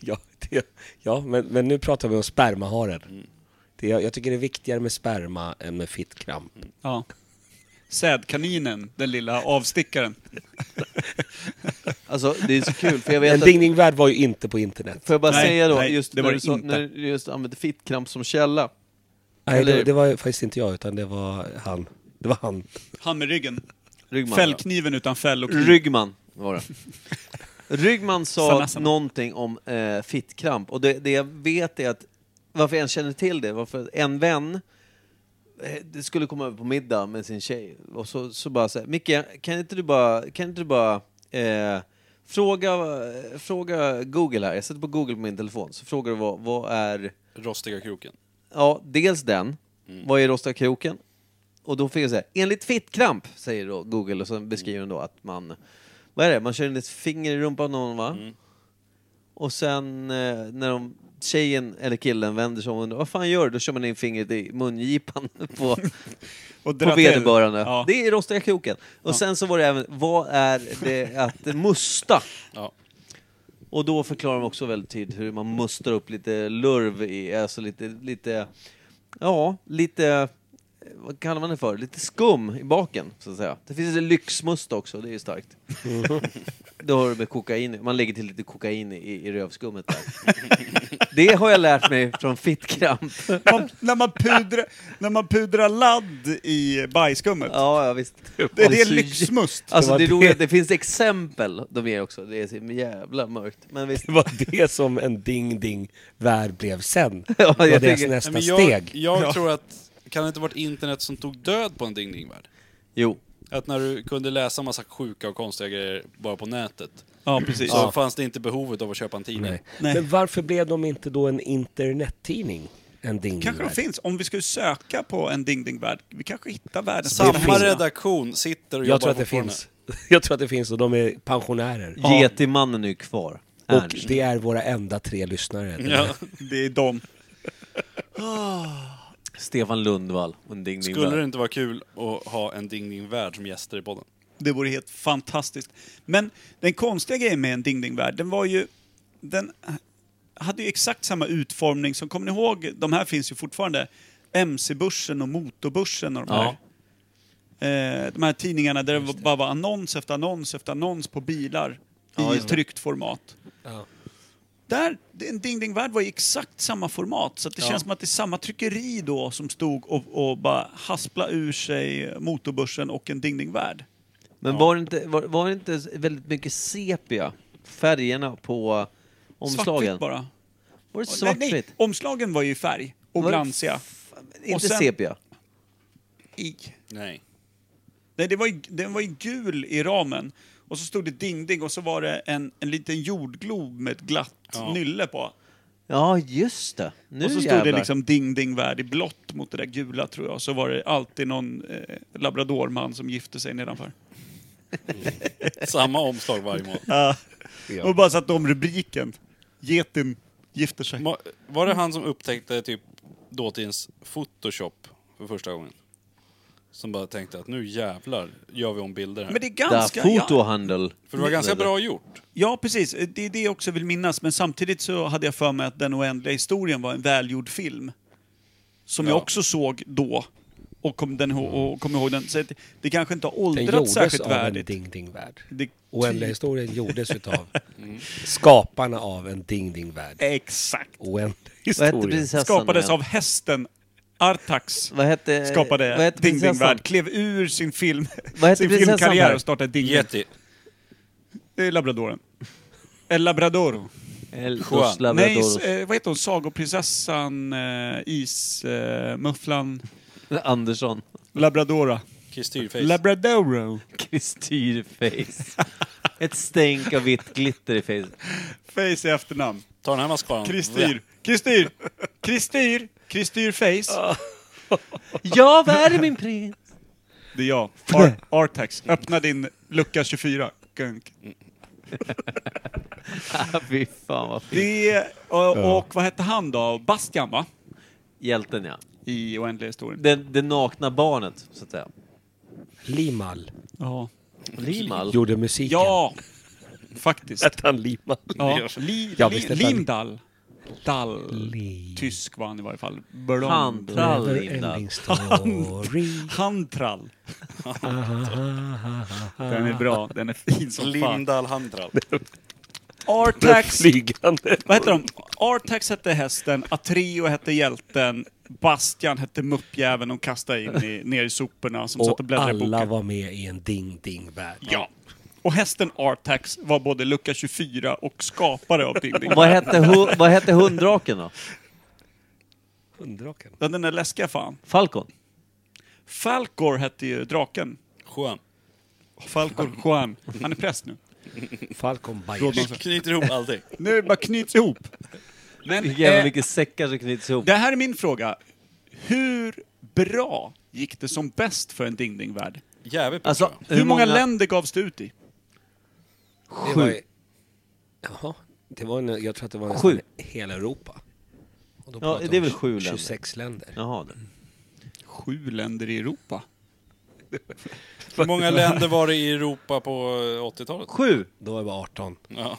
Ja, det, ja men, men nu pratar vi om spermaharen. Mm. Det, jag, jag tycker det är viktigare med sperma än med fittkramp. Ja. Sädkaninen, den lilla avstickaren. Alltså det är så kul för jag vet En att... ding-ding-värld var ju inte på internet. Får jag bara Nej, säga då, nej, just när det var du, det sa, inte. när du just använde fittkramp som källa. Nej, det, eller- det var ju faktiskt inte jag, utan det var han. Det var han. Han med ryggen. Ryggman, ja. Fällkniven utan fäll och kniv. Ryggman var det. Ryggman sa Samma, samma. någonting om eh, fittkramp och det, det jag vet är att varför jag än känner till det, varför en vän eh, det skulle komma över på middag med sin tjej och så, så bara säger Micke, kan inte du bara, kan inte du bara eh, fråga, eh, fråga Google här, jag sätter på Google på min telefon, så frågar du vad, vad är Rostiga kroken. Ja, dels den. Mm. Vad är rostiga kroken? Och då fick jag säga, enligt fittkramp, säger då Google och så beskriver den då att man, vad är det, man kör in ett finger i rumpan på någon va? Mm. Och sen eh, när de, tjejen eller killen vänder sig om och undrar, vad fan gör du? Då kör man in fingret i mungipan på, Och dra på till. vederbörande. Ja. Det är rostiga kroken. Och sen så var det även, vad är det att musta? Ja. Och då förklarar de också väldigt tydligt hur man mustar upp lite lurv i, alltså lite, lite, ja, lite, vad kallar man det för? Lite skum i baken, så att säga. Det finns lite lyxmust också, det är ju starkt. Då har du med kokain, man lägger till lite kokain i, i rövskummet där. Det har jag lärt mig från fittkramp. Man, när, man pudrar, när man pudrar ladd i bajskummet. Ja, ja visst. Det, det är så jä- lyxmust. Alltså var det är det. roligt, det finns exempel de ger också. Det är så jävla mörkt. Men visst. Det var det som en ding-ding-värld blev sen. Ja, det var jag deras tycker- nästa Nej, men steg. Jag, jag tror att, kan det inte varit internet som tog död på en Ding Ding-värld? Jo. Att när du kunde läsa massa sjuka och konstiga grejer bara på nätet, Ja, precis. så fanns det inte behovet av att köpa en tidning. Nej. Men varför blev de inte då en internettidning? En ding Kanske de finns. Om vi skulle söka på en Ding Ding-värld, vi kanske hittar världens Samma finns. redaktion sitter och Jag tror jobbar att det fortfarande. finns. Jag tror att det finns och de är pensionärer. Getimannen är ju kvar. Och Ernst. det är våra enda tre lyssnare. Ja. Det är de. Stefan Lundvall och en ding ding Skulle Bell. det inte vara kul att ha en Ding Ding-värld som gäster i podden? Det vore helt fantastiskt. Men den konstiga grejen med en Ding Ding-värld, den var ju... Den hade ju exakt samma utformning som, kommer ni ihåg, de här finns ju fortfarande, MC-börsen och Motorbörsen och de här. Ja. Eh, de här tidningarna där det, var- bara var annons efter annons efter annons på bilar i tryckt format. Där, en Ding Ding-värld var i exakt samma format, så att det känns som att det är samma tryckeri då som stod och, och bara haspla ur sig Motorbörsen och en Ding Ding-värld. Men var det, inte, var, var det inte väldigt mycket sepia? Färgerna på omslagen? Svartvitt bara. Var det Nej, nej. svartvitt? Omslagen var ju i färg och Var det- glansiga. Inte Och sen- sepia? I. Nej. Nej, det var ju, den var ju gul i ramen. Och så stod det ding ding och så var det en, en liten jordglob med ett glatt nylle på. Ja, just det. Nu och så stod jävlar. det liksom ding ding värld i blått mot det där gula tror jag. Så var det alltid någon eh, labradorman som gifte sig nedanför. Samma omslag varje månad. Ja. Och bara satte om rubriken. Getin gifter sig. Ma- Var det han som upptäckte typ dåtidens Photoshop för första gången? Som bara tänkte att nu jävlar gör vi om bilder här. Men det är Där, ganska... ja, fotohandel. För det var ganska bra gjort. ja, precis. Eh, Det är det jag också vill minnas. Men samtidigt så hade jag för mig att Den oändliga historien var en välgjord film. Som jag Ja. också såg då. Och kom, den, ihå- och kom ihåg den. Så det, det kanske inte har Den åldrats gjordes särskilt av en värdigt. Ding Ding Värld. Det- Oändliga historien gjordes utav skaparna av en Ding Ding Värld. Exakt. Oändlig Vad hette historia. prinsessan Skapades igen? av hästen Artax. Vad hette... skapade vad hette Ding Ding prinsessan? Värld, klev ur sin, film, Vad heter sin prinsessan filmkarriär där? och startade Ding Ding. Yeti. Det är labradoren. El Labrador. El Dos Juan. Nej, Labradoros. s- eh, vad heter hon? Sagoprinsessan, eh, is, eh, mufflan, eh. Andersson. Labradora. Kristyrface. Labradoro. Kristyrface. Ett stänk av vitt glitter i face. Face i efternamn. Ta den här mascaran. Kristyr. Kristyr. Kristyr. Kristyr Face. Ja, vad är det min prins? Det är jag. Ar- Artax. Öppna din lucka 24. Gunk. Ah, Fy fan vad fint. Det är, och, och vad hette han då? Bastian va? Hjälten ja. I Oändliga Historien. Det, det nakna barnet, så att säga. Limal Ja. Limal. gjorde musiken. Ja, faktiskt. Hette han Limal? Ja. Li, Jag li, visste inte. Lindahl. Dall. Li- Tysk var han i varje fall. Blond. Pantral Linda. Neverending story. Hantrall. Den är bra, den är fin som fan. Lindahl Handral. Artax, Flygande. vad heter de? Artax hette hästen, Atreo hette hjälten, Bastian hette muppjäveln de kastade in i, ner i soporna som satt och Och bläddrade i alla boken. var med i en Ding Ding Värld. Ja. Och hästen Artax var både lucka 24 och skapare av Ding Ding. Vad hette, hu- vad hette hundraken då? Hundraken. Den där läskiga fan. Falcon? Falkor hette ju draken. Skön. Falkor Juan. Han är präst nu. Falcon Vi Bayers. knyter ihop allting. Nu är det bara knyts ihop. Men, Vilka jävla eh, mycket säckar som knyts ihop. det här är min fråga. Hur bra gick det som bäst för en Ding Ding-värld? Jävligt bra. Alltså, tror jag. Hur, många, länder gavs det ut i? Det var ju- Jaha. Det var en, jag tror att det var nästan Sju. hela Europa. Och då Ja, pratar det är vi väl om sju länder. 26 länder. Jaha. det. Sju länder i Europa. Hur många länder var det i Europa på eh, 80-talet? Sju! Då var det 18. Ja.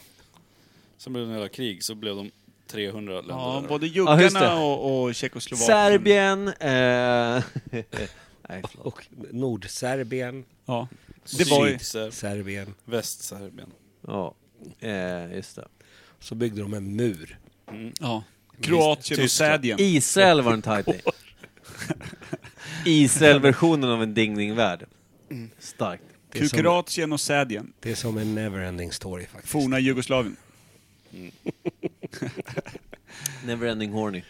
Sen blev det en jävla krig, så blev de 300 länder. Ja, där. både Ja, juggarna just det. och, och Tjeckoslovakien. Serbien... Eh... Nej, förlåt. Och Nordserbien, Ja. Det var ju... Sydser- Serbien. Västserbien. Ja, eh, just det. Så byggde de en mur. Ja. Kroatien och Tyskland. Serbien. Israel var en tight name. Israel-versionen av en Ding Ding-värld. Mm. Starkt. Det är, som, Kroatien och Serbien. det är som en neverending story faktiskt. Forna Jugoslavien. Neverending horny.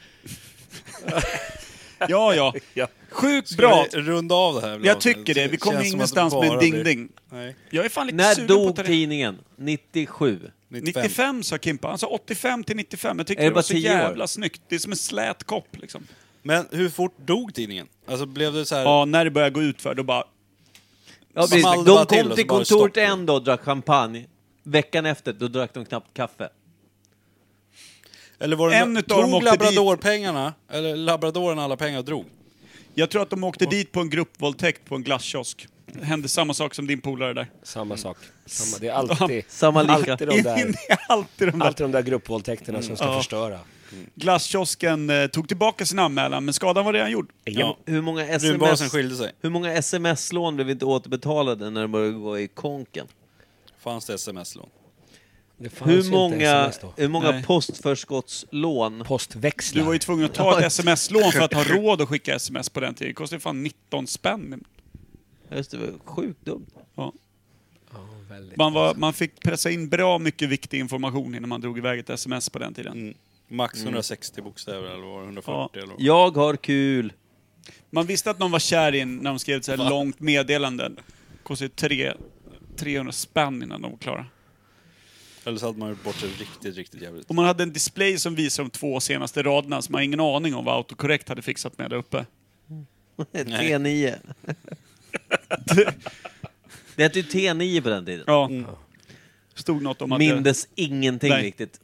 Ja, ja. Ja. Sjukt Ska bra. vi runda av det här? Jag tycker det. Vi kommer Känns som att ingenstans det med bara Ding blir- Ding. Nej. Jag är fan lite När sugen på att dog ta det. tidningen? 97. 95. 95 sa Kimpa. Han sa 85 till 95. Jag tyckte Är det det, var bara så 10 år? jävla snyggt. Det är som en slät kopp liksom. Men hur fort dog tidningen? Alltså blev det så här... Ja, när det börjar gå ut för då bara... Ja, precis. Small det bara De till kom och till så bara kontoret stopp. en dag och drack champagne. Veckan efter, då drack de knappt kaffe. Eller var det En en utav dem tog åkte labradorpengarna, eller labradoren alla pengar och drog? Jag tror att de åkte dit på en gruppvåldtäkt på en glasskiosk. Det hände samma sak som din polare där. Samma sak. Samma, det är alltid, Samma lika. alltid, de där, Det är alltid de där. alltid de där gruppvåldtäkterna som ska förstöra. Glasskiosken eh, tog tillbaka sin anmälan, men skadan var redan gjord. Ja. Hur många Runbasen sms... skilde sig. Hur många sms-lån blev inte återbetalade när de började gå i konken? Fanns det sms-lån? Det fanns ju Hur inte många, SMS då. hur många Nej. postförskottslån Postväxlar. Du var ju tvungen att ta ett sms-lån för att ha råd att skicka sms på den tiden. Det kostade fan 19 spänn. Ja, Just det, det var sjukt dumt. Ja. Ja, väldigt. Man, var, man fick pressa in bra mycket viktig information innan man drog iväg ett sms på den tiden. Max Mm. 160 bokstäver eller var det 140 eller vad? Jag har kul. Man visste att någon var kär i en när de skrev ett så här långt meddelande. Kostade tre, 300 spänn innan de var klara. Eller så hade man gjort bort sig riktigt, riktigt jävligt. Och man hade en display som visade de två senaste raderna, så man har ingen aning om vad autocorrect hade fixat med där uppe. 3-9. det hette ju T9 på den tiden. Ja. stod något om att eh, Mindes ingenting Nej. riktigt.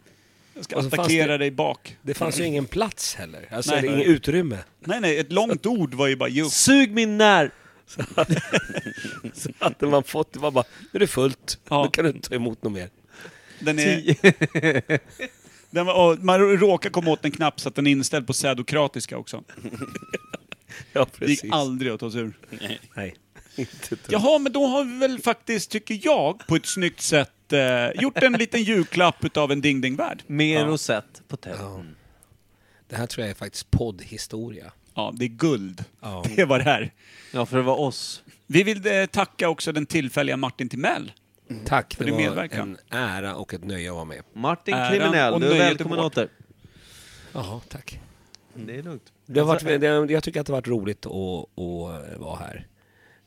jag ska Och så fanns attackera det- dig bak. Det fanns ju ingen plats heller. Alltså, Nej. det är inget utrymme. Nej, nej, ett långt ord var ju bara ju. Sug min när! Så hade man fått, det var bara, nu är det fullt. Ja. Nu kan du inte ta emot något mer. Den är, den var, och man råkar komma åt en knapp så att den är inställd på sedokratiska också. Ja, Det gick precis. aldrig att ta sig ur. Nej. Inte ett- Jaha, men då har vi väl faktiskt, tycker jag, på ett snyggt sätt eh, gjort en liten julklapp utav en ding-ding-värld. Mer och sett på tänd. Det här tror jag är faktiskt poddhistoria. Ja, det är guld. Ja. Det var det här. Ja, för det var oss. Vi vill eh, tacka också den tillfälliga Martin Timell. Tack, För det din var medverkan. en ära och ett nöje att vara med. Martin Äran Kriminell, och du är nöjet är välkommen vårt. åter. Jaha, tack. Det är lugnt. Det har varit, det, jag tycker att det har varit roligt att, att vara här.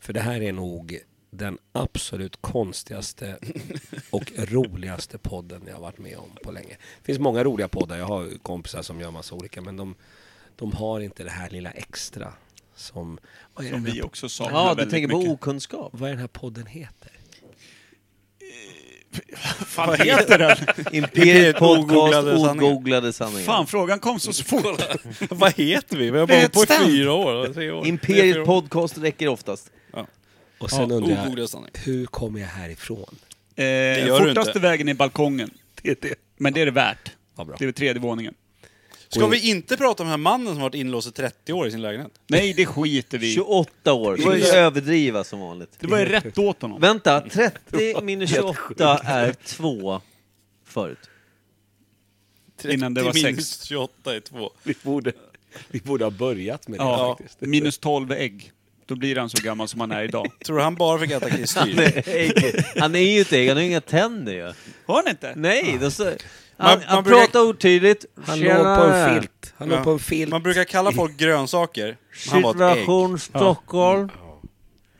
För det här är nog den absolut konstigaste och roligaste podden jag har varit med om på länge. Det finns många roliga poddar, jag har kompisar som gör massa olika, men de, de har inte det här lilla extra som... Vad är, Som den, vi här, också saknar Ja, du väldigt tänker på mycket. okunskap. vad är den här podden heter? Fan, heter den? Imperiet Podcast, Ogooglade sanningar. ogooglade sanningar. Fan, frågan kom så fort. Eh, Vad heter vi? Vi har bara hållit på i Vetstand. fyra år. Tre år. Tre, Imperiet fyra år. Podcast räcker oftast. Och sen Ja, undrar ogooglade jag, sanningar. hur kommer jag härifrån? Eh, gör du fortaste inte. vägen är balkongen. Det är det. Men det är det värt. Ja, bra. Det är tredje våningen. Ska vi inte prata om den här mannen som varit inlåst i 30 år i sin lägenhet? Nej, det skiter vi i. 28 år. Det var ju överdriva som vanligt. Det var ju rätt åt honom. Vänta, 30 minus 28 är 2 förut. Innan det var 30 sex. minus 28 är 2. Vi borde, vi borde ha börjat med det Ja, faktiskt. minus 12 ägg. Då blir han så gammal som han är idag. Tror du han bara fick äta kristyr? Han är ju ett ägg, han har ju inga tänder ju. Har han inte? Nej, då så, han, Man- han man brukar- pratar otydligt. Han låg på en filt. Han Ja. låg på en filt. Man brukar kalla folk grönsaker. men Han var ett ägg. Mm. Situation Stockholm.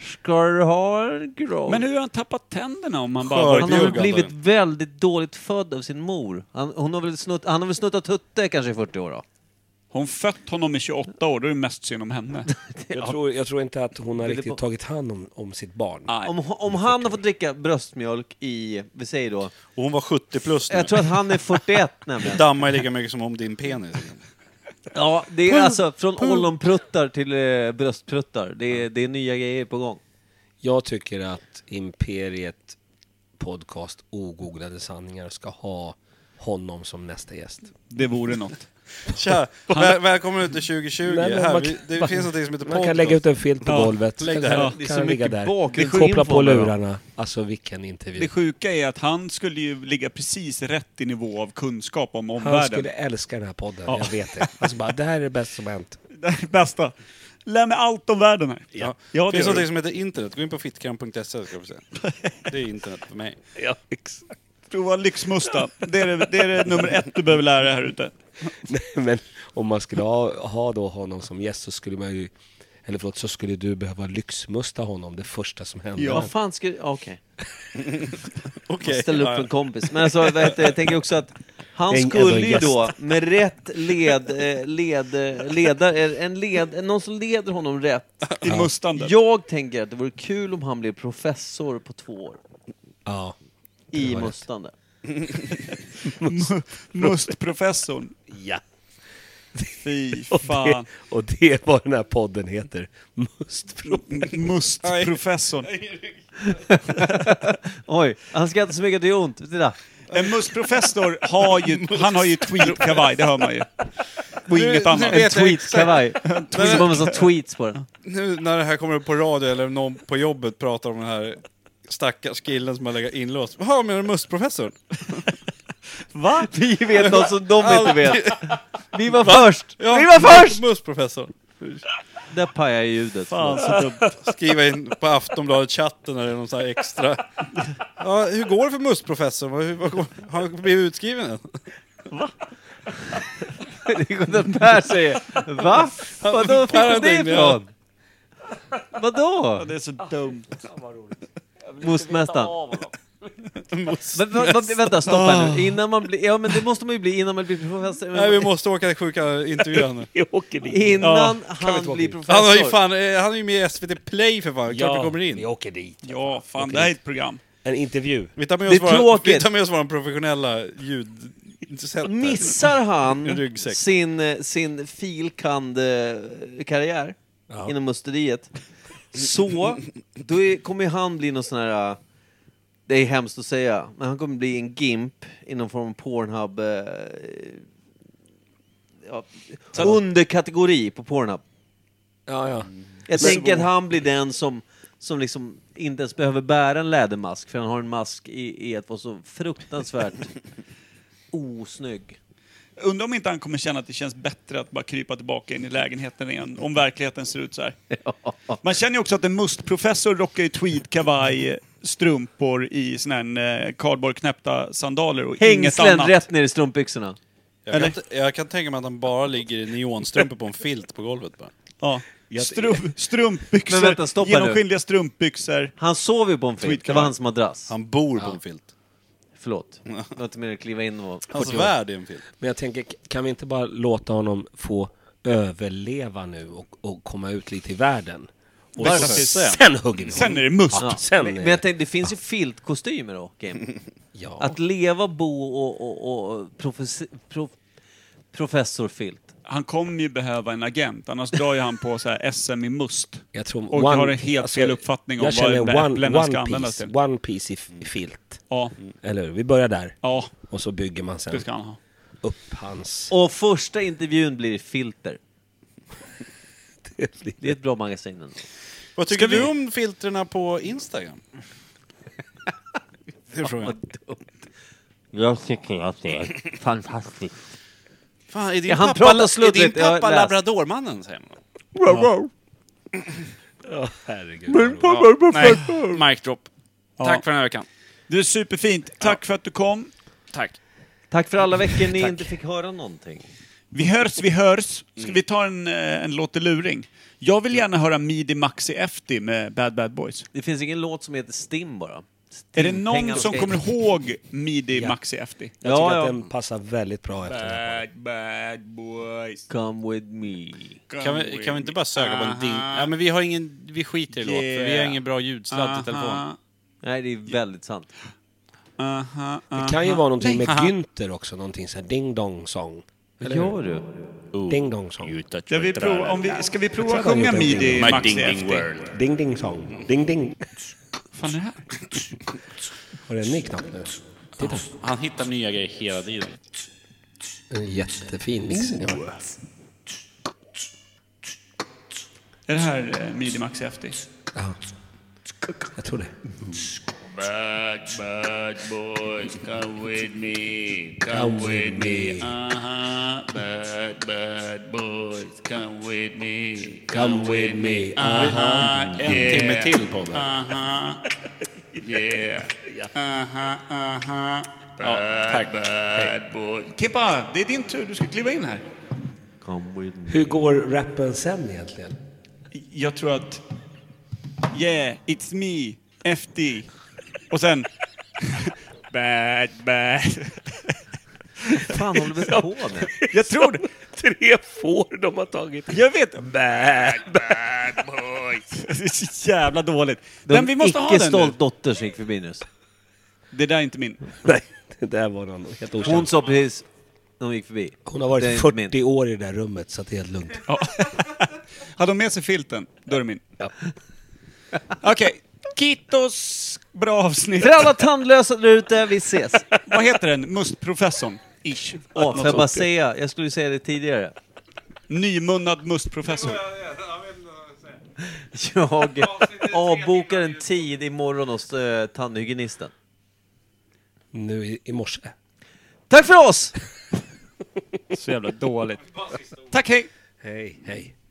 Ska du ha en grav? Men hur har han tappat tänderna om han bara Skör. varit... han har väl Jugg, blivit antagligen. väldigt dåligt född av sin mor. Han, hon har väl snutt, han har väl snuttat tutte kanske i 40 år då? Hon fött honom i 28 år, då är det mest synd om henne. Jag tror, jag tror inte att hon har Ville på- riktigt tagit hand om, om sitt barn. Nej. Om, om han har fått dricka bröstmjölk i, vi säger då, Och hon var 70 plus nu. jag tror att han är 41 nämligen. Dammar lika mycket som om din penis. Ja, det är alltså från ollonpruttar till eh, bröstpruttar. Det är, det är nya grejer på gång. Jag tycker att Imperiet Podcast Ogooglade Sanningar ska ha honom som nästa gäst. Det vore något. Tja, väl, välkommen ut till 2020. Nej, men här, man vi, kan- det man- finns något som heter podcast. Man kan lägga ut en filt på Ja, golvet. lägg Kan- det här. kan Det är så ligga mycket där. bakgrundsinfo Koppla på om det, va? lurarna. Alltså vilken Det intervju. sjuka är att han skulle ju ligga precis rätt i nivå av kunskap om omvärlden. Han skulle älska den här podden, Ja. jag vet det. Alltså bara, det här är det bästa som har hänt. Det är det bästa. Lär mig allt om världen här. Ja. Ja, det det finns gör något du. som heter internet. Gå in på fittkram.se så ska vi se. Det är internet för mig. Ja, exakt. Prova lyxmusta. Det är det, det är det nummer ett du behöver lära dig här ute. Nej, men om man skulle ha, ha då honom som gäst så skulle man ju, eller förlåt, så skulle du behöva lyxmusta honom det första som hände. Ja. Vad fan ska... ja, Okej. Okej. Ställ upp Ja, för en kompis. Men alltså, vet, du, jag tänker också att han En- skulle en ju då gäst. med rätt led... eh, led eh, ledare, en led... Någon som leder honom rätt. I mustandet. Jag tänker att det vore kul om han blev professor på två år. ja. I var rätt. mustande. Mu- Mustprofessorn. ja. Fy Och fan. Det, och det är vad den här podden heter. Mustpro. Mustprofessorn. Oj, han ska inte så mycket att det gör ont. Titta. En mustprofessor har ju, han har ju tweetkavaj, det hör man ju. Och Nu- inget nu annat. vet jag Tweetkavaj. Det var massa tweets på den. Nu när det här kommer upp på radio eller någon på jobbet pratar om den här stackars killen som har legat inlåst. Jaha, menar du mustprofessorn? Va? Vi vet något som de inte Alltid- vet. Vi var först! Ja, Vi var först! Mustprofessorn. Där pajade jag ljudet. Fan så dumt. Alltså, Skriva in på Aftonbladet-chatten när det är någon sån här extra. Ja, hur går det för mustprofessorn? Vad- hur- vad går- Har han blivit utskriven än? Det är Gunnar Per säger Va? Vadå? Per Fick du det ringde jag. ifrån? Vadå? Det är så dumt. Mostmästaren? Men, va, va, vänta, stopp här nu. Innan man blir... Ja men det måste man ju bli innan man blir professor. Nej, vi måste åka till sjuka intervjuer nu. Vi åker dit. Innan inte han åka blir dit. professor. Han, har ju fan, eh, han är ju med i SVT Play för fan, klart du kommer in. Vi åker dit. Ja, fan det här är ett program. En intervju. Vi tar Det med oss, är våra, tråkigt. vi tar med oss våra professionella ljud... Missar En han ryggsäck. sin, eh, sin filkand eh, karriär inom musteriet så då är, kommer ju han bli någon sån här... eh, Det är hemskt att säga, men han kommer bli en GIMP i någon form av Pornhub... eh, Ja, underkategori på Pornhub. Ja, ja. Jag tänker att han blir den som, som liksom inte ens behöver bära en lädermask för han har en mask i, i att vara så fruktansvärt osnygg. Undrar om inte han kommer känna att det känns bättre att bara krypa tillbaka in i lägenheten igen, om verkligheten ser ut så här. Man känner ju också att en mustprofessor rockar ju tweed, kavaj, strumpor i såna här eh, kardborrknäppta sandaler och inget Hängslen annat. rätt ner i strumpbyxorna. Jag kan, t- jag kan tänka mig att han bara ligger i neonstrumpor på en filt på golvet bara. Ja. Strum, strumpbyxor, Men vänta, stoppa nu. genomskinliga strumpbyxor. Han sov ju på en filt, det var Tweedkavaj. hans madrass. Han bor på en filt. Förlåt. Det var inte mer att kliva in och... Hans värld är en filt. Men jag tänker, kan vi inte bara låta honom få överleva nu och, och komma ut lite i världen? Och Varför? sen, sen hugger vi Sen honom. är det must. Ja, sen men, är men det. jag tänkte, det finns ju filtkostymer då, Kim. Ja. Att leva, bo och, och, och profes, prof, professorfilt. Han kommer ju behöva en agent, annars drar ju han på så här SM i must. Jag tror alltså, Och har en helt fel uppfattning om jag vad känner de där one, äpplena ska one, användas piece, till. one piece i f- i filt. Ja, Eller hur? Vi börjar där. ja, Och så bygger man det sen ska han ha. upp hans... Och första intervjun blir i filter. Det Det är ett bra magasin ändå. Vad tycker du om filtrerna på Instagram? Det är frågan. Jag tycker att det är fantastiskt. Fan, är din Ja, han pappa, pratar är din sluddrigt, jag har pappa läst. labradormannen? Säger man. herregud. Nej, mic drop. Tack för den här veckan. Det är superfint. Tack för att du kom. Tack. Tack för alla veckor ni inte fick höra någonting. Vi hörs, vi hörs. Ska vi ta en, eh, en låteluring? Jag vill gärna höra Midi Maxi Efti med Bad Bad Boys. Det finns ingen låt som heter Stim bara. Är det någon Pengarna som ska kommer in. ihåg Midi Maxi Efti? Jag Ja, tycker ja. att den passar väldigt bra efter det här. Bad Bad Boys. Come with me. Kan vi, kan vi inte bara söka på en ding? Aha. Ja, men vi har ingen... Vi skiter i låt, för vi har Yeah. ingen bra ljudsladd till telefonen. Aha, Nej, det är väldigt sant. aha, Det aha. kan ju vara någonting med Günther också, någonting såhär ding dong song. Vad gör du? Ding dong song. Ska vi prova, om vi, ska vi prova att kan sjunga jag inte. Midi My Maxi ding ding Efti? world. Ding ding song. Ding ding. fan är det här? Har du en ny knapp nu? Titta. Han hittar nya grejer hela tiden. En jättefin mixen jag har. Är det här eh, Midi Maxi Efti? Ja. Jag tror det. Bad, bad boys, come with me, Come with me. Uh-huh. Bad, bad boys, come with me. Come with me. Ah. Uh-huh. En timme till på det. Yeah. Uh-huh, uh-huh. tack. Bad, bad boys. Kippa, det är din tur. Du ska kliva in här. Come with me. Hur går rappen sen egentligen? Jag tror att... Yeah, it's me, FD. Och sen... bad, bad. fan håller vi på med? Jag tror det. Tre får de har tagit. Jag vet. Bad, bad boys. Det är så jävla dåligt. Men vi måste ha den stolt nu. dotter som gick förbi nyss. Det där är inte min. Nej, det där var någon helt okänd. Hon Hon, sa precis när hon gick förbi. har Det är varit inte 40 min. år i det där rummet så att det är helt lugnt. Hade de med sig filten, då är det min. Okej. Kittos. Bra avsnitt. För alla tandlösa där ute, vi ses. Vad heter den? Mustprofessorn? Ish. Åh, får jag bara säga, jag skulle säga det tidigare. Nymunnad mustprofessor. Jag avbokar en tid imorgon hos eh, tandhygienisten. Nu i, i morse. Tack för oss! Så jävla dåligt. Tack, hej! Hej, hej.